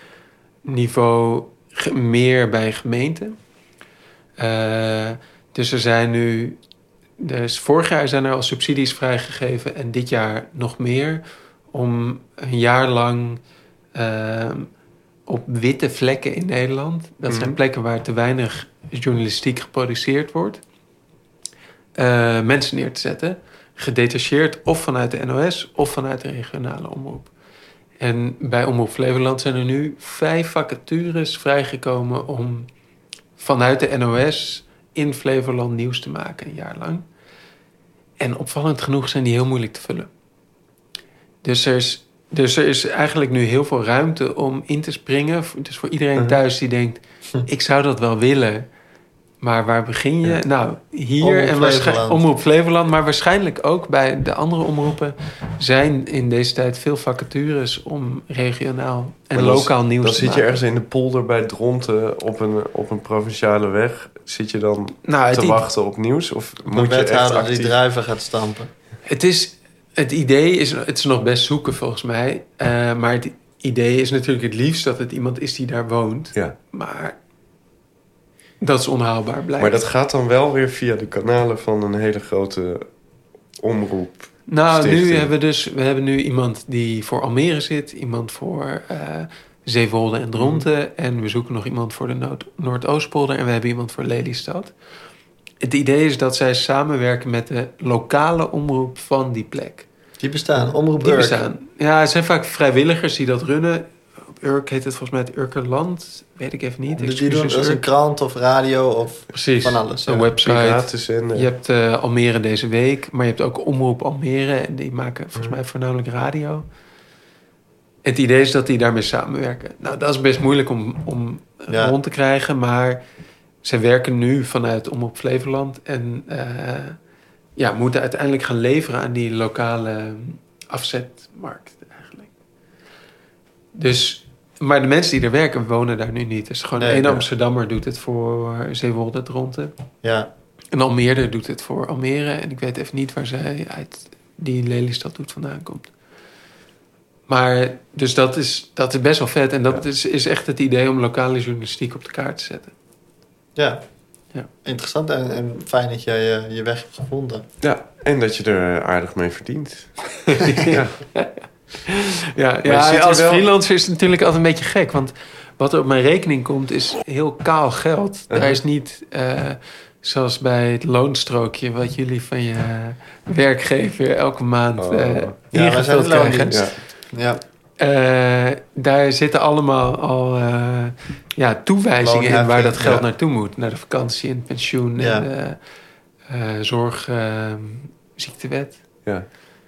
Speaker 1: niveau ge- meer bij gemeenten. Eh, dus er zijn nu. Dus vorig jaar zijn er al subsidies vrijgegeven en dit jaar nog meer. Om een jaar lang eh, op witte vlekken in Nederland. Dat zijn
Speaker 2: Mhm.
Speaker 1: plekken waar te weinig journalistiek geproduceerd wordt. eh, mensen neer te zetten. Gedetacheerd of vanuit de NOS of vanuit de regionale omroep. En bij Omroep Flevoland zijn er nu vijf vacatures vrijgekomen om vanuit de NOS in Flevoland nieuws te maken een jaar lang. En opvallend genoeg zijn die heel moeilijk te vullen. Dus er is, dus er is eigenlijk nu heel veel ruimte om in te springen. Dus voor iedereen
Speaker 2: Mhm.
Speaker 1: thuis die
Speaker 2: [LAUGHS]
Speaker 1: denkt,
Speaker 3: Hm.
Speaker 1: ik zou dat wel willen. Maar waar begin je?
Speaker 2: Ja.
Speaker 1: Nou, hier
Speaker 3: Omroep
Speaker 1: en waarschijnlijk
Speaker 3: Flevoland.
Speaker 1: Omroep Flevoland. Maar waarschijnlijk ook bij de andere omroepen zijn in deze tijd veel vacatures om regionaal en
Speaker 2: Maar dan-
Speaker 1: lokaal nieuws
Speaker 2: Dan
Speaker 1: te
Speaker 2: zit je
Speaker 1: maken.
Speaker 2: ergens in de polder bij Dronten op een, op een provinciale weg. Zit je dan
Speaker 1: nou, het
Speaker 2: te
Speaker 1: i-
Speaker 2: wachten op nieuws? Of
Speaker 3: Een
Speaker 2: moet je echt
Speaker 3: wethouder die
Speaker 2: actief...
Speaker 3: druiven gaat stampen.
Speaker 1: Het, is, het idee is, het is nog best zoeken volgens mij. Eh, maar het idee is natuurlijk het liefst dat het iemand is die daar woont.
Speaker 2: Ja.
Speaker 1: Maar dat is onhaalbaar blijkbaar.
Speaker 2: Maar dat gaat dan wel weer via de kanalen van een hele grote omroep.
Speaker 1: Nou, nu
Speaker 2: Stichting.
Speaker 1: hebben we dus we hebben nu iemand die voor Almere zit, iemand voor eh Zeewolde en Dronten.
Speaker 2: Mm-hmm.
Speaker 1: En we zoeken nog iemand voor de Noord Noordoostpolder en we hebben iemand voor Lelystad. Het idee is dat zij samenwerken met de lokale omroep van die plek.
Speaker 3: Die bestaan, omroep
Speaker 1: Die
Speaker 3: Urk.
Speaker 1: bestaan. Ja, het zijn vaak vrijwilligers die dat runnen. Op Urk heet het volgens mij het Urkerland. Weet ik even niet.
Speaker 3: Dus die doen
Speaker 1: Excuses,
Speaker 3: dat is een
Speaker 1: Urk.
Speaker 3: krant of radio of
Speaker 1: Precies.
Speaker 3: van alles.
Speaker 1: Een
Speaker 3: ja.
Speaker 1: website.
Speaker 2: Piratenzender.
Speaker 1: Je hebt eh, Almere deze week, maar je hebt ook Omroep Almere. En die maken volgens mij voornamelijk radio. Het idee is dat die daarmee samenwerken. Nou, dat is best moeilijk om, om eh,
Speaker 3: Ja.
Speaker 1: rond te krijgen. Maar ze werken nu vanuit Omroep Flevoland. En eh, ja, moeten uiteindelijk gaan leveren aan die lokale mm, afzetmarkt eigenlijk. Dus... Maar de mensen die er werken wonen daar nu niet. Dus gewoon
Speaker 3: Nee,
Speaker 1: één
Speaker 3: ja.
Speaker 1: Amsterdammer doet het voor Zeewolde Dronten.
Speaker 3: Ja.
Speaker 1: En Almere doet het voor Almere. En ik weet even niet waar zij uit die Lelystad doet vandaan komt. Maar dus dat is, dat is best wel vet. En dat is, is echt het idee om lokale journalistiek op de kaart te
Speaker 2: [LAUGHS]
Speaker 1: zetten.
Speaker 3: Ja.
Speaker 1: Ja.
Speaker 3: Interessant en, en fijn dat jij eh, je weg hebt gevonden.
Speaker 2: Ja, en dat je er aardig mee verdient.
Speaker 1: ja, ja,
Speaker 2: je zit er
Speaker 1: als
Speaker 2: wel-
Speaker 1: freelancer is het natuurlijk altijd een beetje gek. Want wat er op mijn rekening komt is heel kaal geld.
Speaker 2: Ja.
Speaker 1: Daar is niet eh, zoals bij het loonstrookje... wat jullie van je werkgever elke maand
Speaker 2: Oh.
Speaker 1: eh,
Speaker 2: Ja, wij
Speaker 3: zijn
Speaker 1: ingevuld
Speaker 3: de
Speaker 1: krijgen.
Speaker 3: loondienst.
Speaker 2: Ja.
Speaker 3: Ja,
Speaker 1: Eh, daar zitten allemaal al eh, ja, toewijzingen in waar dat
Speaker 3: Loonheffing,
Speaker 1: geld
Speaker 3: ja.
Speaker 1: naartoe moet. Naar de vakantie en pensioen
Speaker 3: Ja.
Speaker 1: en eh, eh, zorg, eh, ziektewet.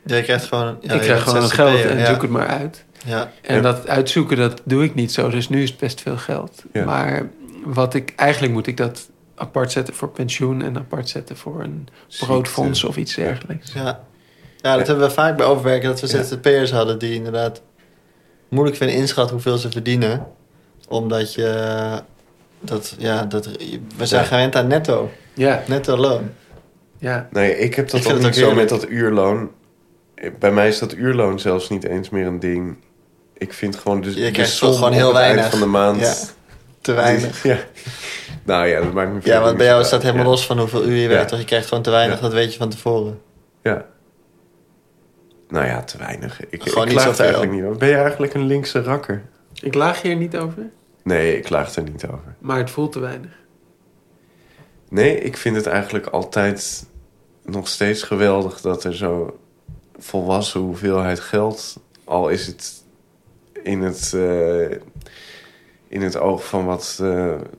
Speaker 3: jij krijgt gewoon... Ja,
Speaker 1: ik
Speaker 3: je bent
Speaker 1: krijg gewoon het geld
Speaker 3: ZZP'er,
Speaker 1: en
Speaker 3: ja.
Speaker 1: zoek het maar uit.
Speaker 3: Ja,
Speaker 1: En
Speaker 2: Ja.
Speaker 1: dat uitzoeken, dat doe ik niet zo. Dus nu is het best veel geld.
Speaker 2: Ja.
Speaker 1: Maar wat ik, eigenlijk moet ik dat apart zetten voor pensioen... en apart zetten voor een broodfonds of iets dergelijks.
Speaker 3: ja. ja, dat hebben we vaak bij overwerken. Dat we
Speaker 2: Ja.
Speaker 3: ZZP'ers hadden die inderdaad moeilijk vinden inschatten hoeveel ze verdienen. Omdat je... eh, Dat, ja, dat, we zijn
Speaker 2: Ja.
Speaker 3: gewend aan netto.
Speaker 1: Ja,
Speaker 3: Netto loon.
Speaker 1: ja.
Speaker 2: Nee, ik heb dat
Speaker 3: Ik
Speaker 2: ook
Speaker 3: vind
Speaker 2: niet
Speaker 3: het ook
Speaker 2: zo met
Speaker 3: heerlijk.
Speaker 2: dat uurloon. Bij mij is dat uurloon zelfs niet eens meer een ding. Ik vind gewoon dus de,
Speaker 3: Je
Speaker 2: de
Speaker 3: krijgt
Speaker 2: som
Speaker 3: toch gewoon
Speaker 2: op
Speaker 3: heel
Speaker 2: het eind
Speaker 3: weinig.
Speaker 2: van de maand...
Speaker 3: Ja, te weinig.
Speaker 2: Die- [LAUGHS] ja. Nou ja, dat maakt me
Speaker 3: Ja, want bij jou staat
Speaker 2: dat
Speaker 3: helemaal los van hoeveel uur je werkt. toch? Je krijgt gewoon te weinig,
Speaker 2: Ja.
Speaker 3: dat weet je van tevoren.
Speaker 2: Ja. Nou ja, te weinig. Ik, ik
Speaker 3: Gewoon niet
Speaker 2: klaag er
Speaker 3: zoveel.
Speaker 2: eigenlijk niet over. Ben je eigenlijk een linkse rakker?
Speaker 1: Ik laag hier niet over,
Speaker 2: Nee, ik klaag er niet over.
Speaker 1: maar het voelt te weinig.
Speaker 2: Nee, ik vind het eigenlijk altijd nog steeds geweldig dat er zo volwassen hoeveelheid geld, al is het in het, eh, in het oog van wat eh,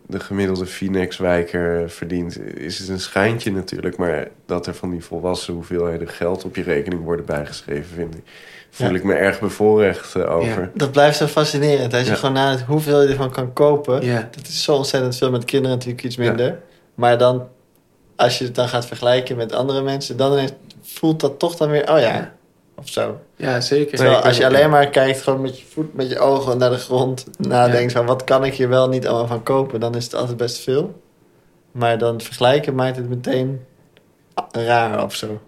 Speaker 2: de gemiddelde Finex-wijker verdient, is het een schijntje natuurlijk. Maar dat er van die volwassen hoeveelheden geld op je rekening worden bijgeschreven, vind ik, voel
Speaker 3: Ja.
Speaker 2: ik me erg bevoorrecht eh, over.
Speaker 3: Dat blijft zo fascinerend. Als je
Speaker 2: Ja.
Speaker 3: gewoon nadenkt hoeveel je ervan kan kopen.
Speaker 1: Ja.
Speaker 3: Dat is zo ontzettend veel. Met kinderen natuurlijk iets minder. Maar dan, als je het dan gaat vergelijken met andere mensen... dan ineens voelt dat toch dan weer, oh ja, of zo.
Speaker 1: Ja, zeker.
Speaker 3: Terwijl
Speaker 2: ik ben
Speaker 3: als je
Speaker 2: ook-
Speaker 3: alleen maar kijkt, gewoon met je voet, met je ogen naar de grond... nadenkt van, wat kan ik hier wel niet allemaal van kopen? Dan is het altijd best veel. Maar dan vergelijken maakt het meteen raar of zo.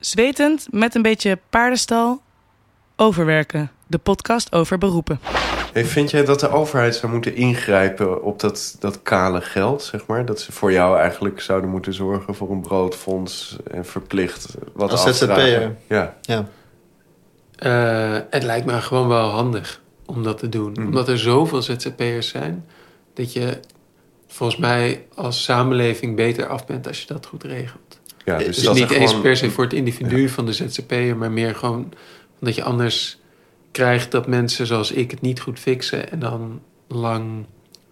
Speaker 6: Zwetend met een beetje paardenstal. Overwerken. De podcast over beroepen.
Speaker 2: Hey, vind jij dat de overheid zou moeten ingrijpen op dat, dat kale geld, zeg maar? Dat ze voor jou eigenlijk zouden moeten zorgen voor een broodfonds en verplicht wat
Speaker 3: Als
Speaker 2: afdragen?
Speaker 3: ZZP'er.
Speaker 2: Ja.
Speaker 1: Eh, het lijkt me gewoon wel handig om dat te doen.
Speaker 2: Mhm.
Speaker 1: Omdat er zoveel ZZP'ers zijn, dat je volgens mij als samenleving beter af bent als je dat goed regelt.
Speaker 2: ja dus
Speaker 1: Dus,
Speaker 2: dat
Speaker 1: niet
Speaker 2: er
Speaker 1: eens
Speaker 2: gewoon-
Speaker 1: per se voor het individu van de ZZP'er, maar meer gewoon dat je anders krijgt dat mensen zoals ik het niet goed fixen en dan lang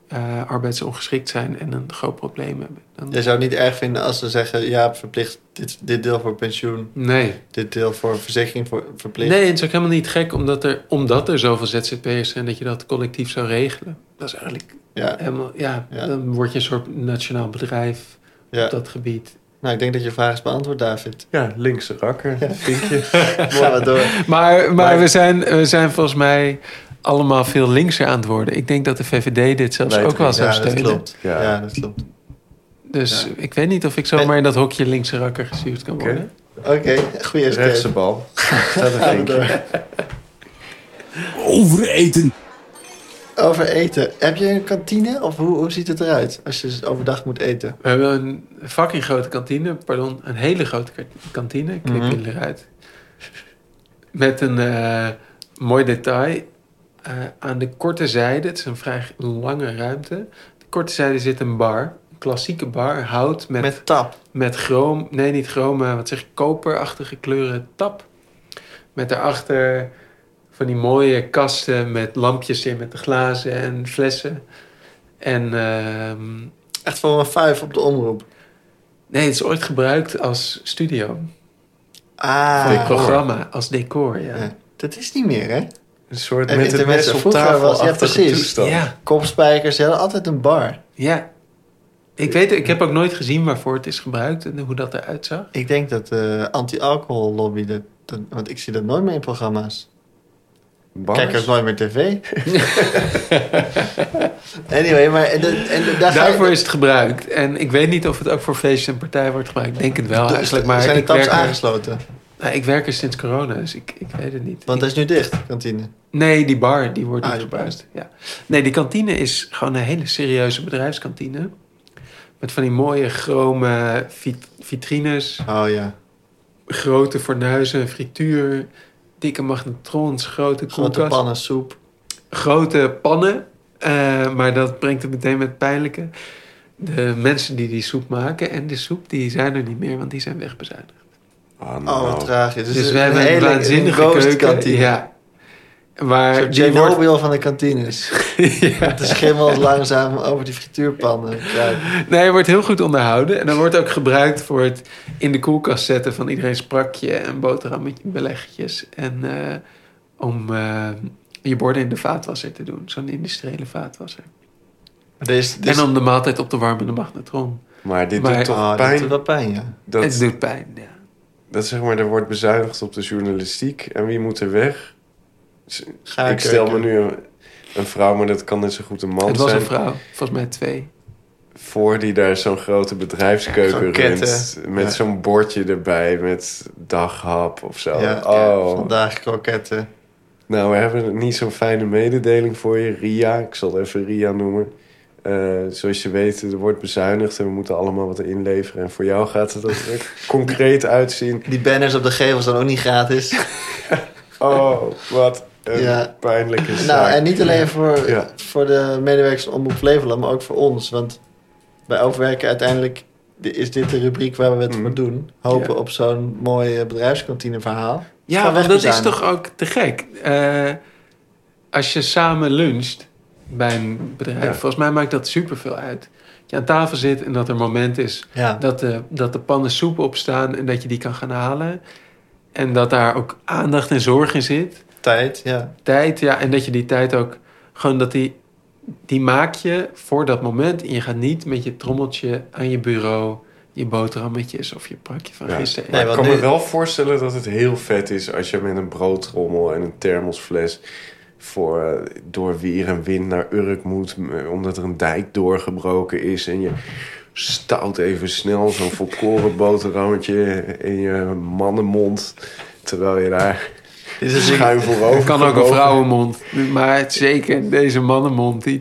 Speaker 1: eh, arbeidsongeschikt zijn en een groot probleem hebben. Dan-
Speaker 3: Je zou het niet erg vinden als ze zeggen... ja, verplicht dit, dit deel voor pensioen,
Speaker 1: Nee.
Speaker 3: dit deel voor verzekering voor, verplicht.
Speaker 1: Nee, het is ook helemaal niet gek omdat er, omdat er zoveel ZZP'ers zijn dat je dat collectief zou regelen. Dat is eigenlijk
Speaker 3: Ja,
Speaker 1: helemaal, ja,
Speaker 3: Ja.
Speaker 1: dan word je een soort nationaal bedrijf
Speaker 3: ja.
Speaker 1: op dat gebied.
Speaker 3: Nou, ik denk dat je vraag is beantwoord,
Speaker 1: [LAUGHS]
Speaker 3: David.
Speaker 2: Ja, linkse rakker,
Speaker 3: [LAUGHS]
Speaker 2: vinkje.
Speaker 3: Gaan we door.
Speaker 1: Maar, maar,
Speaker 2: Maar-
Speaker 1: we, zijn, we zijn volgens mij allemaal veel linkser aan het worden. Ik denk dat de VVD dit zelfs
Speaker 2: Lijkt
Speaker 1: ook wel
Speaker 2: me,
Speaker 1: zou
Speaker 3: Ja, dat
Speaker 1: steunen.
Speaker 3: klopt.
Speaker 2: Ja.
Speaker 3: Ja. dat klopt.
Speaker 1: Dus
Speaker 3: Ja.
Speaker 1: ik weet niet of ik zomaar in dat hokje linkse rakker gestuurd kan
Speaker 2: Oké.
Speaker 1: worden.
Speaker 3: Oké, goede
Speaker 2: Rechtse
Speaker 3: escape. [LAUGHS]
Speaker 2: bal. Gaat een
Speaker 3: Gaan we
Speaker 2: vinkje.
Speaker 3: door.
Speaker 4: Overeten.
Speaker 3: Over eten. Heb je een kantine of hoe, hoe ziet het eruit als je overdag moet eten?
Speaker 1: We hebben een fucking grote kantine, pardon, een hele grote ka- kantine, knip je
Speaker 3: Mhm.
Speaker 1: eruit. Met een eh, mooi detail. Eh, aan de korte zijde, het is een vrij lange ruimte. De korte zijde zit een bar, een klassieke bar, hout met,
Speaker 3: Met,
Speaker 1: met...
Speaker 3: tap.
Speaker 1: chroom, nee niet chroom, maar wat zeg ik, koperachtige kleuren tap. Met daarachter van die mooie kasten met lampjes in, met de glazen en flessen. En ehm,
Speaker 3: Echt voor een vijf op de omroep.
Speaker 1: Nee, het is ooit gebruikt als studio.
Speaker 3: Ah,
Speaker 1: Voor een programma, als decor, ja.
Speaker 3: Ja. dat is niet meer, hè?
Speaker 2: Een soort
Speaker 3: En
Speaker 2: met het
Speaker 3: intermezzo
Speaker 2: mes op
Speaker 3: vroeger
Speaker 2: tafel
Speaker 3: was- ja,
Speaker 2: achtige
Speaker 3: precies.
Speaker 2: toestand.
Speaker 1: Ja,
Speaker 3: Kopspijkers, ze hadden altijd een bar.
Speaker 1: ja. Ik weet ik heb ook nooit gezien waarvoor het is gebruikt en hoe dat eruit zag.
Speaker 3: Ik denk dat de anti-alcohol lobby, dat, dat- want ik zie dat nooit meer in programma's.
Speaker 2: Bars.
Speaker 3: Kijkers nooit meer
Speaker 2: [LAUGHS]
Speaker 3: tv. anyway, maar en, de- en de- daar ga je-
Speaker 1: Daarvoor is het gebruikt. En ik weet niet of het ook voor feestjes en partijen wordt gebruikt. Ik denk het wel Oh, eigenlijk, maar
Speaker 3: Dus zijn de
Speaker 1: ik
Speaker 3: taps
Speaker 1: werk, er,
Speaker 3: aangesloten?
Speaker 1: nou, ik werk er sinds corona, dus ik, ik weet het niet.
Speaker 3: Want dat is nu dicht, kantine.
Speaker 1: Nee, die bar, die wordt
Speaker 3: Ah,
Speaker 1: niet
Speaker 3: die bar.
Speaker 1: gebruikt. Ja. Nee, die kantine is gewoon een hele serieuze bedrijfskantine. Met van die mooie chrome eh, vit- vitrines.
Speaker 3: Oh ja.
Speaker 1: grote fornuizen, frituur, dikke magnetrons, grote koelkast,
Speaker 3: Grote
Speaker 1: grote,
Speaker 3: pannen soep.
Speaker 1: pannen. Eh, maar dat brengt het meteen met pijnlijke. De mensen die die soep maken en de soep, die zijn er niet meer, want die zijn wegbezuinigd.
Speaker 2: Ah,
Speaker 3: Oh,
Speaker 2: nou.
Speaker 3: wat tragisch.
Speaker 1: Dus,
Speaker 3: Dus,
Speaker 1: we hebben een waanzinnige keuken.
Speaker 3: kantine.
Speaker 1: Ja.
Speaker 3: Een
Speaker 1: Waar
Speaker 3: soort
Speaker 1: die wordt...
Speaker 3: Chernobyl van de kantines.
Speaker 1: [LAUGHS]
Speaker 3: [LAUGHS]
Speaker 1: ja.
Speaker 3: Het schimmelt langzaam over die frituurpannen. kruipen.
Speaker 1: Nee, hij wordt heel goed onderhouden. En dan wordt ook gebruikt voor het in de koelkast zetten van iedereen sprakje en boterhammetje, beleggetjes. En eh, om eh, je borden in de vaatwasser te doen. Zo'n industriële vaatwasser.
Speaker 3: Dus, dus,
Speaker 1: en om de maaltijd op te warmen in de magnetron.
Speaker 2: Maar dit
Speaker 1: Maar- Ah,
Speaker 2: doet toch
Speaker 3: Oh, dat
Speaker 2: pijn
Speaker 3: doet wel pijn, ja.
Speaker 2: dat,
Speaker 1: Het doet pijn, ja.
Speaker 2: dat zeg maar, er wordt bezuinigd op de journalistiek. En wie moet er weg?
Speaker 3: Ga
Speaker 2: ik stel me nu een, een vrouw, maar dat kan net zo goed een man
Speaker 1: Het was
Speaker 2: zijn.
Speaker 1: een vrouw, volgens mij twee.
Speaker 2: Voor die daar zo'n grote bedrijfskeuken
Speaker 3: Zo'n keten.
Speaker 2: runt. Met
Speaker 3: Ja.
Speaker 2: zo'n bordje erbij met daghap of zo.
Speaker 3: Ja,
Speaker 2: oh,
Speaker 3: vandaag kroketten.
Speaker 2: nou we hebben niet zo'n fijne mededeling voor je. Ria, ik zal het even Ria noemen. Eh, zoals je weet, er wordt bezuinigd en we moeten allemaal wat inleveren. En voor jou gaat het
Speaker 3: [LAUGHS]
Speaker 2: er concreet uitzien.
Speaker 3: Die banners op de gevels zijn ook niet gratis.
Speaker 2: Oh, wat een
Speaker 3: Ja.
Speaker 2: pijnlijke zaak.
Speaker 3: nou, en niet alleen voor,
Speaker 2: Dus, eh, Ja.
Speaker 3: voor de medewerkers van Omroep Flevoland, maar ook voor ons. Want bij Overwerken uiteindelijk is dit de rubriek waar we het
Speaker 2: Mhm.
Speaker 3: voor doen. Hopen
Speaker 1: Ja.
Speaker 3: op zo'n mooi eh, bedrijfskantine verhaal.
Speaker 1: Ja,
Speaker 3: Van
Speaker 1: want dat is
Speaker 3: wegbezuinigd.
Speaker 1: toch ook te gek. Eh, als je samen luncht bij een bedrijf,
Speaker 2: Ja.
Speaker 1: volgens mij maakt dat superveel uit. Dat je aan tafel zit en dat er een moment is
Speaker 3: Ja.
Speaker 1: dat de, dat de pannen soep opstaan en dat je die kan gaan halen. En dat daar ook aandacht en zorg in zit.
Speaker 3: Tijd, ja.
Speaker 1: Tijd, ja, en dat je die tijd ook gewoon dat die, die maak je voor dat moment. En je gaat niet met je trommeltje aan je bureau, je boterhammetjes of je pakje van
Speaker 2: Ja.
Speaker 1: gisteren.
Speaker 3: Nee,
Speaker 2: ik
Speaker 3: want
Speaker 2: kan me
Speaker 3: nu-
Speaker 2: wel voorstellen dat het heel vet is als je met een broodtrommel en een thermosfles voor, eh, door weer en wind naar Urk moet, m- omdat er een dijk doorgebroken is en je stout even snel zo'n volkoren [LAUGHS] boterhammetje in je mannenmond, terwijl je daar
Speaker 3: Dit is een-
Speaker 2: schuin voorover
Speaker 1: Het kan ook een
Speaker 2: gebogen-
Speaker 1: vrouwenmond. Maar het- zeker deze mannenmond, die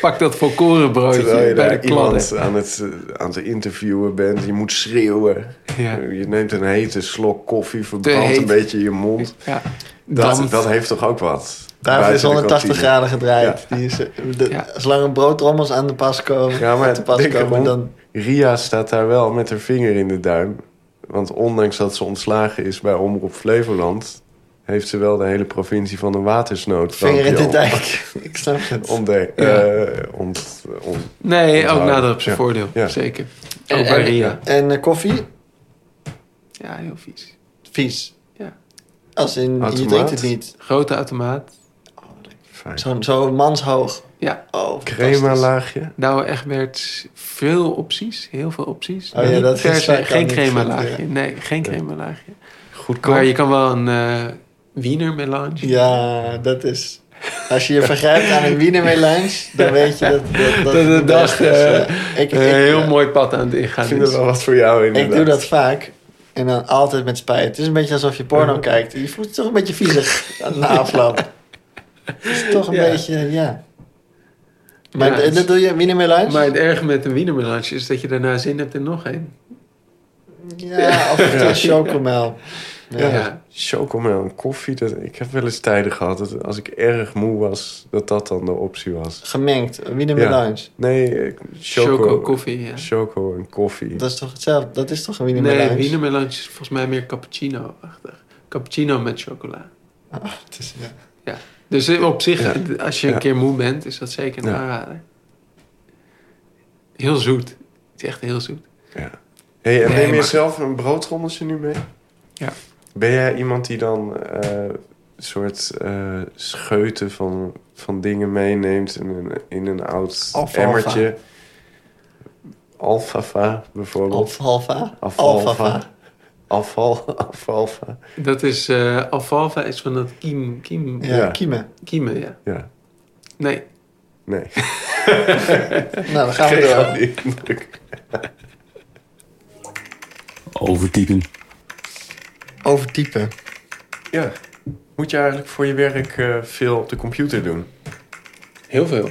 Speaker 1: pakt dat
Speaker 2: Terwijl
Speaker 1: volkorenbroodje
Speaker 2: je
Speaker 1: bij de
Speaker 2: daar
Speaker 1: kladden.
Speaker 2: iemand aan het, eh, aan het interviewen bent, je moet schreeuwen.
Speaker 1: Ja.
Speaker 2: Je neemt een hete slok koffie, verbrandt
Speaker 1: heet.
Speaker 2: een beetje je mond.
Speaker 1: Ja.
Speaker 2: Dat,
Speaker 1: Dan-
Speaker 2: dat heeft toch ook wat?
Speaker 3: Tafel is
Speaker 2: Buiten de
Speaker 3: 180
Speaker 2: kantine.
Speaker 3: graden gedraaid. Die is, eh, de-
Speaker 1: Ja.
Speaker 3: Zolang er broodtrommels aan de pas komen,
Speaker 2: Ja, maar
Speaker 3: te pas
Speaker 2: denk
Speaker 3: komen
Speaker 2: erom.
Speaker 3: dan...
Speaker 2: Ria staat daar wel met haar vinger in de duim. Want ondanks dat ze ontslagen is bij Omroep Flevoland... heeft ze wel de hele provincie van een watersnood
Speaker 3: Vinger in de dijk. [LAUGHS] Ik snap het.
Speaker 2: Ontde-
Speaker 1: Ja.
Speaker 2: eh, ont, ont-
Speaker 1: Nee, ook
Speaker 2: Onthouden.
Speaker 1: nader op zijn
Speaker 2: Ja.
Speaker 1: voordeel.
Speaker 2: Ja.
Speaker 1: Zeker. Ook bij Ria.
Speaker 3: En eh, koffie?
Speaker 1: Ja, heel vies.
Speaker 3: Vies.
Speaker 1: Ja.
Speaker 3: Als in, je
Speaker 2: Automaat?
Speaker 3: drinkt het niet.
Speaker 1: Grote automaat.
Speaker 2: fijn.
Speaker 3: Zo'n zo manshoog.
Speaker 1: Ja,
Speaker 3: Oh,
Speaker 2: Crema
Speaker 3: fantastisch.
Speaker 2: laagje.
Speaker 1: nou Egberts, veel opties. Heel veel opties.
Speaker 3: Oh ja,
Speaker 1: Niet
Speaker 3: dat
Speaker 1: per se-
Speaker 3: is vaak al
Speaker 1: Geen
Speaker 3: niet
Speaker 1: crema
Speaker 3: goed,
Speaker 1: laagje.
Speaker 3: ja.
Speaker 1: Nee, geen crema laagje.
Speaker 2: Goedkoop.
Speaker 1: Maar je kan wel een eh wiener melange.
Speaker 3: Ja, dat is... Als je je vergrijpt aan een Wiener Melange, dan weet je dat... Dat,
Speaker 1: Dat
Speaker 3: de
Speaker 1: het dag,
Speaker 3: beste is.
Speaker 1: eh,
Speaker 3: Eh, ik-
Speaker 1: Een
Speaker 3: ik,
Speaker 1: heel
Speaker 3: eh,
Speaker 1: mooi pad aan het ingaan.
Speaker 2: Ik vind het
Speaker 1: is.
Speaker 2: wel wat voor jou
Speaker 3: Ik
Speaker 2: inderdaad.
Speaker 3: doe dat vaak. En dan altijd met spijt. Het is een beetje alsof je porno kijkt. Je voelt je toch een beetje viezig aan de afloop. Het is toch een
Speaker 1: Ja.
Speaker 3: beetje, ja. Maar
Speaker 1: Ja,
Speaker 3: d-
Speaker 1: het is-
Speaker 3: dat doe je minder meer lunch?
Speaker 1: Maar het erge met een Wiener melange is dat je daarna zin hebt in nog één.
Speaker 3: Ja,
Speaker 1: [LAUGHS]
Speaker 3: of een chocomel. Ja.
Speaker 1: Ja.
Speaker 2: Chocomel en koffie. Dat, ik heb wel eens tijden gehad dat als ik erg moe was... dat dat dan de optie was.
Speaker 3: Gemengd, wiener
Speaker 2: Ja.
Speaker 3: meer lunch.
Speaker 2: Nee, eh,
Speaker 1: Choco,
Speaker 2: choco,
Speaker 1: koffie. Ja.
Speaker 2: Choco en koffie.
Speaker 3: Dat is toch hetzelfde? Dat is toch een wiener meer
Speaker 1: Nee,
Speaker 3: lunch?
Speaker 1: Wiener melange is volgens mij meer cappuccino-achtig. Cappuccino met chocola.
Speaker 3: Ah, het is- ja.
Speaker 1: Dus eh, op zich,
Speaker 2: Ja.
Speaker 1: eh, als je
Speaker 2: Ja.
Speaker 1: een keer moe bent, is dat zeker een
Speaker 2: Ja.
Speaker 1: aanrader. Heel zoet. Het is echt heel zoet.
Speaker 2: Hey,
Speaker 1: Nee,
Speaker 2: en neem je
Speaker 1: maar-
Speaker 2: zelf een broodrommeltje nu mee?
Speaker 1: Ja.
Speaker 2: Ben jij iemand die dan eh soort eh, scheuten van, van dingen meeneemt in een, in een oud
Speaker 3: Alfalfa.
Speaker 2: emmertje? Alfafa bijvoorbeeld.
Speaker 3: Alfalfa?
Speaker 2: Alfalfa.
Speaker 3: Alfalfa.
Speaker 2: Afval, alfalfa.
Speaker 1: Dat is, eh alfalfa is van dat kiem, kiem,
Speaker 3: Ja,
Speaker 2: Ja.
Speaker 3: kiemen.
Speaker 1: kiemen, ja.
Speaker 2: Ja,
Speaker 1: Nee,
Speaker 2: nee. [LAUGHS]
Speaker 3: Nou, dan gaan we
Speaker 2: Kreeg
Speaker 3: door.
Speaker 2: ook die indruk.
Speaker 4: Overtypen.
Speaker 3: Overtypen.
Speaker 2: Ja. Moet je eigenlijk voor je werk eh, veel op de computer doen?
Speaker 1: heel veel.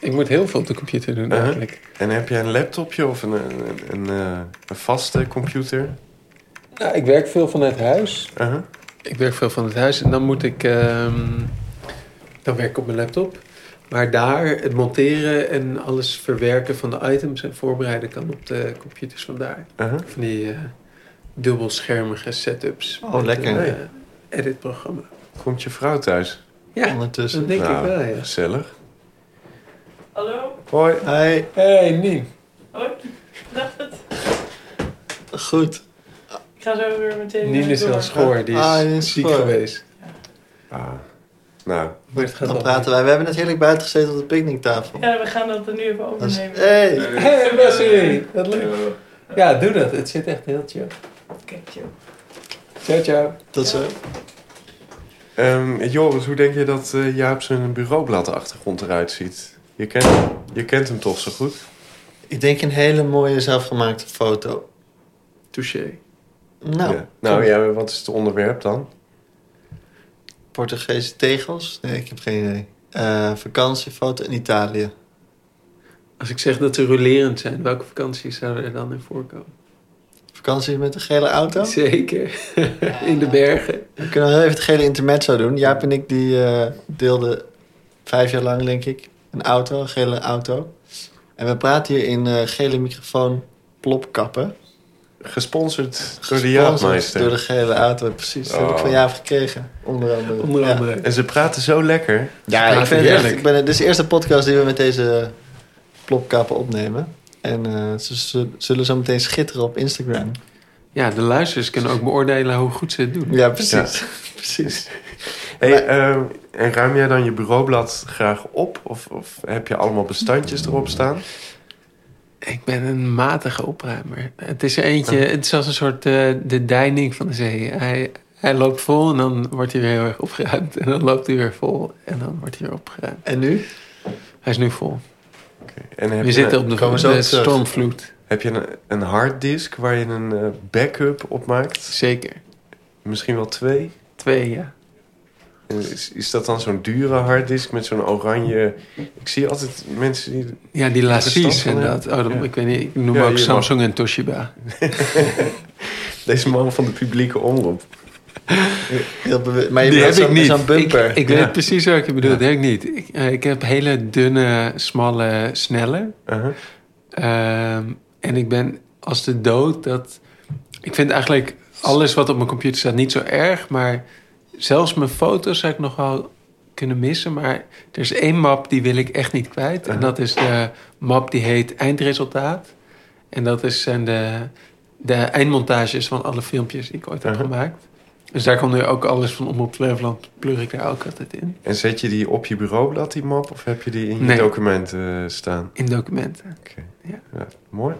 Speaker 1: Ik moet heel veel op de computer doen
Speaker 2: Uh-huh.
Speaker 1: eigenlijk.
Speaker 2: En heb jij een laptopje of een, een, een, een, eh, een vaste computer?
Speaker 1: Nou, ik werk veel vanuit huis.
Speaker 2: Uh-huh.
Speaker 1: Ik werk veel van het huis en dan moet ik. ehm, dan werk ik op mijn laptop. Maar daar het monteren en alles verwerken van de items en voorbereiden kan op de computers vandaar.
Speaker 2: Uh-huh.
Speaker 1: Van die eh, dubbelschermige setups.
Speaker 3: Oh,
Speaker 1: met
Speaker 3: lekker.
Speaker 1: een,
Speaker 2: Hey.
Speaker 1: eh, editprogramma.
Speaker 2: Komt je vrouw thuis?
Speaker 1: Ja,
Speaker 3: Ondertussen.
Speaker 1: dat denk
Speaker 2: Nou,
Speaker 1: ik wel, ja.
Speaker 2: Gezellig.
Speaker 6: Hallo,
Speaker 2: Hoi.
Speaker 3: Hoi.
Speaker 1: Hey, Nien.
Speaker 6: hoi. Dag het.
Speaker 3: Goed.
Speaker 6: Ik ga zo weer meteen
Speaker 1: Nien is wel schoor, die is
Speaker 3: Ah, die is
Speaker 1: ziek
Speaker 3: schoor.
Speaker 1: geweest.
Speaker 2: Ah, Nou,
Speaker 1: Maar het gaat
Speaker 3: Dan
Speaker 1: wel.
Speaker 3: praten wij. We hebben net heerlijk buiten gezeten op de picknicktafel.
Speaker 6: Ja, we gaan dat er nu even
Speaker 3: Dat is-
Speaker 6: overnemen.
Speaker 3: hey.
Speaker 1: Hey, Wesley. Wat leuk. Ja, doe dat. Het zit echt heel chill.
Speaker 6: Kijk, joh.
Speaker 1: Ciao, ciao.
Speaker 3: Dat zo.
Speaker 2: ehm, Joris, hoe denk je dat eh, Jaap zijn bureaubladachtergrond eruit ziet? Je kent, hem- je kent hem toch zo goed?
Speaker 3: Ik denk een hele mooie zelfgemaakte foto.
Speaker 1: Touché.
Speaker 3: Nou,
Speaker 2: ja. nou ja, wat is het onderwerp dan?
Speaker 3: Portugese tegels? Nee, ik heb geen idee. Eh, vakantiefoto in Italië.
Speaker 1: Als ik zeg dat ze rolerend zijn, welke vakanties zouden er dan in voorkomen?
Speaker 3: Vakantie met een gele auto?
Speaker 1: Zeker. [LAUGHS] in de bergen.
Speaker 3: We kunnen wel heel even het gele intermezzo doen. Jaap en ik die eh, deelden vijf jaar lang, denk ik, een auto, een gele auto. En we praten hier in eh, gele microfoon plopkappen.
Speaker 2: gesponsord door de
Speaker 3: Gesponsord Door
Speaker 2: Jaapmeister.
Speaker 3: de gele auto, precies. Dat heb ik
Speaker 2: Oh.
Speaker 3: van Jaap gekregen, onder andere.
Speaker 1: Onder
Speaker 3: Ja.
Speaker 1: andere.
Speaker 2: En ze praten zo lekker.
Speaker 3: Ja,
Speaker 1: Ja,
Speaker 3: ik vind het echt,
Speaker 1: heerlijk.
Speaker 3: ik ben, dit is de eerste podcast die we met deze plopkappen opnemen. En eh, ze zu- zullen zo meteen schitteren op Instagram.
Speaker 1: Ja, de luisteraars kunnen ook beoordelen hoe goed ze het doen.
Speaker 3: Ja, [LAUGHS] precies. precies.
Speaker 2: Hey, ehm, en ruim jij dan je bureaublad graag op? Of, of heb je allemaal bestandjes erop staan?
Speaker 1: Ik ben een matige opruimer. Het is er eentje, het is als een soort eh, de deining van de zee. Hij, hij loopt vol en dan wordt hij weer heel erg opgeruimd. En dan loopt hij weer vol en dan wordt hij weer opgeruimd.
Speaker 3: En nu?
Speaker 1: Hij is nu vol.
Speaker 2: En heb
Speaker 1: We
Speaker 2: je
Speaker 1: zitten
Speaker 2: een,
Speaker 1: op de,
Speaker 3: komen we zo
Speaker 1: de
Speaker 3: op terug.
Speaker 1: stormvloed.
Speaker 2: Heb je een, een harddisk waar je een eh, backup op maakt?
Speaker 1: Zeker.
Speaker 2: Misschien wel twee?
Speaker 1: Twee, ja.
Speaker 2: En Is, is dat dan zo'n dure harddisk met zo'n oranje... Ik zie altijd mensen die...
Speaker 1: Ja, die
Speaker 2: verstand
Speaker 1: lassies
Speaker 2: van,
Speaker 1: en
Speaker 2: ja.
Speaker 1: dat. Oh, dan,
Speaker 2: Ja.
Speaker 1: ik, weet niet, ik noem
Speaker 2: Ja,
Speaker 1: ook
Speaker 2: hier,
Speaker 1: Samsung en Toshiba.
Speaker 2: Deze man van de publieke omroep.
Speaker 3: Heel bewe- maar je
Speaker 1: Die
Speaker 3: hebt
Speaker 1: heb ik
Speaker 3: zo'n-
Speaker 1: niet.
Speaker 3: zo'n bumper.
Speaker 1: Ik, ik
Speaker 2: Ja.
Speaker 1: weet precies wat je bedoelt. Dat heb ik niet. Ik, eh, ik heb hele dunne, smalle, snelle.
Speaker 2: Uh-huh.
Speaker 1: Ehm, en ik ben als de dood dat. Ik vind eigenlijk alles wat op mijn computer staat niet zo erg, maar zelfs mijn foto's zou ik nog wel kunnen missen. Maar er is één map die wil ik echt niet kwijt. En dat is de map die heet Eindresultaat. En dat is, zijn de, de eindmontages van alle filmpjes die ik ooit heb
Speaker 2: Uh-huh.
Speaker 1: gemaakt. Dus daar komt nu ook alles van Omroep Flevoland, pleur ik daar ook altijd in.
Speaker 2: En zet je die op je bureaublad, die map? Of heb je die in je
Speaker 1: Nee.
Speaker 2: documenten eh, staan?
Speaker 1: In documenten.
Speaker 2: Oké.
Speaker 1: Ja.
Speaker 2: Ja, mooi.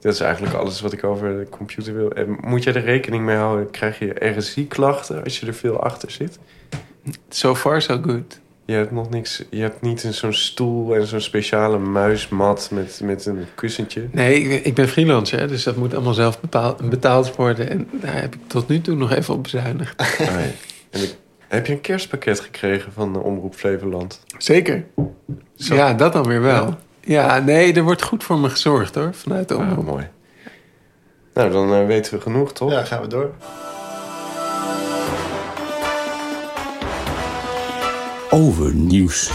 Speaker 2: Dat is eigenlijk alles wat ik over de computer wil. En moet jij er rekening mee houden? Krijg je RSI-klachten als je er veel achter zit?
Speaker 1: So far, so good.
Speaker 2: Je hebt nog niks... Je hebt niet een- zo'n stoel en zo'n speciale muismat met, met een kussentje.
Speaker 1: Nee, ik, ik ben freelancer, hè, dus dat moet allemaal zelf bepaal- betaald worden. En daar heb ik tot nu toe nog even op bezuinigd.
Speaker 2: Ah, ja. en ik- heb je een kerstpakket gekregen van de Omroep Flevoland?
Speaker 1: Zeker.
Speaker 2: Zo.
Speaker 1: Ja, dat dan weer wel. Ja, nee, er wordt goed voor me gezorgd hoor, vanuit de
Speaker 2: Ah,
Speaker 1: omroep.
Speaker 2: mooi. Nou, dan eh, weten we genoeg, toch?
Speaker 3: Ja, gaan we door.
Speaker 4: Overnieuws.
Speaker 1: Ah.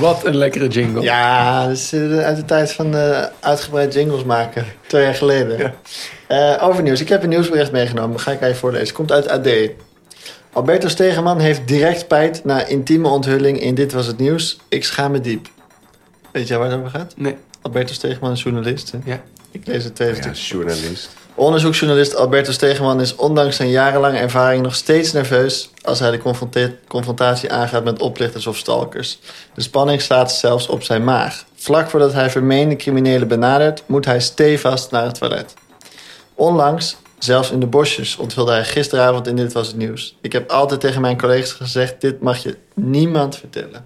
Speaker 1: Wat een lekkere jingle.
Speaker 3: Ja, dat is eh, uit de tijd van eh, uitgebreid jingles maken. Twee jaar geleden. Eh, over nieuws. Ik heb een nieuwsbericht meegenomen. Ga ik aan je voorlezen. Komt uit AD. Alberto Stegeman heeft direct spijt na intieme onthulling in Dit Was Het Nieuws. Ik schaam me diep. Weet jij waar het over gaat?
Speaker 1: Nee,
Speaker 3: Alberto Stegeman is journalist. hè?
Speaker 1: ja.
Speaker 3: Ik lees het tweede
Speaker 2: Ja,
Speaker 3: stuk.
Speaker 2: journalist.
Speaker 3: Onderzoeksjournalist Alberto Stegeman is ondanks zijn jarenlange ervaring nog steeds nerveus als hij de confronte- confrontatie aangaat met oplichters of stalkers. De spanning staat zelfs op zijn maag. Vlak voordat hij vermeende criminelen benadert, moet hij stevast naar het toilet. Onlangs, zelfs in de bosjes, onthulde hij gisteravond in Dit Was Het Nieuws. Ik heb altijd tegen mijn collega's gezegd, dit mag je niemand vertellen.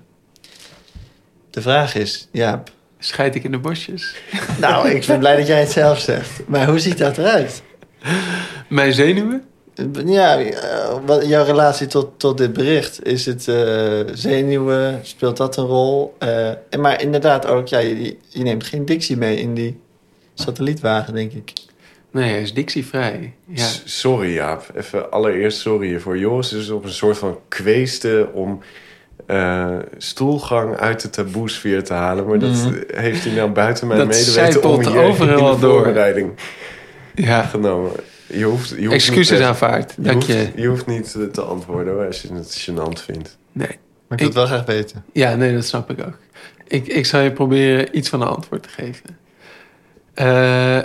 Speaker 3: De vraag is, Jaap...
Speaker 1: Scheid ik in de bosjes.
Speaker 3: Nou, ik ben blij dat jij het zelf zegt. Maar hoe ziet dat eruit?
Speaker 1: Mijn zenuwen?
Speaker 3: Ja, eh, wat, jouw relatie tot, tot dit bericht. Is het eh, zenuwen? Speelt dat een rol? Eh, en maar inderdaad ook, ja, je, je neemt geen dictie mee in die satellietwagen, denk ik.
Speaker 1: Nee, hij is dictievrij. Ja.
Speaker 2: S- Sorry, Jaap. Even allereerst sorry hiervoor. Joris is op een soort van kweeste om eh, stoelgang uit de taboesfeer te halen. Maar dat
Speaker 3: Mhm.
Speaker 2: heeft hij nou buiten mijn
Speaker 1: Dat
Speaker 2: medeweten om
Speaker 1: zijpelt
Speaker 2: hier
Speaker 1: overal
Speaker 2: in de
Speaker 1: door.
Speaker 2: voorbereiding
Speaker 1: ja.
Speaker 2: genomen. Je hoeft, je hoeft niet
Speaker 1: Excuses
Speaker 2: te-
Speaker 1: aanvaard.
Speaker 2: Je
Speaker 1: Dank je.
Speaker 2: hoeft, je hoeft niet eh, te antwoorden hoor, als je het gênant vindt.
Speaker 1: Nee.
Speaker 3: Maar ik wil het wel graag weten.
Speaker 1: Ja, nee, dat snap ik ook. Ik, ik zal je proberen iets van een antwoord te geven. Eh,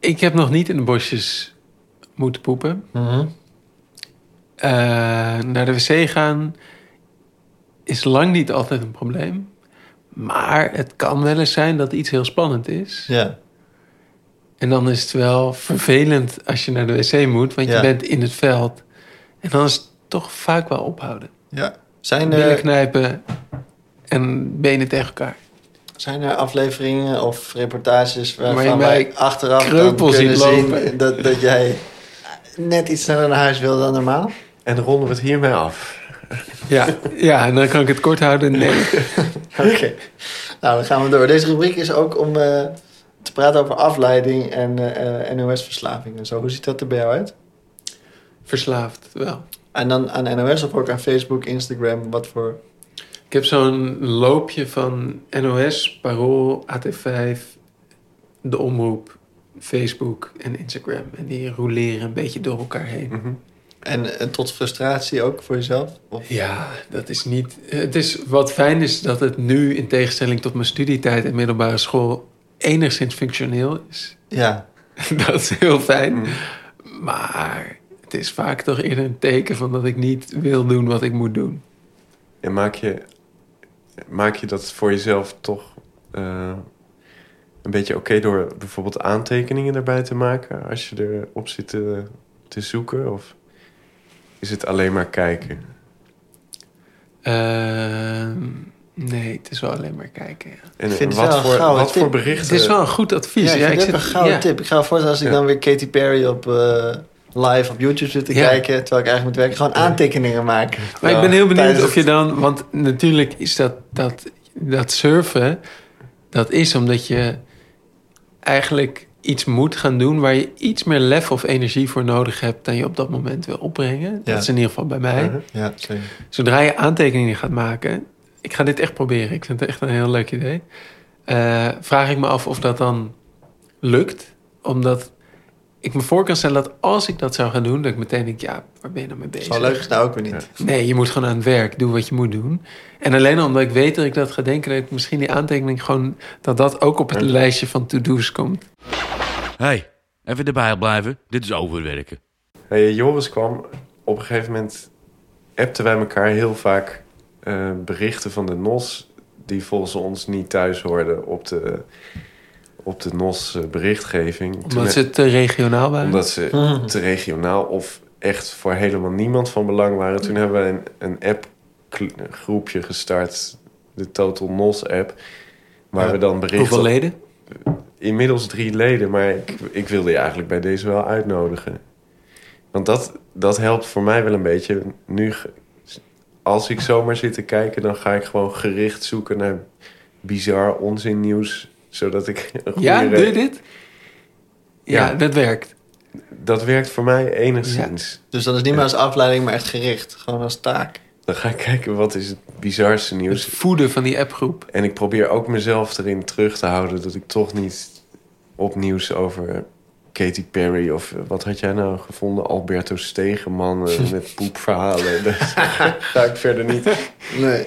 Speaker 1: ik heb nog niet in de bosjes moeten poepen. Eh, naar de wc gaan is lang niet altijd een probleem. Maar het kan wel eens zijn dat iets heel spannend is.
Speaker 3: Ja,
Speaker 1: En dan is het wel vervelend als je naar de wc moet, want
Speaker 3: Ja.
Speaker 1: je bent in het veld. En dan is het toch vaak wel ophouden.
Speaker 3: ja. Zijn
Speaker 1: Billen
Speaker 3: er,
Speaker 1: knijpen en benen tegen elkaar.
Speaker 3: zijn er afleveringen of reportages
Speaker 1: Waar
Speaker 3: waarvan
Speaker 1: nou- je
Speaker 3: wij
Speaker 1: mij
Speaker 3: achteraf dan
Speaker 1: kreupel
Speaker 3: kunnen
Speaker 1: ziet
Speaker 3: zien
Speaker 1: lopen?
Speaker 3: dat, dat jij net iets sneller naar huis wil dan normaal?
Speaker 2: En dan ronden we het hiermee af.
Speaker 1: Ja, [LAUGHS] ja, en dan kan ik het kort houden. Nee.
Speaker 3: Oké. Nou, dan gaan we door. Deze rubriek is ook om eh, te praten over afleiding en eh NOS-verslaving en zo. Hoe ziet dat er bij jou uit?
Speaker 1: Verslaafd wel.
Speaker 3: En dan aan NOS of ook aan Facebook, Instagram, wat voor...
Speaker 1: Ik heb zo'n loopje van NOS, Parool, AT5, de omroep, Facebook en Instagram. En die roleren een beetje door elkaar heen.
Speaker 2: Mhm.
Speaker 3: En, en tot frustratie ook voor jezelf? Of,
Speaker 1: Ja, dat is niet. Het is wat fijn is dat het nu, in tegenstelling tot mijn studietijd en middelbare school, enigszins functioneel is. [LAUGHS]
Speaker 3: ja,
Speaker 1: dat is heel fijn.
Speaker 2: Mm.
Speaker 1: Maar het is vaak toch eerder een teken van dat ik niet wil doen wat ik moet doen.
Speaker 2: En maak je, maak je dat voor jezelf toch eh, een beetje oké door bijvoorbeeld aantekeningen erbij te maken als je erop zit te, te zoeken? Of is het alleen maar kijken?
Speaker 1: Ehm, nee, het is wel alleen maar kijken. ja.
Speaker 2: En
Speaker 3: Ik vind het
Speaker 2: wat
Speaker 3: wel een
Speaker 2: voor,
Speaker 3: gouden
Speaker 2: wat voor
Speaker 3: tip.
Speaker 1: Het
Speaker 2: berichten?
Speaker 1: is wel een goed advies.
Speaker 3: eh, ja, ik
Speaker 1: ja,
Speaker 3: vind dit
Speaker 1: zit-
Speaker 3: een gouden
Speaker 1: ja.
Speaker 3: tip. Ik ga voortaan als ik
Speaker 2: Ja.
Speaker 3: dan weer Katy Perry op eh, live op YouTube zit te
Speaker 1: Ja.
Speaker 3: kijken... terwijl ik eigenlijk moet werken, gewoon aantekeningen maken.
Speaker 1: Maar ik ben heel benieuwd
Speaker 3: Tijdens
Speaker 1: of je dan... Want natuurlijk is dat, dat, dat surfen... Dat is omdat je eigenlijk iets moet gaan doen... waar je iets meer lef of energie voor nodig hebt... dan je op dat moment wil opbrengen.
Speaker 3: Ja.
Speaker 1: Dat is in ieder geval bij mij.
Speaker 2: Uh-huh.
Speaker 3: Ja, zeker.
Speaker 1: Zodra je aantekeningen gaat maken... Ik ga dit echt proberen. Ik vind het echt een heel leuk idee. Eh, vraag ik me af of dat dan lukt. Omdat ik me voor kan stellen dat als ik dat zou gaan doen... dat ik meteen denk, ja, waar ben je nou mee bezig?
Speaker 3: Zo leuk is het nou ook weer niet.
Speaker 1: Nee, je moet gewoon aan het werk. Doe wat je moet doen. En alleen omdat ik weet dat ik dat ga denken... dat ik misschien die aantekening gewoon... dat dat ook op het lijstje van to-do's komt.
Speaker 7: hey, even erbij blijven. Dit is overwerken.
Speaker 2: Hey, Nou Joris kwam op een gegeven moment appten wij elkaar heel vaak eh, berichten van de NOS die volgens ons niet thuis hoorden op de, op de NOS eh, berichtgeving. Toen-
Speaker 1: Omdat ze Hmm. te regionaal waren.
Speaker 2: Omdat ze
Speaker 3: Mhm.
Speaker 2: te regionaal of echt voor helemaal niemand van belang waren. Toen hebben we een, een app kl- groepje gestart, de Total Nos app. Waar
Speaker 3: Ja.
Speaker 2: we dan berichten...
Speaker 1: Hoeveel leden?
Speaker 2: Inmiddels drie leden, maar ik, ik wilde je eigenlijk bij deze wel uitnodigen. Want dat, dat helpt voor mij wel een beetje. Nu, ge- als ik zomaar zit te kijken, dan ga ik gewoon gericht zoeken naar bizar onzinnieuws. Zodat ik een goede
Speaker 1: Ja,
Speaker 2: re-
Speaker 1: doe je dit? Ja,
Speaker 2: Ja.
Speaker 1: dat werkt.
Speaker 2: Dat werkt voor mij enigszins.
Speaker 3: Dus dat is niet meer als afleiding, maar echt gericht. Gewoon als taak.
Speaker 2: Dan ga ik kijken wat is het bizarste
Speaker 1: Het
Speaker 2: nieuws.
Speaker 1: Dus voeden van die appgroep.
Speaker 2: En ik probeer ook mezelf erin terug te houden dat ik toch niet op nieuws over Katy Perry of eh, wat had jij nou gevonden? Alberto Stegeman eh, met poepverhalen. [LAUGHS] Daar ga ik verder niet.
Speaker 3: Nee.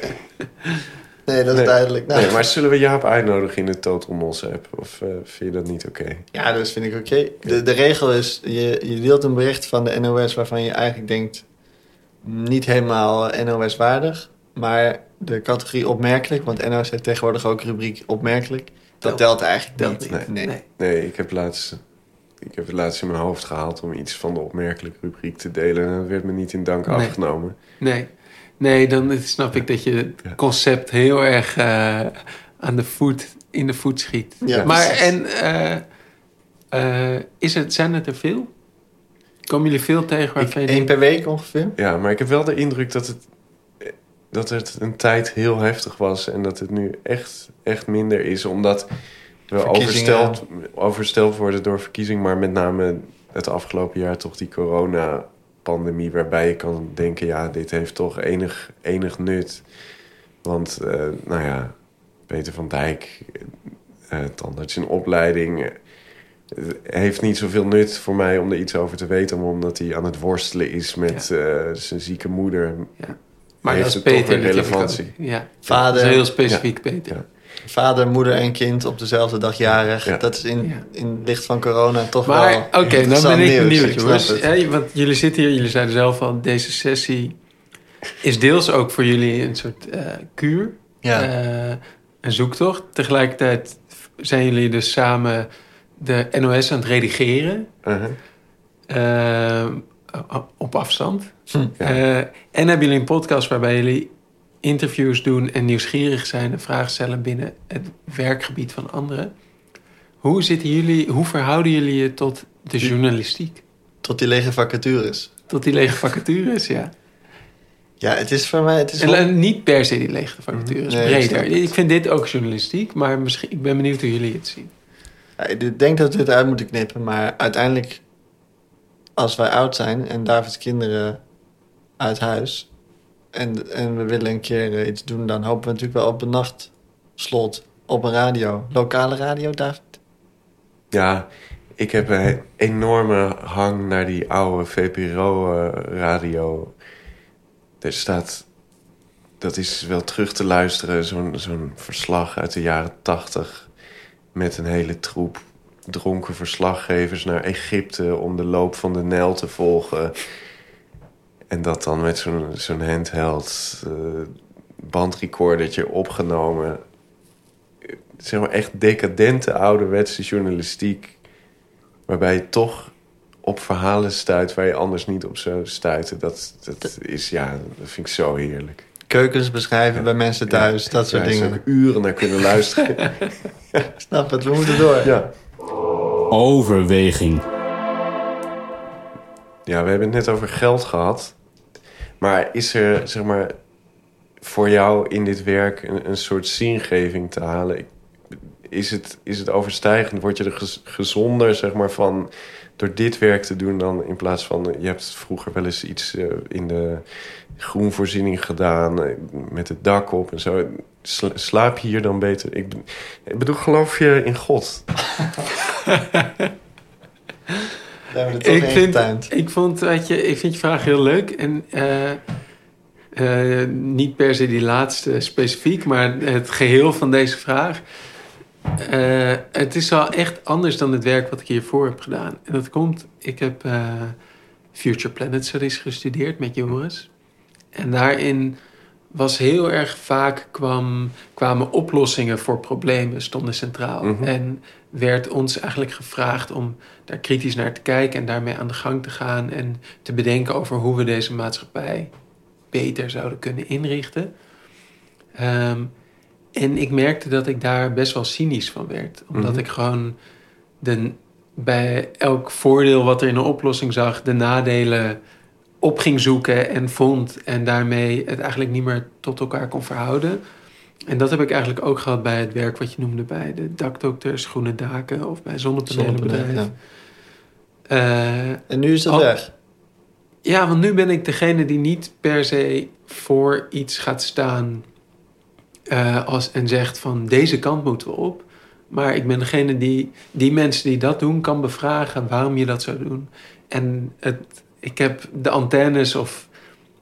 Speaker 3: Nee, dat is
Speaker 2: Nee.
Speaker 3: duidelijk. Nou,
Speaker 2: Nee, maar zullen we Jaap uitnodigen in de Total Nos app? Of eh, vind je dat niet oké?
Speaker 3: Ja, dat vind ik oké. De, de regel is, je, je deelt een bericht van de NOS waarvan je eigenlijk denkt... niet helemaal eh, NOS-waardig. Maar de categorie opmerkelijk, want NOS heeft tegenwoordig ook rubriek opmerkelijk. Dat
Speaker 1: Telt.
Speaker 3: telt eigenlijk
Speaker 1: Telt
Speaker 3: niet.
Speaker 2: niet.
Speaker 3: Nee.
Speaker 1: Nee.
Speaker 2: Nee, ik heb laatst... Ik heb het laatst in mijn hoofd gehaald om iets van de opmerkelijke rubriek te delen. En dat werd me niet in dank
Speaker 1: Nee.
Speaker 2: afgenomen.
Speaker 1: Nee, nee dan snap ik dat je
Speaker 2: Ja.
Speaker 1: het concept heel erg eh, aan de voet, in de voet schiet.
Speaker 3: Ja,
Speaker 1: maar
Speaker 3: precies.
Speaker 1: en, eh, eh, is het, zijn het er veel? Komen jullie veel tegen
Speaker 3: Ik-
Speaker 1: waarvan je
Speaker 3: Eén
Speaker 1: denkt,
Speaker 3: per week ongeveer.
Speaker 2: Ja, maar ik heb wel de indruk dat het, eh, dat het een tijd heel heftig was en dat het nu echt, echt minder is, omdat we
Speaker 3: Verkiezingen.
Speaker 2: oversteld, oversteld worden door verkiezing, maar met name het afgelopen jaar toch die coronapandemie, waarbij je kan denken, ja, dit heeft toch enig, enig nut. Want, eh, nou ja, Peter van Dijk, eh, tandarts in opleiding, eh, het heeft niet zoveel nut voor mij om er iets over te weten, maar omdat hij aan het worstelen is met eh, zijn zieke moeder.
Speaker 1: maar
Speaker 2: heeft
Speaker 1: dat is
Speaker 2: het toch
Speaker 1: Peter
Speaker 2: weer
Speaker 1: natuurlijk
Speaker 2: relevantie.
Speaker 1: ook. Ja, dat is
Speaker 3: Vader,
Speaker 1: heel specifiek Peter.
Speaker 2: Ja.
Speaker 3: vader, moeder en kind op dezelfde dag jarig.
Speaker 2: Ja.
Speaker 3: Dat is in,
Speaker 1: Ja.
Speaker 3: in het licht van corona toch wel
Speaker 1: Maar oké, dan
Speaker 3: interessant
Speaker 1: ben ik
Speaker 3: nieuws.
Speaker 1: benieuwd
Speaker 3: snap
Speaker 1: jongens.
Speaker 3: het.
Speaker 1: Hè, want jullie zitten hier, jullie zeiden zelf al, deze sessie is deels ook voor jullie een soort eh, kuur.
Speaker 3: Ja.
Speaker 1: eh, een zoektocht. Tegelijkertijd zijn jullie dus samen de NOS aan het redigeren.
Speaker 2: Uh-huh.
Speaker 1: eh, op afstand.
Speaker 3: Hm.
Speaker 2: Ja.
Speaker 1: Eh, en hebben jullie een podcast waarbij jullie interviews doen en nieuwsgierig zijn en vragen stellen binnen het werkgebied van anderen. Hoe, zitten jullie, hoe verhouden jullie je tot de journalistiek?
Speaker 3: Tot die lege vacatures.
Speaker 1: Tot die lege vacatures, ja.
Speaker 3: Ja, het is voor mij... Het is
Speaker 1: En
Speaker 3: wel-
Speaker 1: eh, niet per se die lege vacatures,
Speaker 3: Nee, ik
Speaker 1: breder.
Speaker 3: snap het.
Speaker 1: Ik vind dit ook journalistiek, maar misschien, ik ben benieuwd hoe jullie het zien.
Speaker 3: Ja, ik denk dat we dit uit moeten knippen, maar uiteindelijk, als wij oud zijn en Davids kinderen uit huis en, en we willen een keer eh, iets doen, dan hopen we natuurlijk wel op een nachtslot op een radio. Lokale radio, David?
Speaker 2: Ja, ik heb een enorme hang naar die oude VPRO-radio. Er staat... Dat is wel terug te luisteren, zo'n zo'n verslag uit de jaren tachtig... met een hele troep dronken verslaggevers naar Egypte... om de loop van de Nijl te volgen. En dat dan met zo'n zo'n handheld eh, bandrecordertje opgenomen zeg maar echt decadente ouderwetse journalistiek. Waarbij je toch op verhalen stuit waar je anders niet op zou stuiten. Dat, dat is ja, dat vind ik zo heerlijk.
Speaker 3: Keukens beschrijven bij mensen thuis, dat soort
Speaker 2: Daar zou
Speaker 3: dingen.
Speaker 2: ik uren naar kunnen luisteren.
Speaker 3: [LAUGHS] Snap het, we moeten door.
Speaker 2: ja.
Speaker 4: Overweging.
Speaker 2: ja, we hebben het net over geld gehad. Maar is er, zeg maar, voor jou in dit werk een, een soort zingeving te halen? Ik- Is het, is het overstijgend? Word je er gez- gezonder, zeg maar, van door dit werk te doen dan in plaats van... eh, Je hebt vroeger wel eens iets eh, in de groenvoorziening gedaan eh, met het dak op en zo. Sla- slaap je hier dan beter? Ik, be- ik bedoel, geloof je in God?
Speaker 3: We hebben er toch
Speaker 1: Ik
Speaker 3: in
Speaker 1: vind,
Speaker 3: getuind.
Speaker 1: ik, vond, weet je, ik vind je vraag heel leuk. En eh, eh, niet per se die laatste specifiek, maar het geheel van deze vraag. Eh, het is wel echt anders dan het werk wat ik hiervoor heb gedaan. En dat komt, ik heb eh, Future Planet Studies gestudeerd met Joris. En daarin was heel erg vaak kwam, kwamen oplossingen voor problemen stonden centraal.
Speaker 2: Mhm.
Speaker 1: En werd ons eigenlijk gevraagd om daar kritisch naar te kijken en daarmee aan de gang te gaan en te bedenken over hoe we deze maatschappij beter zouden kunnen inrichten. Ehm, en ik merkte dat ik daar best wel cynisch van werd, omdat
Speaker 2: Mhm.
Speaker 1: ik gewoon de, bij elk voordeel wat er in een oplossing zag, de nadelen op ging zoeken en vond en daarmee het eigenlijk niet meer tot elkaar kon verhouden. En dat heb ik eigenlijk ook gehad bij het werk wat je noemde bij de dakdokters, groene daken of bij zonnepanelenbedrijven.
Speaker 3: Zonnepanelen,
Speaker 1: Eh,
Speaker 3: En nu is dat
Speaker 1: Al-
Speaker 3: weg.
Speaker 1: ja, want nu ben ik degene die niet per se voor iets gaat staan eh, als, en zegt van deze kant moeten we op. Maar ik ben degene die die mensen die dat doen kan bevragen waarom je dat zou doen. En het, ik heb de antennes of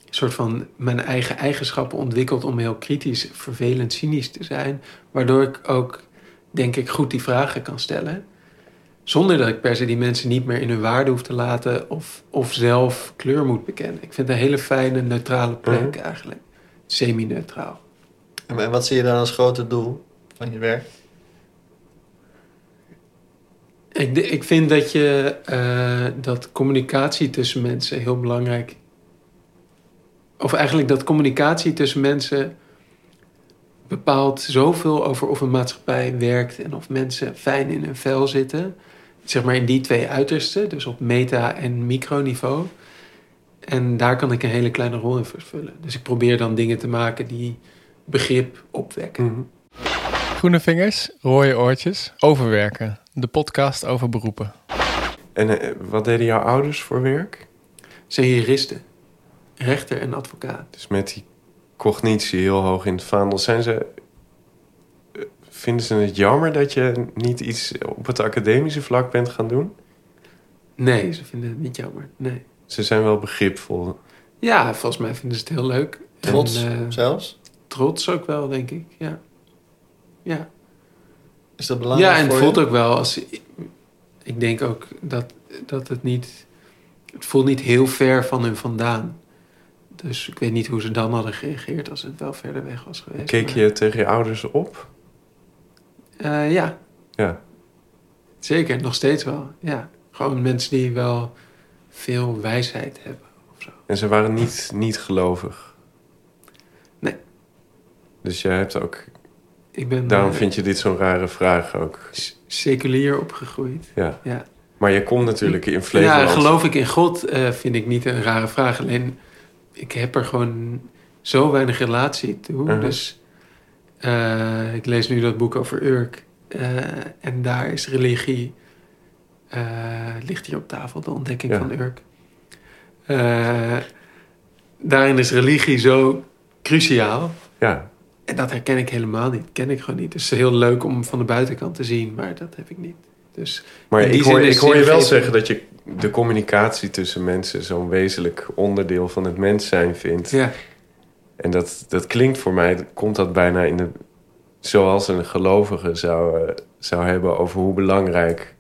Speaker 1: soort van mijn eigen eigenschappen ontwikkeld om heel kritisch, vervelend, cynisch te zijn. Waardoor ik ook, denk ik, goed die vragen kan stellen. Zonder dat ik per se die mensen niet meer in hun waarde hoef te laten of, of zelf kleur moet bekennen. Ik vind het een hele fijne, neutrale plek
Speaker 2: Mhm.
Speaker 1: eigenlijk. Semi-neutraal.
Speaker 3: En en wat zie je dan als grote doel van je werk?
Speaker 1: Ik, de- ik vind dat, je, eh, dat communicatie tussen mensen heel belangrijk... Of eigenlijk dat communicatie tussen mensen bepaalt zoveel over of een maatschappij werkt... en of mensen fijn in hun vel zitten. Zeg maar in die twee uitersten, dus op meta- en microniveau. En daar kan ik een hele kleine rol in vervullen. Dus ik probeer dan dingen te maken die begrip opwekken.
Speaker 5: Groene vingers, rode oortjes, overwerken. De podcast over beroepen.
Speaker 2: En eh, wat deden jouw ouders voor werk?
Speaker 1: Zijn juristen, rechter en advocaat.
Speaker 2: Dus met die cognitie heel hoog in het vaandel. Zijn ze, eh, vinden ze het jammer dat je niet iets op het academische vlak bent gaan doen?
Speaker 1: Nee, ze vinden het niet jammer. Nee.
Speaker 2: Ze zijn wel begripvol.
Speaker 1: Ja, volgens mij vinden ze het heel leuk.
Speaker 3: Trots
Speaker 1: En, eh,
Speaker 3: zelfs?
Speaker 1: trots ook wel, denk ik. Ja, ja.
Speaker 3: Is dat belangrijk
Speaker 1: ja en het
Speaker 3: voor
Speaker 1: voelt
Speaker 3: je?
Speaker 1: ook wel als. Ik denk ook dat, dat het niet. Het voelt niet heel ver van hun vandaan. Dus ik weet niet hoe ze dan hadden gereageerd als het wel verder weg was geweest.
Speaker 2: Keek
Speaker 1: maar-
Speaker 2: je tegen je ouders op?
Speaker 1: Eh, ja,
Speaker 2: Ja.
Speaker 1: zeker. Nog steeds wel. Ja. Gewoon mensen die wel veel wijsheid hebben.
Speaker 2: En ze waren niet, niet gelovig?
Speaker 1: Nee.
Speaker 2: Dus jij hebt ook...
Speaker 1: Ik ben
Speaker 2: Daarom
Speaker 1: eh,
Speaker 2: vind je dit zo'n rare vraag ook.
Speaker 1: s- seculier opgegroeid.
Speaker 2: Ja.
Speaker 1: Ja.
Speaker 2: Maar je komt natuurlijk in Flevoland.
Speaker 1: Ja, geloof ik in God eh, vind ik niet een rare vraag. Alleen, ik heb er gewoon zo weinig relatie toe.
Speaker 2: Mhm.
Speaker 1: Dus eh, ik lees nu dat boek over Urk. Eh, en daar is religie... eh, ligt hier op tafel, de ontdekking
Speaker 2: Ja.
Speaker 1: van Urk. Eh, daarin is religie zo cruciaal.
Speaker 2: Ja.
Speaker 1: En dat herken ik helemaal niet. Ken ik gewoon niet. Dus heel leuk om van de buitenkant te zien, maar dat heb ik niet. Dus Dus
Speaker 2: Maar
Speaker 1: In die
Speaker 2: ik hoor,
Speaker 1: zin is
Speaker 2: ik hoor je wel
Speaker 1: zingeving-
Speaker 2: zeggen dat je de communicatie tussen mensen zo'n wezenlijk onderdeel van het mens zijn vindt.
Speaker 1: ja,
Speaker 2: En dat, dat klinkt voor mij, komt dat bijna in de. Zoals een gelovige zou, eh, zou hebben over hoe belangrijk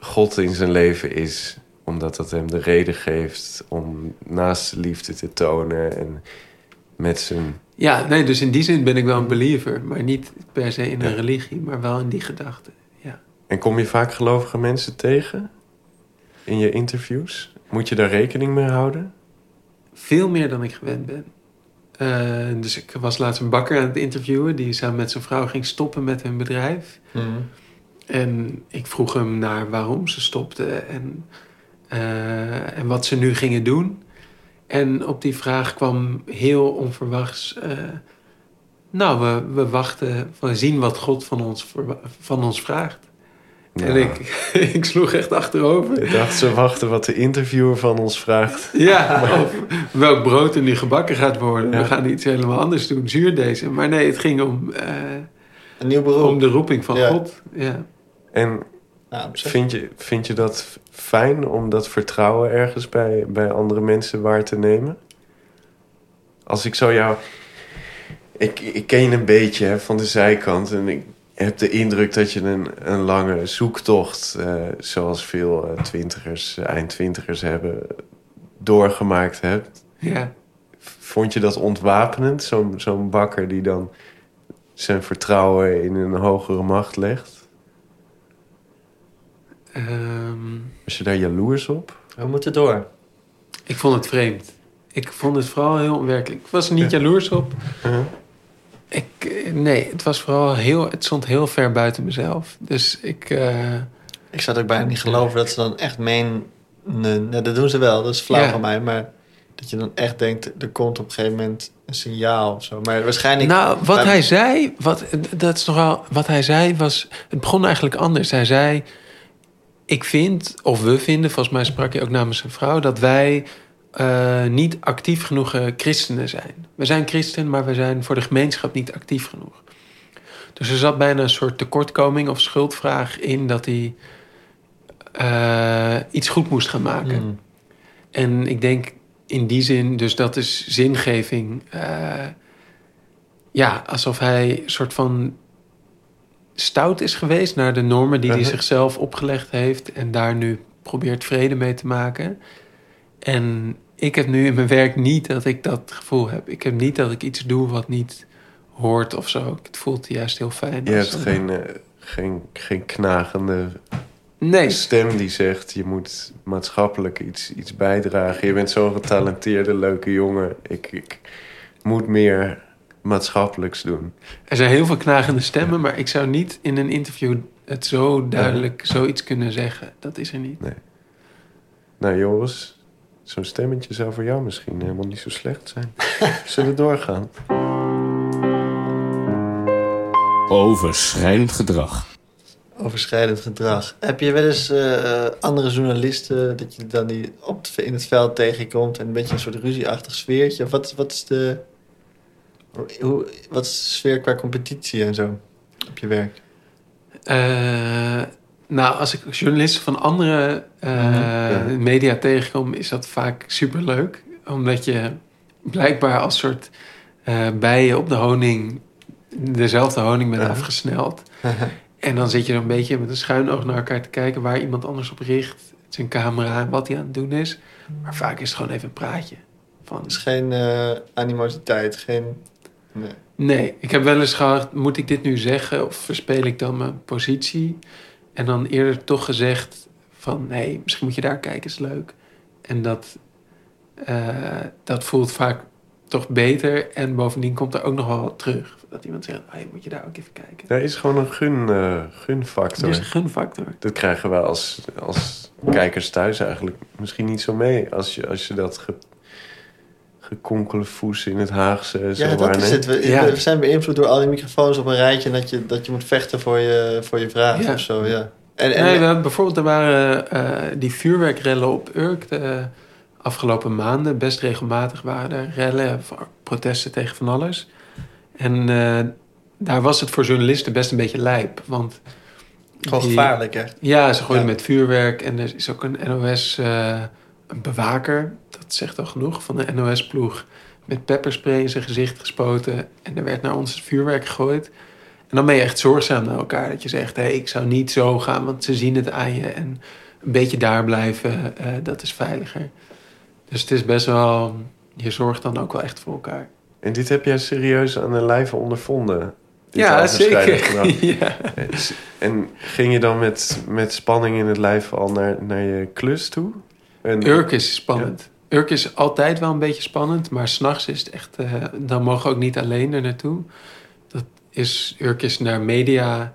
Speaker 2: God in zijn leven is. Omdat dat hem de reden geeft om naast de liefde te tonen en met zijn.
Speaker 1: ja, nee, dus in die zin ben ik wel een believer. Maar niet per se in een religie, maar wel in die gedachte.
Speaker 2: En kom je vaak gelovige mensen tegen in je interviews? Moet je daar rekening mee houden?
Speaker 1: Veel meer dan ik gewend ben. Eh, dus ik was laatst een bakker aan het interviewen... die samen met zijn vrouw ging stoppen met hun bedrijf.
Speaker 3: Mhm.
Speaker 1: En ik vroeg hem naar waarom ze stopte en, eh, en wat ze nu gingen doen. En op die vraag kwam heel onverwachts... eh, nou, we, we wachten, we zien wat God van ons, verwa- van ons vraagt. En
Speaker 2: Ja.
Speaker 1: ik, [LAUGHS] ik sloeg echt achterover.
Speaker 2: [LAUGHS] Ik dacht, ze wachten wat de interviewer van ons vraagt.
Speaker 1: Ja, of welk brood er nu gebakken gaat worden. We gaan iets helemaal anders doen, zuurdezen. Maar nee, het ging om, eh,
Speaker 3: Een nieuw beroep.
Speaker 1: om de roeping van
Speaker 3: Ja.
Speaker 1: God. Ja.
Speaker 2: En
Speaker 3: Nou, op zich.
Speaker 2: Vind je, vind je dat f- fijn om dat vertrouwen ergens bij, bij andere mensen waar te nemen? Als ik zo jou. Ik, ik ken je een beetje hè, van de zijkant en ik heb de indruk dat je een, een lange zoektocht, eh, zoals veel eh, twintigers, eh, eind twintigers hebben, doorgemaakt hebt.
Speaker 1: Ja.
Speaker 2: Vond je dat ontwapenend, zo'n zo'n bakker die dan zijn vertrouwen in een hogere macht legt?
Speaker 1: Ehm,
Speaker 2: Was je daar jaloers op?
Speaker 3: We moeten door.
Speaker 1: ik vond het vreemd. Ik vond het vooral heel onwerkelijk. Ik was er niet jaloers op.
Speaker 2: Mhm.
Speaker 1: Ik, eh, nee, het was vooral heel... Het stond heel ver buiten mezelf. Dus ik... eh,
Speaker 3: Ik zou het ook bijna niet geloven dat ze dan echt meen... Nee, nee, dat doen ze wel, dat is flauw
Speaker 1: Ja.
Speaker 3: van mij. Maar dat je dan echt denkt, er komt op een gegeven moment een signaal of zo. Maar waarschijnlijk...
Speaker 1: nou, wat
Speaker 3: maar-
Speaker 1: hij zei, wat, dat is nogal, wat hij zei was, het begon eigenlijk anders. Hij zei, ik vind, of we vinden, volgens mij sprak hij ook namens zijn vrouw, dat wij eh, niet actief genoeg eh, christenen zijn. We zijn christen, maar we zijn voor de gemeenschap niet actief genoeg. Dus er zat bijna een soort tekortkoming of schuldvraag in dat hij eh, iets goed moest gaan maken.
Speaker 3: Hmm.
Speaker 1: En ik denk in die zin, dus dat is zingeving. eh, ja, alsof hij soort van stout is geweest naar de normen die hij
Speaker 2: Mhm.
Speaker 1: zichzelf opgelegd heeft en daar nu probeert vrede mee te maken. En ik heb nu in mijn werk niet dat ik dat gevoel heb. Ik heb niet dat ik iets doe wat niet hoort of zo. Het voelt juist heel fijn.
Speaker 2: Je
Speaker 1: als-
Speaker 2: hebt geen, eh, geen, geen knagende
Speaker 1: Nee,
Speaker 2: stem die zegt... je moet maatschappelijk iets, iets bijdragen. Je bent zo'n getalenteerde, leuke jongen. Ik, ik moet meer maatschappelijks doen.
Speaker 1: Er zijn heel veel knagende stemmen, maar ik zou niet in een interview het zo duidelijk zoiets kunnen zeggen. Dat is er niet.
Speaker 2: Nou Joris, zo'n stemmetje zou voor jou misschien helemaal niet zo slecht zijn.
Speaker 1: [LAUGHS]
Speaker 2: Zullen we doorgaan?
Speaker 4: Overschrijdend gedrag.
Speaker 3: Overschrijdend gedrag. Heb je wel eens eh, eh, andere journalisten dat je dan die op het, in het veld tegenkomt en een beetje een soort ruzieachtig sfeertje? Of wat, wat is de hoe, wat is de sfeer qua competitie en zo op je werk?
Speaker 1: Eh, nou, als ik journalisten van andere eh,
Speaker 2: Mhm, Ja.
Speaker 1: media tegenkom, is dat vaak superleuk. Omdat je blijkbaar als soort eh, bijen op de honing dezelfde honing bent
Speaker 2: Ja. [LAUGHS]
Speaker 1: afgesneld. En dan zit je een beetje met een schuin oog naar elkaar te kijken waar iemand anders op richt. Zijn camera en wat hij aan het doen is. Maar vaak is het gewoon even een praatje. Van,
Speaker 3: Er is geen eh, animositeit, geen. Nee.
Speaker 1: Nee, ik heb wel eens gehad, moet ik dit nu zeggen of verspeel ik dan mijn positie? En dan eerder toch gezegd van, nee, misschien moet je daar kijken, is leuk. En dat, eh, dat voelt vaak toch beter. En bovendien komt er ook nog wel wat terug. Dat iemand zegt, hey, moet je daar ook even kijken. Dus
Speaker 2: Er is gewoon een gun, eh, gunfactor.
Speaker 1: Er is een gunfactor.
Speaker 2: Dat krijgen wij als, als kijkers thuis eigenlijk misschien niet zo mee. Als je, als je dat ge, gekonkelde voes in het Haagse zo
Speaker 3: Ja, dat
Speaker 2: waarneemt.
Speaker 3: is het. We,
Speaker 1: Ja.
Speaker 3: we zijn beïnvloed door al die microfoons op een rijtje en dat je, dat je moet vechten voor je, voor je vraag
Speaker 1: Ja.
Speaker 3: of zo. Ja. En, en,
Speaker 1: Nee, we hebben bijvoorbeeld, er waren eh, die vuurwerkrellen op Urk de afgelopen maanden. Best regelmatig waren er rellen, voor- protesten tegen van alles. En eh, daar was het voor journalisten best een beetje lijp. Want
Speaker 3: Gewoon
Speaker 1: Die-
Speaker 3: gevaarlijk, echt.
Speaker 1: Ja, ze gooien
Speaker 3: Ja.
Speaker 1: met vuurwerk en er is ook een NOS-bewaker. eh, dat zegt al genoeg van de NOS-ploeg. Met pepperspray in zijn gezicht gespoten en er werd naar ons vuurwerk gegooid. En dan ben je echt zorgzaam naar elkaar. Dat je zegt, hey, ik zou niet zo gaan, want ze zien het aan je. En een beetje daar blijven, eh, dat is veiliger. Dus het is best wel... Je zorgt dan ook wel echt voor elkaar.
Speaker 2: En dit heb jij serieus aan de lijve ondervonden. Dit
Speaker 1: ja, [LAUGHS]
Speaker 2: overschrijdend
Speaker 1: zeker.
Speaker 2: gedrag.
Speaker 1: ja.
Speaker 2: En ging je dan met, met spanning in het lijf al naar, naar je klus toe? En,
Speaker 1: Urk is spannend. Urk is altijd wel een beetje spannend, maar s'nachts is het echt. eh, dan mogen we ook niet alleen er naartoe. Dat is, Urk is naar media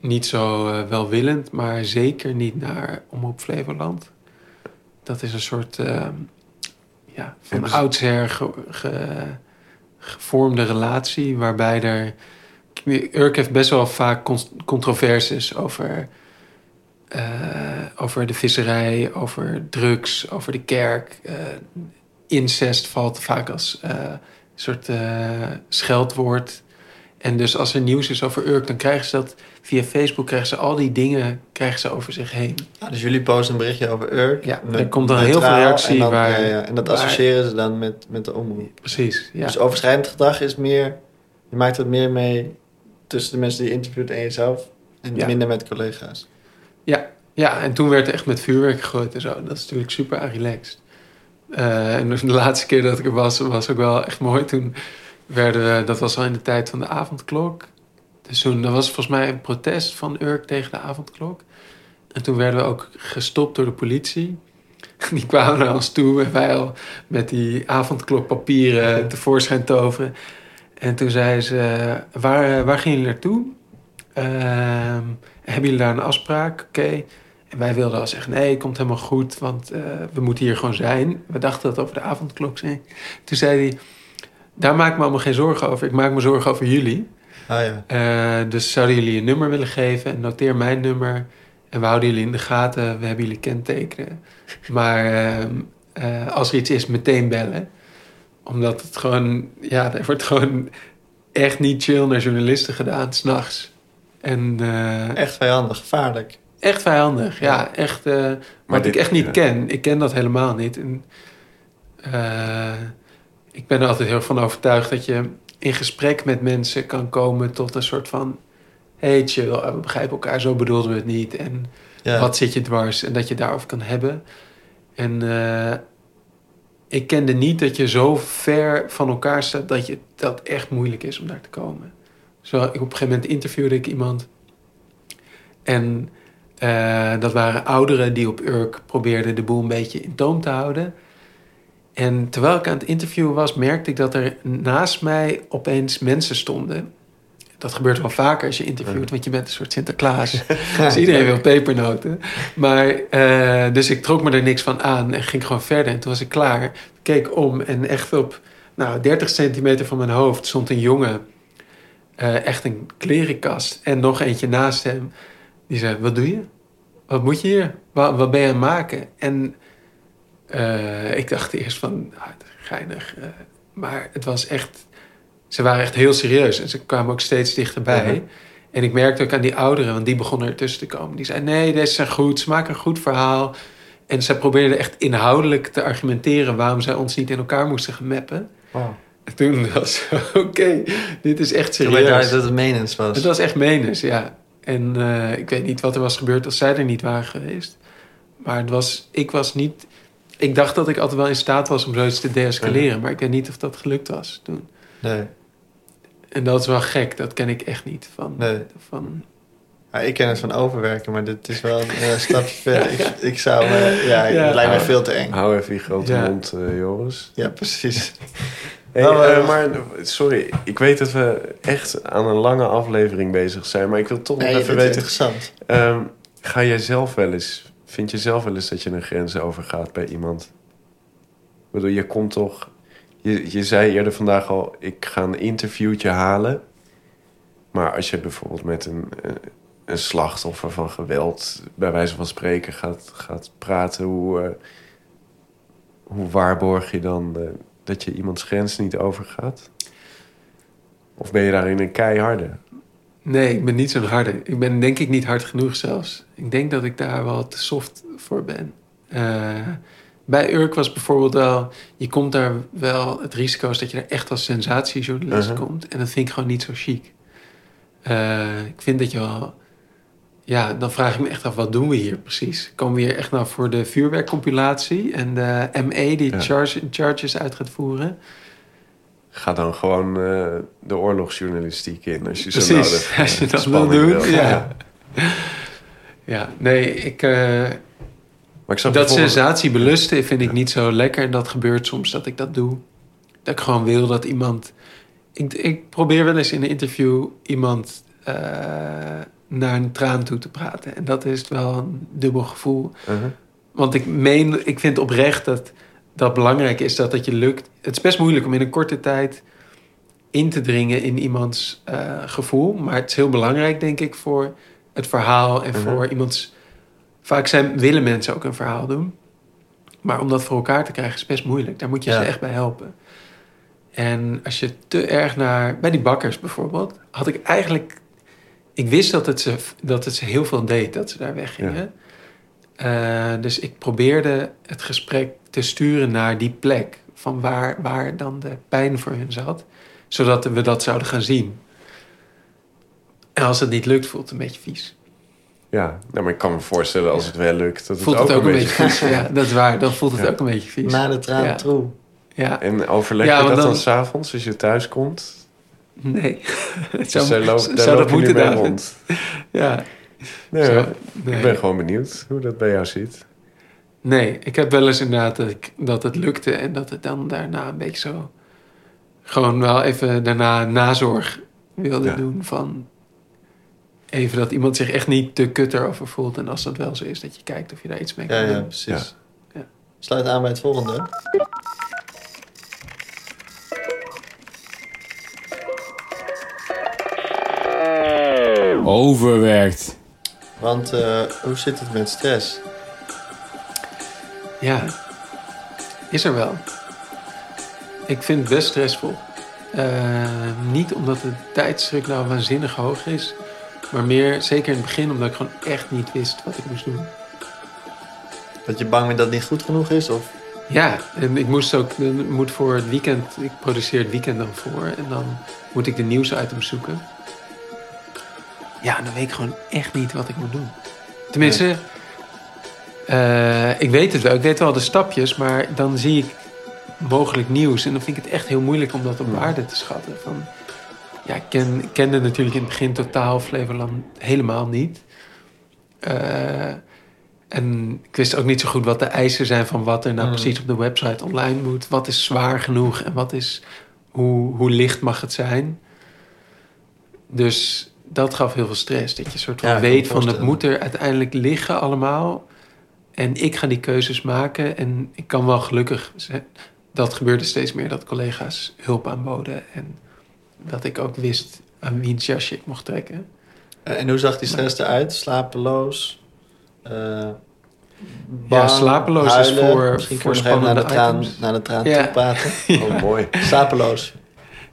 Speaker 1: niet zo eh, welwillend, maar zeker niet naar Omroep Flevoland. Dat is een soort eh, ja, van
Speaker 2: Hebben ze-
Speaker 1: oudsher ge- ge- gevormde relatie waarbij er. Urk heeft best wel vaak cons- controversies over eh, over de visserij, over drugs, over de kerk. Eh, incest valt vaak als eh, soort eh, scheldwoord. En dus als er nieuws is over Urk, dan krijgen ze dat via Facebook, krijgen ze al die dingen krijgen ze over zich heen.
Speaker 3: Ah, dus jullie posten een berichtje over Urk.
Speaker 1: Ja,
Speaker 3: Ne-
Speaker 1: er komt dan heel veel
Speaker 3: neutraal,
Speaker 1: reactie
Speaker 3: En, dan,
Speaker 1: waar-
Speaker 3: ja, ja, en dat
Speaker 1: waar-
Speaker 3: associëren ze dan met, met de omroep.
Speaker 1: Precies, ja.
Speaker 3: Dus overschrijdend gedrag is meer... Je maakt het meer mee tussen de mensen die je interviewt en jezelf. En
Speaker 1: Ja.
Speaker 3: minder met collega's.
Speaker 1: Ja, en toen werd er echt met vuurwerk gegooid en zo. Dat is natuurlijk super aan relaxed. Eh, en dus de laatste keer dat ik er was, was ook wel echt mooi. Toen werden we, dat was al in de tijd van de avondklok. Dus toen, dat was volgens mij een protest van Urk tegen de avondklok. En toen werden we ook gestopt door de politie. [LAUGHS] Die kwamen naar ons toe en wij al met die avondklokpapieren tevoorschijn toveren. En toen zeiden ze, eh, waar, eh, waar gingen jullie naartoe? Ehm, hebben jullie daar een afspraak? Oké. En wij wilden al zeggen, nee, komt helemaal goed, want eh, we moeten hier gewoon zijn. We dachten dat het over de avondklok ging. Toen zei hij, daar maak ik me allemaal geen zorgen over. Ik maak me zorgen over jullie.
Speaker 3: Ah ja.
Speaker 1: Eh, dus zouden jullie een nummer willen geven? En noteer mijn nummer. En we houden jullie in de gaten. We hebben jullie kentekenen. Maar ehm, eh, als er iets is, meteen bellen. Omdat het gewoon... Ja, er wordt gewoon echt niet chill naar journalisten gedaan, s'nachts. En eh,
Speaker 3: Echt vijandig, gevaarlijk.
Speaker 1: Echt vijandig, ja. Echt, eh, wat
Speaker 2: dit-
Speaker 1: ik echt niet
Speaker 2: ja.
Speaker 1: ken. Ik ken dat helemaal niet. En, eh, ik ben er altijd heel van overtuigd dat je in gesprek met mensen kan komen tot een soort van... hey, chill, eh, we begrijpen elkaar, zo bedoelden we het niet. En
Speaker 3: Ja.
Speaker 1: wat zit je dwars? En dat je daarover kan hebben. En eh, ik kende niet dat je zo ver van elkaar staat... dat je, dat echt moeilijk is om daar te komen. Zo, ik- op een gegeven moment interviewde ik iemand... en eh, dat waren ouderen die op Urk probeerden de boel een beetje in toom te houden. En terwijl ik aan het interviewen was, merkte ik dat er naast mij opeens mensen stonden. Dat gebeurt wel vaker als je interviewt, want je bent een soort Sinterklaas. dus iedereen wil pepernoten. Maar, eh, dus ik trok me er niks van aan en ging gewoon verder. En toen was ik klaar. Ik keek om en echt op nou, 30 centimeter van mijn hoofd stond een jongen. eh, echt een klerenkast. En nog eentje naast hem. Die zei, wat doe je? Wat moet je hier? Wat, wat ben je aan het maken? En eh, ik dacht eerst van, ah, het is geinig. eh, maar het was echt... Ze waren echt heel serieus. En ze kwamen ook steeds dichterbij.
Speaker 2: Mhm.
Speaker 1: En ik merkte ook aan die ouderen, want die begonnen ertussen te komen. Die zeiden, nee, deze zijn goed. Ze maken een goed verhaal. En ze probeerden echt inhoudelijk te argumenteren... waarom zij ons niet in elkaar moesten gaan mappen.
Speaker 3: Wow.
Speaker 1: En toen [LAUGHS] was oké, dit is echt
Speaker 3: Terwijl
Speaker 1: serieus.
Speaker 3: daar dat het menens was.
Speaker 1: Het was echt menens, ja. En eh, ik weet niet wat er was gebeurd als zij er niet waren geweest. Maar het was, ik was niet... Ik dacht dat ik altijd wel in staat was om zoiets te deescaleren. Maar ik weet niet of dat gelukt was toen.
Speaker 3: Nee,
Speaker 1: En dat is wel gek. Dat ken ik echt niet. Van,
Speaker 3: nee.
Speaker 1: van,
Speaker 3: Ja, Nou, ik ken het van overwerken, maar dit is wel een eh,
Speaker 1: [LAUGHS]
Speaker 3: stapje verder. Ik, ik zou... eh, ja,
Speaker 1: Ja.
Speaker 3: het lijkt mij veel te eng.
Speaker 2: Hou even je grote
Speaker 1: Ja.
Speaker 2: mond, eh, Joris.
Speaker 3: Ja, precies.
Speaker 2: Hey,
Speaker 3: Nou,
Speaker 2: eh,
Speaker 3: eh,
Speaker 2: maar sorry, ik weet dat we echt aan een lange aflevering bezig zijn. Maar ik wil toch nog
Speaker 3: Nee, dit is
Speaker 2: even weten...
Speaker 3: interessant.
Speaker 2: ehm, ga jij zelf wel eens... Vind je zelf wel eens dat je een grens overgaat bij iemand? Ik bedoel, je komt toch... Je, je zei eerder vandaag al, ik ga een interviewtje halen. Maar als je bijvoorbeeld met een, eh, een slachtoffer van geweld... bij wijze van spreken gaat, gaat praten... Hoe, eh, hoe waarborg je dan eh, dat je iemands grens niet overgaat? Of ben je daarin een keiharde?
Speaker 1: Nee, ik ben niet zo'n harde. Ik ben denk ik niet hard genoeg zelfs. Ik denk dat ik daar wel te soft voor ben. Eh, bij Urk was bijvoorbeeld wel... Je komt daar wel... Het risico is dat je daar echt als sensatiejournalist
Speaker 2: Mhm.
Speaker 1: komt. En dat vind ik gewoon niet zo chic. Eh, ik vind dat je wel... Ja, dan vraag ik me echt af, wat doen we hier precies? Komen we hier echt nou voor de vuurwerkcompilatie? En de ME die
Speaker 2: Ja.
Speaker 1: charge- charges uit gaat voeren?
Speaker 2: Ga dan gewoon eh, de oorlogsjournalistiek in als je zo
Speaker 1: Precies, [LAUGHS]
Speaker 2: nodig
Speaker 1: als je
Speaker 2: eh,
Speaker 1: dat wil
Speaker 2: spanning
Speaker 1: doen, ja. Ja, nee, ik... eh,
Speaker 2: Maar ik
Speaker 1: Dat
Speaker 2: zag bijvoorbeeld-
Speaker 1: sensatie belusten vind ik niet zo lekker. En dat gebeurt soms dat ik dat doe. Dat ik gewoon wil dat iemand... Ik, ik probeer wel eens in een interview iemand eh, naar een traan toe te praten. En dat is wel een dubbel gevoel.
Speaker 2: Uh-huh.
Speaker 1: Want ik, meen, ik vind oprecht dat dat belangrijk is dat het je lukt. Het is best moeilijk om in een korte tijd in te dringen in iemands eh, gevoel. Maar het is heel belangrijk, denk ik, voor het verhaal en
Speaker 2: Mhm.
Speaker 1: voor iemands. Vaak zijn, willen mensen ook een verhaal doen. Maar om dat voor elkaar te krijgen is best moeilijk. Daar moet je
Speaker 3: Ja.
Speaker 1: ze echt bij helpen. En als je te erg naar. Bij die bakkers bijvoorbeeld, had ik eigenlijk. Ik wist dat het ze, dat het ze heel veel deed dat ze daar weggingen. Eh, dus ik probeerde het gesprek te sturen naar die plek. Van waar, waar dan de pijn voor hun zat. Zodat we dat zouden gaan zien. En als het niet lukt, voelt het een beetje vies.
Speaker 2: Ja, nou, maar ik kan me voorstellen als het wel lukt. Dat
Speaker 1: voelt
Speaker 2: het ook, een beetje...
Speaker 1: vies. Ja, dat is waar. Dan voelt het
Speaker 2: Ja.
Speaker 1: ook een beetje vies.
Speaker 3: Na de traan
Speaker 1: Ja.
Speaker 3: troe.
Speaker 1: Ja,
Speaker 2: En overleg je
Speaker 1: Ja, want
Speaker 2: dat dan,
Speaker 1: dan-
Speaker 2: s'avonds als je thuis komt?
Speaker 1: nee. Het
Speaker 2: Dus daar loop, daar
Speaker 1: [LAUGHS] zou dat
Speaker 2: loop je niet
Speaker 1: moeten,
Speaker 2: mee
Speaker 1: David?
Speaker 2: rond.
Speaker 1: Ja.
Speaker 2: Nee,
Speaker 1: Zou-
Speaker 2: hoor.
Speaker 1: nee.
Speaker 2: Ik ben gewoon benieuwd hoe dat bij jou zit.
Speaker 1: Nee, ik heb wel eens inderdaad dat, ik- dat het lukte en dat het dan daarna een beetje zo. Gewoon wel even daarna nazorg wilde
Speaker 2: Ja.
Speaker 1: doen van. Even dat iemand zich echt niet te kut erover voelt. En als dat wel zo is, dat je kijkt of je daar iets mee kan
Speaker 3: Ja, ja,
Speaker 1: doen.
Speaker 3: precies.
Speaker 1: Ja. Ja.
Speaker 3: Sluit aan bij het volgende.
Speaker 4: Overwerkt.
Speaker 3: Want eh, hoe zit het met stress?
Speaker 1: Ja, is er wel. Ik vind het best stressvol. Eh, niet omdat de tijdsdruk nou waanzinnig hoog is, maar meer zeker in het begin omdat ik gewoon echt niet wist wat ik moest doen.
Speaker 3: Dat je bang bent dat het niet goed genoeg is? Of
Speaker 1: Ja, en ik moest ook, dan moet voor het weekend, ik produceer het weekend dan voor en dan moet ik de nieuwsitems zoeken. Ja, en dan weet ik gewoon echt niet wat ik moet doen. Tenminste, eh, ik weet het wel, ik weet wel de stapjes, maar dan zie ik mogelijk nieuws en dan vind ik het echt heel moeilijk om dat op waarde te schatten. Van, ja, ik ken, ik kende natuurlijk in het begin totaal Flevoland helemaal niet. Eh, en ik wist ook niet zo goed wat de eisen zijn van wat er nou
Speaker 3: Mm.
Speaker 1: precies op de website online moet. Wat is zwaar genoeg en wat is, hoe, hoe licht mag het zijn? Dus dat gaf heel veel stress. Dat je soort van
Speaker 3: Ja, ik kan me
Speaker 1: weet van het
Speaker 3: voorstellen.
Speaker 1: moet er uiteindelijk liggen allemaal. En ik ga die keuzes maken. En ik kan wel gelukkig zijn. Dat gebeurde steeds meer dat collega's hulp aanboden. En dat ik ook wist aan wiens jasje ik mocht trekken.
Speaker 3: eh, en hoe zag die stress eruit? Slapeloos? Eh
Speaker 1: ja,
Speaker 3: bang,
Speaker 1: slapeloos is
Speaker 3: huilen?
Speaker 1: voor,
Speaker 3: Misschien
Speaker 1: voor
Speaker 3: kunnen we nog even
Speaker 1: spannende
Speaker 3: naar de traan,
Speaker 1: items.
Speaker 3: Naar de traan
Speaker 1: Ja. [LAUGHS]
Speaker 3: toe praten.
Speaker 2: Oh, mooi.
Speaker 3: Slapeloos.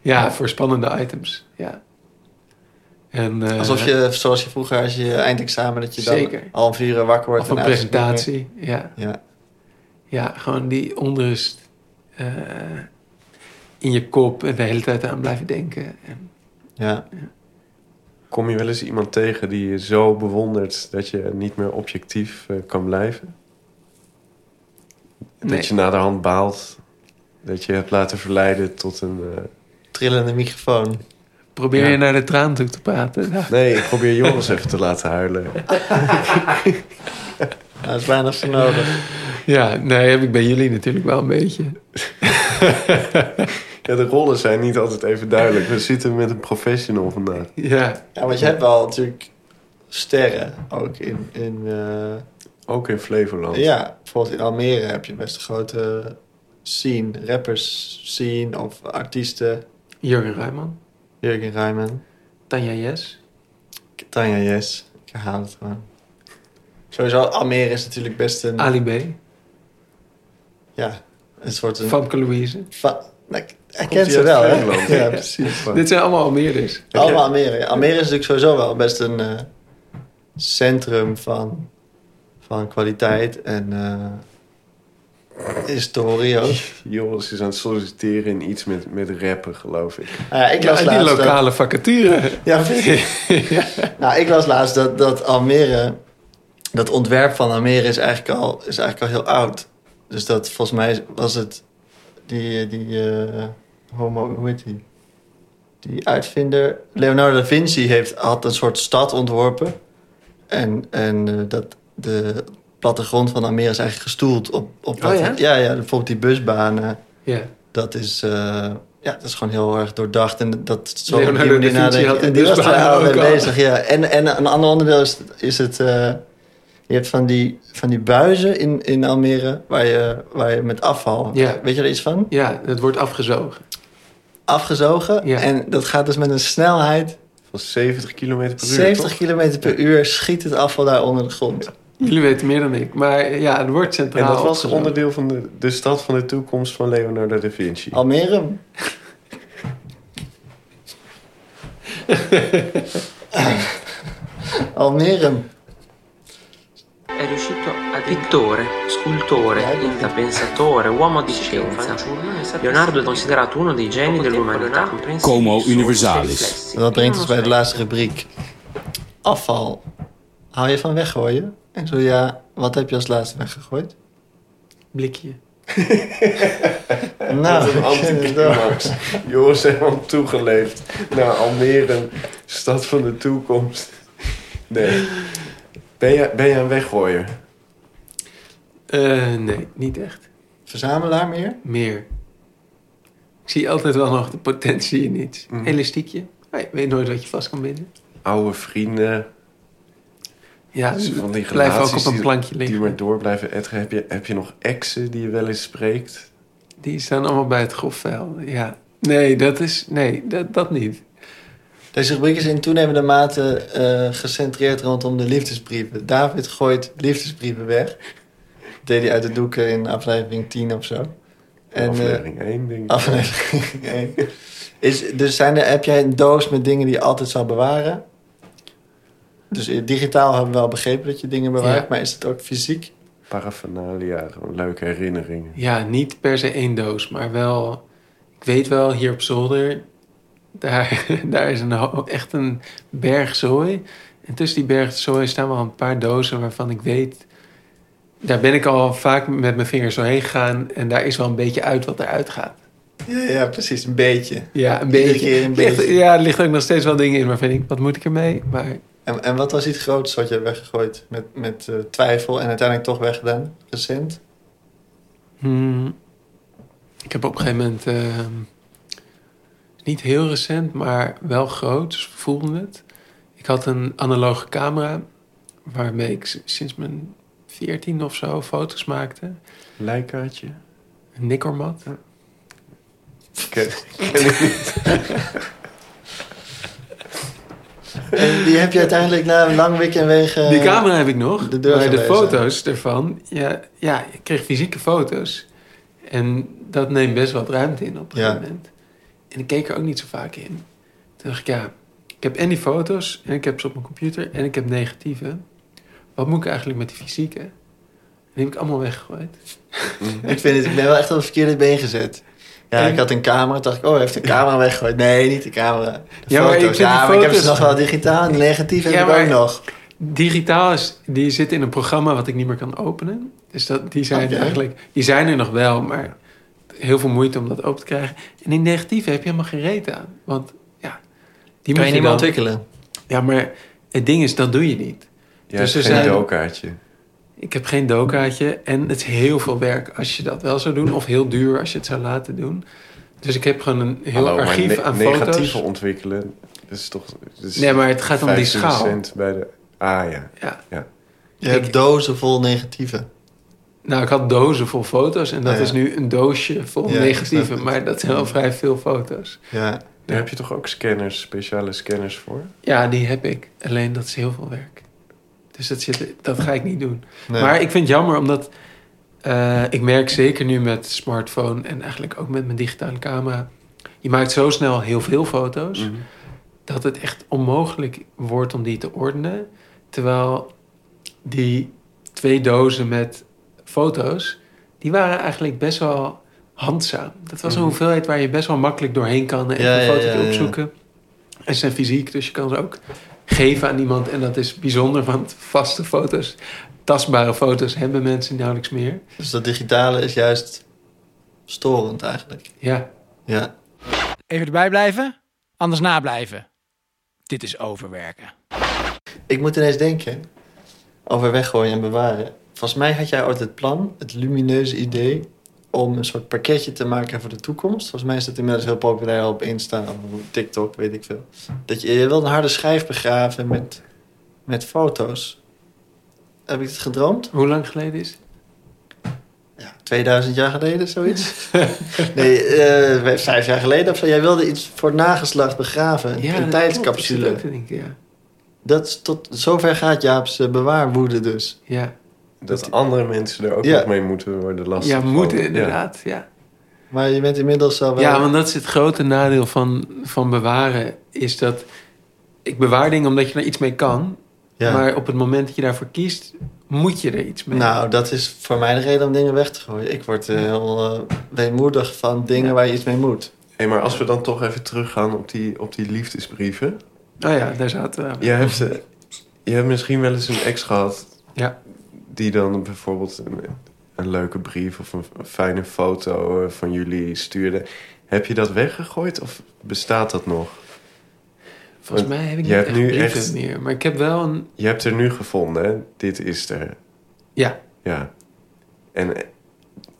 Speaker 1: Ja, voor spannende items. Ja. En, eh,
Speaker 3: Alsof je, zoals je vroeger, als je eindexamen, dat je
Speaker 1: Zeker.
Speaker 3: dan al om vier uur eh, wakker wordt.
Speaker 1: Of een
Speaker 3: en uitgesproken
Speaker 1: presentatie. Ja.
Speaker 3: bent. Ja.
Speaker 1: ja, gewoon die onrust eh, in je kop en de hele tijd aan blijven denken. En,
Speaker 3: Ja.
Speaker 2: Kom je wel eens iemand tegen die je zo bewondert dat je niet meer objectief eh, kan blijven?
Speaker 1: Nee.
Speaker 2: Dat je naderhand baalt dat je hebt laten verleiden tot een... eh,
Speaker 3: Trillende microfoon.
Speaker 1: Probeer
Speaker 2: Ja.
Speaker 1: je naar de traan toe te praten. Nou,
Speaker 2: Nee, ik probeer Joris even te laten huilen.
Speaker 3: Nou, dat is bijna zo nodig.
Speaker 1: Ja, nee, heb ik bij jullie natuurlijk wel een beetje.
Speaker 2: Ja, de rollen zijn niet altijd even duidelijk. We zitten met een professional vandaag.
Speaker 1: Ja,
Speaker 3: Ja, want je hebt wel natuurlijk sterren ook in... in eh,
Speaker 2: Ook in Flevoland.
Speaker 3: Ja, bijvoorbeeld in Almere heb je best een grote scene, rappers scene of artiesten.
Speaker 1: Jurgen Ruijman,
Speaker 3: Jurgen Rijman,
Speaker 1: Tanja Jes.
Speaker 3: Tanja Yes, ik herhaal het gewoon. Sowieso, Almere is natuurlijk best een,
Speaker 1: Ali B,
Speaker 3: ja, een soort een,
Speaker 1: Famke Louise.
Speaker 3: fa- nou, ik- Hij
Speaker 2: Komt hij
Speaker 3: kent ze
Speaker 2: uit
Speaker 3: wel, hè?
Speaker 2: Groenland?
Speaker 3: Ja, precies.
Speaker 1: Dit zijn allemaal Almeerders.
Speaker 2: Heb
Speaker 3: Allemaal
Speaker 2: jij-
Speaker 3: Almere. Almere is natuurlijk sowieso wel best een eh, centrum van, van kwaliteit en eh, historie ook.
Speaker 2: Joris is aan het solliciteren in iets met, met rappen, geloof ik. eh,
Speaker 3: Nou ja, ik
Speaker 1: Ja,
Speaker 3: las
Speaker 1: die
Speaker 3: laatst dat-
Speaker 1: lokale vacature.
Speaker 2: [LAUGHS]
Speaker 3: Ja, vind ik. Nou, ik las laatst dat, dat Almere... Dat ontwerp van Almere is eigenlijk, al, is eigenlijk al heel oud. Dus dat volgens mij was het... Die, die eh, homo... Hoe heet die? Die uitvinder... Leonardo da Vinci heeft, had een soort stad ontworpen. En, en eh, dat de plattegrond van Almere is eigenlijk gestoeld op, op
Speaker 1: Oh ja?
Speaker 3: ja, ja, bijvoorbeeld die busbanen.
Speaker 1: Ja.
Speaker 3: Dat is, eh, ja, dat is gewoon heel erg doordacht. En dat zo
Speaker 1: Leonardo
Speaker 3: op die manier
Speaker 1: da Vinci
Speaker 3: nadenken.
Speaker 1: had een
Speaker 3: En die was
Speaker 1: busbaan
Speaker 3: daar al mee
Speaker 1: ook al.
Speaker 3: bezig. Ja. En, en een ander onderdeel is, is het... eh, je hebt van die, van die buizen in, in Almere waar je, waar je met afval...
Speaker 1: Ja.
Speaker 3: Weet je er iets van?
Speaker 1: Ja, het wordt afgezogen.
Speaker 3: Afgezogen.
Speaker 1: Ja.
Speaker 3: En dat gaat dus met een snelheid...
Speaker 2: Van 70 km per uur,
Speaker 3: 70
Speaker 2: toch?
Speaker 3: km per uur schiet het afval daar onder de grond.
Speaker 1: Jullie weten meer dan ik. Maar ja, het wordt
Speaker 2: En
Speaker 1: centraal
Speaker 2: dat was
Speaker 1: afgezogen.
Speaker 2: onderdeel van de, de stad van de toekomst van Leonardo da Vinci.
Speaker 1: [LAUGHS]
Speaker 3: Almere? Almere.
Speaker 8: È riuscito a pittore, scultore,
Speaker 3: Eh?
Speaker 8: pensatore, uomo di scienza. Leonardo è considerato uno dei geni dell'umanità.
Speaker 4: Como universalis.
Speaker 3: Dat brengt ons bij de laatste rubriek. Afval. Hou je van weggooien? En zo ja, wat heb je als laatste weggegooid?
Speaker 1: Blikje.
Speaker 3: Nou,
Speaker 2: Wat Eh, een
Speaker 3: [LAUGHS]
Speaker 2: anticlimax. Joris helemaal toegeleefd naar Almere, stad van de toekomst. Nee. Ben je, ben je een weggooier?
Speaker 1: Eh, nee, niet echt.
Speaker 3: Verzamelaar meer?
Speaker 1: Meer. Ik zie altijd wel nog de potentie in iets.
Speaker 2: Mhm.
Speaker 1: Elastiekje. Ah, Je weet nooit wat je vast kan binden.
Speaker 2: Oude vrienden,
Speaker 1: Ja,
Speaker 2: dus van die
Speaker 1: blijf ook
Speaker 2: relaties
Speaker 1: op een
Speaker 2: die-
Speaker 1: plankje
Speaker 2: die
Speaker 1: liggen. Die,
Speaker 2: maar door blijven etteren. Heb je, heb je nog exen die je wel eens spreekt?
Speaker 1: staan allemaal bij het grofvuil. Ja. Nee, dat is... Nee, dat, dat niet.
Speaker 3: Deze rubriek is in toenemende mate eh, gecentreerd rondom de liefdesbrieven. David gooit liefdesbrieven weg. Dat deed hij uit de doeken in aflevering 10 of zo. En, eh,
Speaker 2: aflevering 1, denk ik.
Speaker 3: [LAUGHS] aflevering 1. Oh, Is, dus zijn er, heb jij een doos met dingen die je altijd zal bewaren? Dus eh, digitaal hebben we wel begrepen dat je dingen bewaart,
Speaker 1: Ja.
Speaker 3: maar is het ook fysiek?
Speaker 2: Paraphernalia, gewoon leuke herinneringen.
Speaker 1: Ja, niet per se één doos, maar wel... Ik weet wel, hier op zolder... Daar, [LAUGHS] daar is een, ho- echt een berg zooi. En tussen die berg zooi staan wel een paar dozen waarvan ik weet... Daar ben ik al vaak met mijn vingers doorheen gegaan... en daar is wel een beetje uit wat eruit gaat.
Speaker 3: Ja, ja, precies, een beetje.
Speaker 1: Ja, een
Speaker 3: Iedere
Speaker 1: beetje.
Speaker 3: keer een
Speaker 1: Ligt-
Speaker 3: beetje.
Speaker 1: ja, er liggen ook nog steeds wel dingen in waarvan ik... wat moet ik ermee? Maar
Speaker 3: En, en wat was iets groots wat je hebt weggegooid met, met eh, twijfel en uiteindelijk toch weggedaan,
Speaker 1: [LAUGHS]
Speaker 3: recent?
Speaker 1: Hmm. Ik heb op een gegeven moment, ehm, niet heel recent, maar wel groot, dus voelde het. Ik had een analoge camera waarmee ik s- sinds mijn 14 of zo foto's maakte.
Speaker 2: Lijkaartje?
Speaker 1: Een Nikormat.
Speaker 2: Ken, ken ik niet.
Speaker 3: En die heb je uiteindelijk na een lang week en wegen...
Speaker 1: Die camera heb ik nog,
Speaker 3: de deur
Speaker 1: maar de
Speaker 3: gewezen.
Speaker 1: foto's ervan, ja, ja, ik kreeg fysieke foto's. En dat neemt best wat ruimte in op een
Speaker 3: Ja.
Speaker 1: gegeven moment. En ik keek er ook niet zo vaak in. Toen dacht ik, ja, ik heb en die foto's en ik heb ze op mijn computer en ik heb negatieve. Wat moet ik eigenlijk met die fysieke? En die heb ik allemaal weggegooid.
Speaker 3: Ik, vind het, ik ben wel echt op het verkeerde been gezet. Ja,
Speaker 1: En-
Speaker 3: ik had een camera, toen dacht ik, oh, hij heeft de camera weggegooid. Nee, niet de camera. De
Speaker 1: Ja, maar ik
Speaker 3: foto's.
Speaker 1: vind
Speaker 3: ja,
Speaker 1: die
Speaker 3: maar ik heb ze
Speaker 1: foto's-
Speaker 3: nog wel digitaal. De negatief heb
Speaker 1: Ja,
Speaker 3: ik
Speaker 1: maar-
Speaker 3: ook nog.
Speaker 1: Digitaal is, die zit in een programma wat ik niet meer kan openen. Dus dat, die zijn
Speaker 3: Oké.
Speaker 1: eigenlijk, die zijn er nog wel, maar heel veel moeite om dat open te krijgen. En die negatieve heb je helemaal geen reet aan. Want ja, die moet je
Speaker 3: Kan je niet meer
Speaker 1: dan-
Speaker 3: ontwikkelen.
Speaker 1: Ja, maar het ding is, dat doe je niet.
Speaker 2: Jij
Speaker 1: Dus
Speaker 2: dus
Speaker 1: er
Speaker 2: hebt geen
Speaker 1: zijn-
Speaker 2: dokaartje.
Speaker 1: Ik heb geen dokaatje en het is heel veel werk als je dat wel zou doen. Of heel duur als je het zou laten doen. Dus ik heb gewoon een heel
Speaker 2: Hallo, maar
Speaker 1: archief
Speaker 2: ne-
Speaker 1: aan
Speaker 2: negatieve
Speaker 1: foto's.
Speaker 2: ontwikkelen, dat is toch... dat is
Speaker 1: Nee, maar het gaat om die
Speaker 2: 15
Speaker 1: schaal.
Speaker 2: cent bij de... Ah ja.
Speaker 3: Je hebt dozen vol negatieven.
Speaker 1: Nou, ik had dozen vol foto's en dat
Speaker 3: Ah, ja.
Speaker 1: is nu een doosje vol
Speaker 3: Ja, ik snap
Speaker 1: negatieve.
Speaker 3: het.
Speaker 1: Maar dat zijn wel vrij veel foto's.
Speaker 3: Ja.
Speaker 2: Daar heb je toch ook scanners, speciale scanners voor?
Speaker 1: Ja, die heb ik. Alleen dat is heel veel werk. Dus dat, zit, dat ga ik niet doen.
Speaker 3: nee.
Speaker 1: Maar ik vind het jammer, omdat eh, ik merk zeker nu met smartphone en eigenlijk ook met mijn digitale camera je maakt zo snel heel veel foto's
Speaker 2: Mhm.
Speaker 1: dat het echt onmogelijk wordt om die te ordenen. Terwijl die twee dozen met foto's, die waren eigenlijk best wel handzaam. Dat was een
Speaker 2: Mhm.
Speaker 1: hoeveelheid waar je best wel makkelijk doorheen kan en
Speaker 3: Ja,
Speaker 1: een
Speaker 3: ja,
Speaker 1: fotootje
Speaker 3: ja, ja.
Speaker 1: opzoeken. En ze zijn fysiek, dus je kan ze ook geven aan iemand. En dat is bijzonder, want vaste foto's, tastbare foto's hebben mensen nauwelijks meer.
Speaker 3: Dus dat digitale is juist storend eigenlijk.
Speaker 1: Ja,
Speaker 3: Ja.
Speaker 9: Even erbij blijven, anders nablijven. Dit is overwerken.
Speaker 3: Ik moet ineens denken over weggooien en bewaren. Volgens mij had jij ooit het plan, het lumineuze idee... om een soort pakketje te maken voor de toekomst. Volgens mij is dat inmiddels heel populair op Insta of op TikTok, weet ik veel. Dat je, je wil een harde schijf begraven met, met foto's. Heb ik het gedroomd?
Speaker 1: hoe lang geleden is het?
Speaker 3: Ja, 2000 jaar geleden,
Speaker 1: [LAUGHS]
Speaker 3: zoiets. nee, eh, vijf jaar geleden of zo. Jij wilde iets voor het nageslacht begraven. Een-
Speaker 1: Ja,
Speaker 3: een
Speaker 1: dat
Speaker 3: tijdscapsule.
Speaker 1: klopt. Ik zit ook te denken, ja.
Speaker 3: Dat is tot zover gaat Jaap's eh, bewaarwoede dus.
Speaker 1: Ja,
Speaker 2: Dat andere mensen er ook
Speaker 3: Ja.
Speaker 2: nog mee moeten worden lastig.
Speaker 1: ja
Speaker 2: van.
Speaker 1: moeten
Speaker 2: Ja.
Speaker 1: inderdaad, ja.
Speaker 3: Maar je bent inmiddels al wel...
Speaker 1: Ja, want dat is het grote nadeel van, van bewaren. Is dat ik bewaar dingen omdat je er iets mee kan.
Speaker 3: Ja.
Speaker 1: Maar op het moment dat je daarvoor kiest, moet je er iets mee.
Speaker 3: Nou, dat is voor mij de reden om dingen weg te gooien. Ik word eh, heel eh, weemoedig van dingen waar je iets mee moet.
Speaker 2: Hé, maar als we dan toch even teruggaan op die, op die liefdesbrieven.
Speaker 1: Oh ja, daar zaten we.
Speaker 2: Je hebt, eh, je hebt misschien wel eens een ex gehad.
Speaker 1: Ja.
Speaker 2: Die dan bijvoorbeeld een, een leuke brief of een, een fijne foto eh, van jullie stuurde. Heb je dat weggegooid of bestaat dat nog?
Speaker 1: Volgens mij heb ik niet
Speaker 2: Je hebt
Speaker 1: echt
Speaker 2: nu
Speaker 1: brieven
Speaker 2: echt-
Speaker 1: meer. Maar ik heb wel een...
Speaker 2: Je hebt er nu gevonden, hè? dit is er.
Speaker 1: Ja,
Speaker 2: Ja. En eh,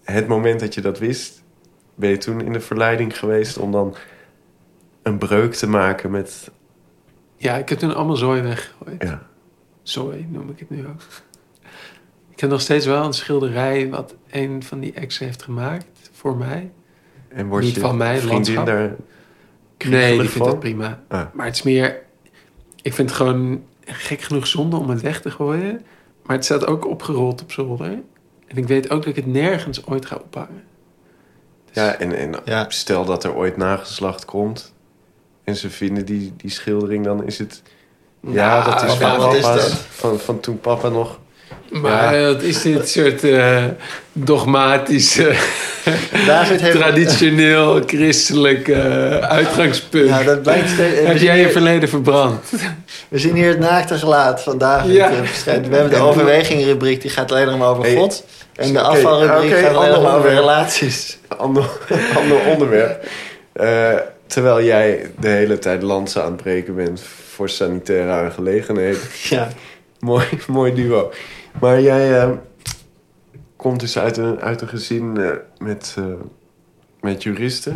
Speaker 2: het moment dat je dat wist, ben je toen in de verleiding geweest om dan een breuk te maken met.
Speaker 1: ja ik heb toen allemaal zooi weggegooid.
Speaker 2: Ja.
Speaker 1: Zooi noem ik het nu ook. Ik heb nog steeds wel een schilderij wat een van die exen heeft gemaakt voor mij.
Speaker 2: En word
Speaker 1: Niet
Speaker 2: je
Speaker 1: van mij,
Speaker 2: vriendin
Speaker 1: landschap.
Speaker 2: daar.
Speaker 1: Nee, die vindt
Speaker 2: van?
Speaker 1: dat prima.
Speaker 2: Ah.
Speaker 1: Maar het is meer... Ik vind het gewoon gek genoeg zonde om het weg te gooien. Maar het staat ook opgerold op zolder. En ik weet ook dat ik het nergens ooit ga ophangen. Dus,
Speaker 2: Ja, en, en
Speaker 3: Ja.
Speaker 2: stel dat er ooit nageslacht komt en ze vinden die, die schildering, dan is het. ja, dat is
Speaker 3: ja,
Speaker 2: van
Speaker 3: Nou, wat is
Speaker 2: papa's,
Speaker 3: dat?
Speaker 2: Van, van toen papa nog.
Speaker 1: Maar dat is dit soort eh,
Speaker 3: [LAUGHS]
Speaker 1: dogmatische,
Speaker 3: David heeft...
Speaker 1: traditioneel, christelijk eh, uitgangspunt.
Speaker 3: Ja, dat blijkt steeds... eh,
Speaker 1: Heb
Speaker 3: we, zien
Speaker 1: jij je
Speaker 3: hier,
Speaker 1: verleden verbrand?
Speaker 3: we zien hier het naakte gelaat van David.
Speaker 1: Ja.
Speaker 3: eh, verschijnen. We
Speaker 1: [LAUGHS]
Speaker 3: hebben de overwegingrubriek, die gaat alleen nog maar over
Speaker 2: Hey.
Speaker 3: God. En de
Speaker 2: Oké,
Speaker 3: afvalrubriek
Speaker 2: oké,
Speaker 3: gaat alleen nog
Speaker 2: ander
Speaker 3: maar over
Speaker 2: onderwerp.
Speaker 3: relaties.
Speaker 2: Ander, ander onderwerp. Eh, terwijl jij de hele tijd lansen aan het breken bent voor sanitaire aangelegenheden. [LAUGHS]
Speaker 3: Ja.
Speaker 2: mooi, mooi duo. Maar jij eh, komt dus uit een, uit een gezin eh, met, eh, met juristen.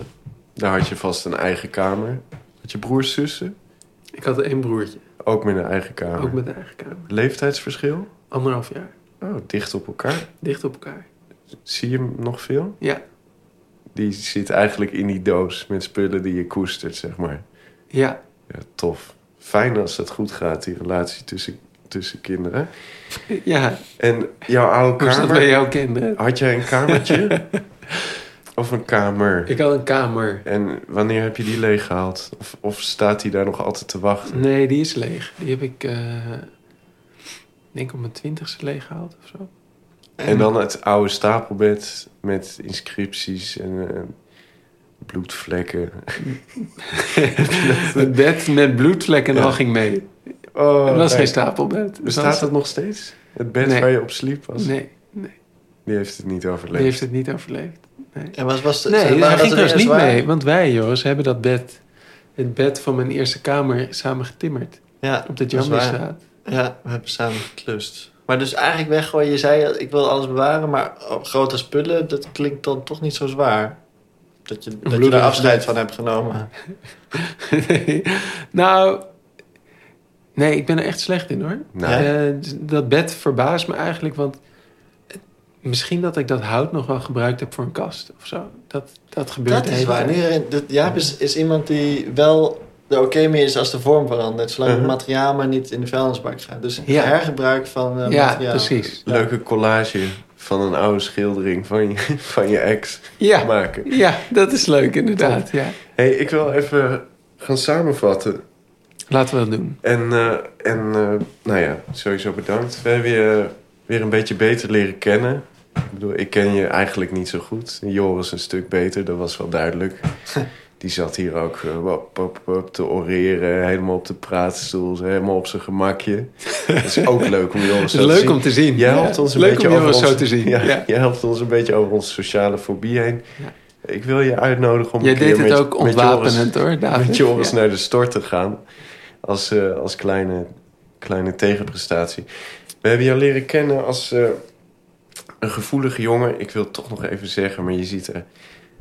Speaker 2: Daar had je vast een eigen kamer. Had je broers, zussen?
Speaker 1: Ik had één broertje,
Speaker 2: Ook met een eigen
Speaker 3: Oh.
Speaker 2: kamer.
Speaker 1: ook met een eigen kamer.
Speaker 2: Leeftijdsverschil?
Speaker 1: Anderhalf jaar,
Speaker 2: Oh, dicht op elkaar.
Speaker 1: dicht op elkaar.
Speaker 2: Zie je hem nog veel?
Speaker 1: Ja,
Speaker 2: Die zit eigenlijk in die doos met spullen die je koestert, zeg maar.
Speaker 1: ja.
Speaker 2: Ja, tof. Fijn als dat goed gaat, die relatie tussen, tussen kinderen.
Speaker 1: ja.
Speaker 2: En jouw oude
Speaker 1: Hoe is dat
Speaker 2: kamer...
Speaker 1: bij jouw kinderen?
Speaker 2: Had jij een
Speaker 1: [LAUGHS]
Speaker 2: kamertje? of een kamer?
Speaker 1: Ik had een kamer.
Speaker 2: En wanneer heb je die leeggehaald? Of, of staat die daar nog altijd te wachten?
Speaker 1: Nee, die is leeg. Die heb ik, eh, ik denk op mijn twintigste leeg gehaald of
Speaker 2: [LAUGHS]
Speaker 1: zo.
Speaker 2: En dan het oude stapelbed met inscripties en eh, bloedvlekken.
Speaker 1: Het bed met bloedvlekken en
Speaker 2: Ja.
Speaker 1: al ging mee.
Speaker 2: Oh,
Speaker 1: Het was
Speaker 2: nee.
Speaker 1: geen stapelbed. Het
Speaker 2: Bestaat
Speaker 1: was-
Speaker 2: dat nog steeds? Het bed
Speaker 1: Nee.
Speaker 2: waar je op sliep was?
Speaker 1: Nee, nee.
Speaker 2: Die heeft het niet
Speaker 1: Die
Speaker 2: overleefd.
Speaker 1: heeft het niet overleefd.
Speaker 3: En was, was de,
Speaker 1: Nee,
Speaker 3: waren
Speaker 1: daar
Speaker 3: dat
Speaker 1: ging
Speaker 3: de
Speaker 1: trouwens
Speaker 3: dingen
Speaker 1: niet
Speaker 3: zwaar?
Speaker 1: mee. Want wij, Joris, hebben dat bed, het bed van mijn eerste kamer, samen getimmerd.
Speaker 3: Ja,
Speaker 1: Op de
Speaker 3: dat is waar.
Speaker 1: Jammerstraat. [LAUGHS]
Speaker 3: Ja, we hebben samen geklust. Maar dus eigenlijk weggooien, je zei ik wil alles bewaren, maar grote spullen, dat klinkt dan toch niet zo zwaar. Dat je, dat je
Speaker 1: bloederig
Speaker 3: daar afscheid
Speaker 1: bed.
Speaker 3: van hebt genomen.
Speaker 1: Nee. nou, nee, ik ben er echt slecht in hoor.
Speaker 2: Nou,
Speaker 3: Ja.
Speaker 1: Eh, d- dat bed verbaast me eigenlijk, want het- misschien dat ik dat hout nog wel gebruikt heb voor een kast of zo. Dat, dat gebeurt
Speaker 3: Dat
Speaker 1: de
Speaker 3: is
Speaker 1: hele
Speaker 3: waar.
Speaker 1: tijd.
Speaker 3: Nu, herinner- dat- Jaap is, is iemand die wel er oké mee is als de vorm verandert, zolang
Speaker 2: Mhm.
Speaker 3: het materiaal maar niet in de vuilnisbak gaat. Dus
Speaker 1: Ja.
Speaker 3: hergebruik van eh,
Speaker 1: Ja,
Speaker 3: materiaal.
Speaker 1: precies.
Speaker 2: Leuke collage van een oude schildering van je, [LAUGHS] van je ex
Speaker 1: Ja.
Speaker 2: maken.
Speaker 1: Ja, dat is leuk inderdaad. Ja.
Speaker 2: hey, ik wil even gaan samenvatten.
Speaker 1: Laten we dat doen.
Speaker 2: En, eh, en eh, nou ja, sowieso bedankt. We hebben je weer een beetje beter leren kennen. Ik bedoel, ik ken je eigenlijk niet zo goed. Joris een stuk beter, dat was wel
Speaker 1: [LAUGHS]
Speaker 2: duidelijk. Die zat hier ook eh, wap, wap, wap, te oreren, helemaal op de praatstoel, helemaal op zijn gemakje. Dat is
Speaker 1: [LAUGHS]
Speaker 2: ook leuk om Joris zo te
Speaker 1: Leuk
Speaker 2: zien.
Speaker 1: om te zien.
Speaker 2: Jij
Speaker 1: Ja,
Speaker 2: helpt ons een
Speaker 1: leuk
Speaker 2: beetje
Speaker 1: om
Speaker 2: over
Speaker 1: Joris
Speaker 2: ons-
Speaker 1: zo te zien.
Speaker 2: Ja,
Speaker 1: Ja.
Speaker 2: Jij helpt ons een beetje over onze sociale fobie heen. Ik wil je uitnodigen om
Speaker 1: Jij
Speaker 2: een keer
Speaker 1: deed het
Speaker 2: met-
Speaker 1: ook
Speaker 2: met Joris-
Speaker 1: ontwapenend hoor, David.
Speaker 2: met Joris
Speaker 1: Ja.
Speaker 2: naar de stort te gaan. Als, eh, als kleine, kleine tegenprestatie. We hebben jou leren kennen als eh, een gevoelige jongen. Ik wil het toch nog even zeggen, maar je ziet er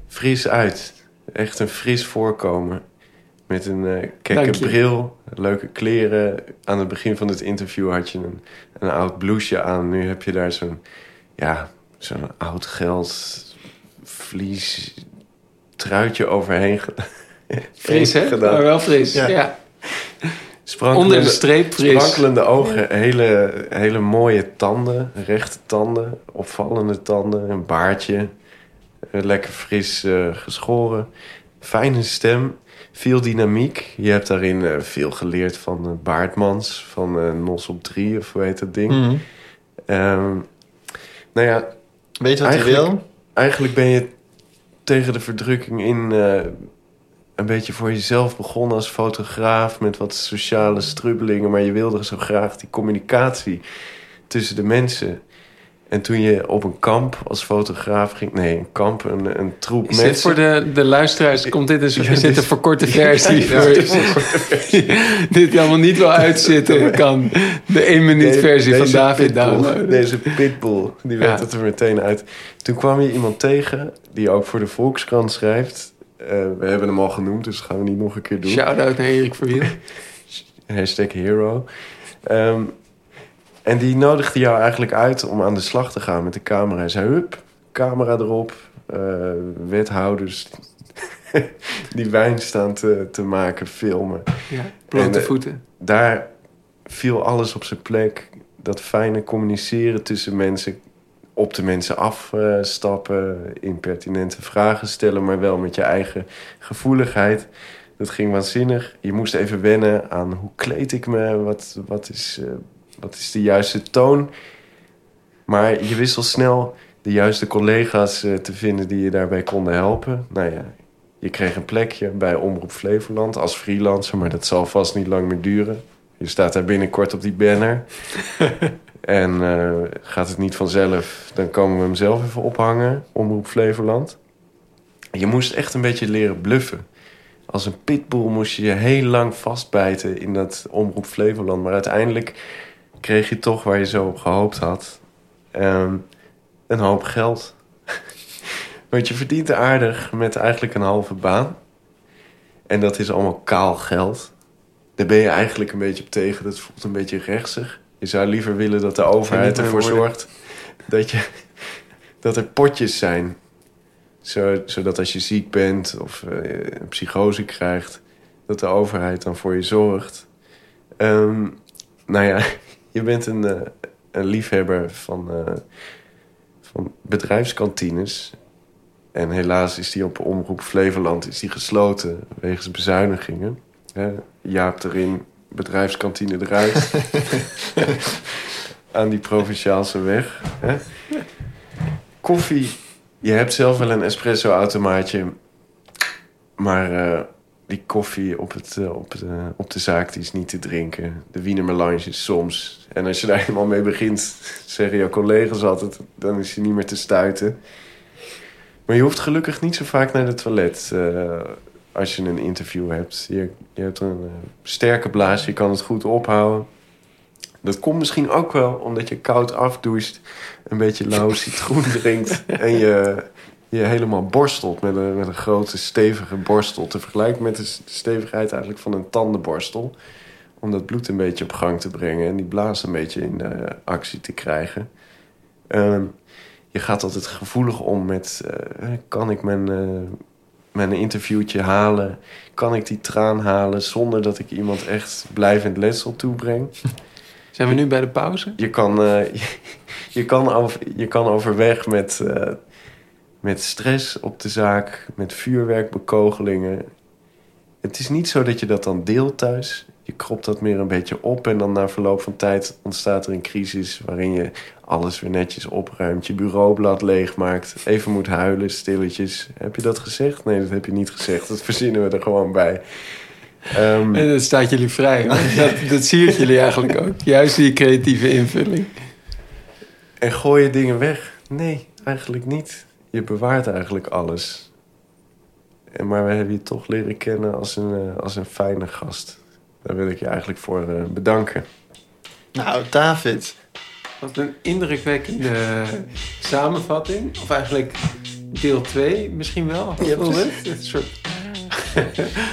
Speaker 2: fris uit. Echt een fris voorkomen. Met een eh
Speaker 1: Dank
Speaker 2: kekke
Speaker 1: je.
Speaker 2: bril, leuke kleren. Aan het begin van het interview had je een, een oud blouseje aan. Nu heb je daar zo'n ja, zo'n oud geld vlies truitje overheen ge- [LAUGHS]
Speaker 1: Fris hè?
Speaker 2: gedaan.
Speaker 1: Maar wel fris.
Speaker 3: Ja.
Speaker 1: Ja.
Speaker 2: Sprankelende,
Speaker 1: Onder de streep fris.
Speaker 2: sprankelende ogen, hele, hele mooie tanden, rechte tanden, opvallende tanden, een baardje. eh, Lekker fris eh, geschoren. Fijne stem, veel dynamiek. Je hebt daarin eh, veel geleerd van eh, Baartmans, van eh, Nos op 3 of hoe heet dat ding.
Speaker 3: Mhm.
Speaker 2: Ehm, nou ja,
Speaker 3: Weet je wat hij
Speaker 2: Eigenlijk-
Speaker 3: wil?
Speaker 2: eigenlijk ben je tegen de verdrukking in eh, een beetje voor jezelf begonnen als fotograaf met wat sociale strubbelingen, maar je wilde zo graag die communicatie tussen de mensen. En toen je op een kamp als fotograaf ging, nee, een kamp, een, een
Speaker 1: Is
Speaker 2: troep mensen.
Speaker 1: dit voor de, de luisteraars? Komt dit een soort,
Speaker 2: [LAUGHS] Ja,
Speaker 1: is dit
Speaker 2: dit-
Speaker 1: een verkorte versie?
Speaker 2: [LAUGHS] Ja,
Speaker 1: voor-
Speaker 2: dit is een korte
Speaker 1: [LAUGHS] dit allemaal niet wil uitzitten. Kan de 1 minuut
Speaker 2: De-
Speaker 1: versie van
Speaker 2: deze
Speaker 1: David
Speaker 2: pitbull,
Speaker 1: downloaden.
Speaker 2: Deze pitbull, die werd
Speaker 1: Ja.
Speaker 2: het er meteen uit. Toen kwam je iemand tegen, die ook voor de Volkskrant schrijft. Eh, we hebben hem al genoemd, dus gaan we niet nog een keer doen.
Speaker 1: Shout-out naar Erik Verwiel.
Speaker 2: Hashtag hero. Ehm, en die nodigde jou eigenlijk uit om aan de slag te gaan met de camera. Hij zei, hup, camera erop. eh, wethouders [LAUGHS] die wijn staan te, te maken, filmen.
Speaker 1: Ja, blote
Speaker 2: En, eh,
Speaker 1: voeten.
Speaker 2: Daar viel alles op zijn plek. Dat fijne communiceren tussen mensen. Op de mensen afstappen. Impertinente vragen stellen. Maar wel met je eigen gevoeligheid. Dat ging waanzinnig. Je moest even wennen aan hoe kleed ik me. Wat, wat, is, eh, wat is de juiste toon. Maar je wist al snel de juiste collega's eh, te vinden die je daarbij konden helpen. Nou ja, je kreeg een plekje bij Omroep Flevoland als freelancer, maar dat zal vast niet lang meer duren. Je staat daar binnenkort op die banner. en eh, gaat het niet vanzelf, dan komen we hem zelf even ophangen, Omroep Flevoland. Je moest echt een beetje leren bluffen. Als een pitbull moest je je heel lang vastbijten in dat Omroep Flevoland. Maar uiteindelijk kreeg je toch waar je zo op gehoopt had. Ehm, een hoop geld. Want je verdient aardig met eigenlijk een halve baan. En dat is allemaal kaal geld. Daar ben je eigenlijk een beetje op tegen. Dat voelt een beetje rechtsig. Je zou liever willen dat de overheid
Speaker 1: niet mijn
Speaker 2: ervoor
Speaker 1: woorden.
Speaker 2: zorgt dat, je, dat er potjes zijn. Zo, zodat als je ziek bent of eh, een psychose krijgt, dat de overheid dan voor je zorgt. Ehm, nou ja, [LAUGHS] je bent een, eh, een liefhebber van, eh, van bedrijfskantines. En helaas is die op Omroep Flevoland is die gesloten wegens bezuinigingen. Hè, Jaap erin, bedrijfskantine eruit. Aan die provinciaalse weg. Hè? Koffie. Je hebt zelf wel een espresso-automaatje. Maar eh, die koffie op, het, eh, op, de, op de zaak die is niet te drinken. De Wiener Melange is soms. En als je daar [LAUGHS] helemaal mee begint, zeggen jouw collega's altijd... dan is je niet meer te stuiten. Maar je hoeft gelukkig niet zo vaak naar het toilet eh, als je een interview hebt. Je, je hebt een eh, sterke blaas, je kan het goed ophouden. Dat komt misschien ook wel omdat je koud afdoucht, een beetje lauw citroen drinkt en je, je helemaal borstelt met een, met een grote stevige borstel. Te vergelijken met de s- de stevigheid eigenlijk van een tandenborstel. Om dat bloed een beetje op gang te brengen en die blaas een beetje in eh, actie te krijgen. Ehm, je gaat altijd gevoelig om met... eh, kan ik mijn, eh, mijn interviewtje halen? Kan ik die traan halen zonder dat ik iemand echt blijvend letsel toebreng?
Speaker 1: Zijn we nu bij de pauze?
Speaker 2: Je kan, eh, [LAUGHS] je, je kan, over, je kan overweg met, eh, met stress op de zaak, met vuurwerkbekogelingen. Het is niet zo dat je dat dan deelt thuis. Je kropt dat meer een beetje op en dan na verloop van tijd ontstaat er een crisis waarin je alles weer netjes opruimt, je bureaublad leegmaakt, even moet huilen, stilletjes. Heb je dat gezegd? Nee, dat heb je niet gezegd. Dat verzinnen we er gewoon bij. Ehm,
Speaker 1: En dat staat jullie vrij. hoor. [LAUGHS] Dat, dat siert jullie eigenlijk ook. Juist die creatieve invulling.
Speaker 2: En gooi je dingen weg? Nee, eigenlijk niet. Je bewaart eigenlijk alles. En maar we hebben je toch leren kennen als een, eh, als een fijne gast. Daar wil ik je eigenlijk voor eh, bedanken.
Speaker 3: Nou, David.
Speaker 1: Wat een indrukwekkende samenvatting. Of eigenlijk deel 2 misschien wel.
Speaker 3: Ja,
Speaker 1: Voel
Speaker 3: precies.
Speaker 1: het? Een soort-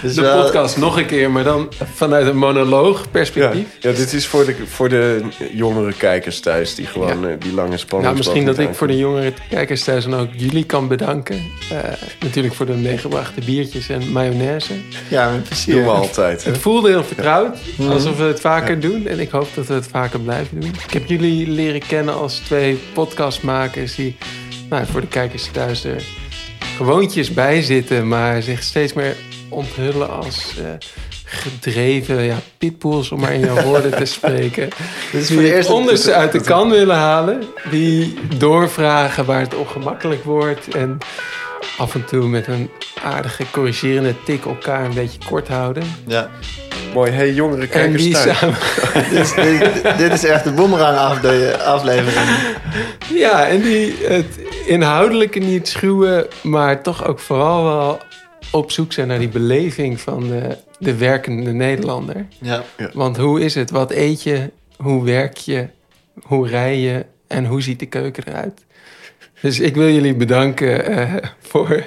Speaker 3: Dus
Speaker 1: De
Speaker 3: wel-
Speaker 1: podcast nog een keer, maar dan vanuit een monoloog
Speaker 2: Ja,
Speaker 1: perspectief.
Speaker 2: ja dit is voor de, voor de jongere kijkers thuis die gewoon eh, die lange spanning.
Speaker 1: Nou, misschien dat ik voor de jongere kijkers thuis en ook jullie kan bedanken. Eh, natuurlijk voor de meegebrachte biertjes en mayonaise.
Speaker 3: Ja, met
Speaker 2: Doen we
Speaker 3: plezier.
Speaker 2: altijd. hè?
Speaker 1: Het voelde heel vertrouwd, alsof we het vaker doen. En ik hoop dat we het vaker blijven doen. Ik heb jullie leren kennen als twee podcastmakers die nou, voor de kijkers thuis er gewoontjes bij zitten, maar zich steeds meer onthullen als eh, gedreven ja, pitbulls, om maar in jouw woorden te spreken.
Speaker 3: Dit is
Speaker 1: Die
Speaker 3: voor de
Speaker 1: het
Speaker 3: eerste
Speaker 1: onderste uit de kan willen halen. Die doorvragen waar het ongemakkelijk wordt. En af en toe met een aardige corrigerende tik elkaar een beetje kort houden.
Speaker 3: Ja.
Speaker 2: Mooi. Hey, jongere
Speaker 1: En
Speaker 2: kijkers
Speaker 1: die
Speaker 2: thuis.
Speaker 1: samen,
Speaker 3: dit, dit, dit is echt de boemerang afde- aflevering.
Speaker 1: ja, en die het inhoudelijke niet schuwen, maar toch ook vooral wel op zoek zijn naar die beleving van de, de werkende Nederlander.
Speaker 3: Ja.
Speaker 1: Want hoe is het? Wat eet je? Hoe werk je? Hoe rij je? En hoe ziet de keuken eruit? Dus ik wil jullie bedanken eh, voor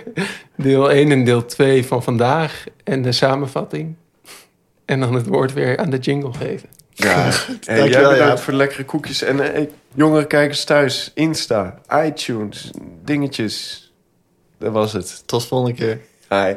Speaker 1: deel 1 en deel 2 van vandaag en de samenvatting. En dan het woord weer aan de jingle geven.
Speaker 2: Ja.
Speaker 3: [LAUGHS]
Speaker 2: En jij
Speaker 3: Dankjewel,
Speaker 2: bedankt
Speaker 3: Jaap.
Speaker 2: voor de lekkere koekjes. En eh, hey, jongere kijkers thuis, Insta, iTunes, dingetjes. Dat was het.
Speaker 3: Tot volgende keer.
Speaker 2: Hi.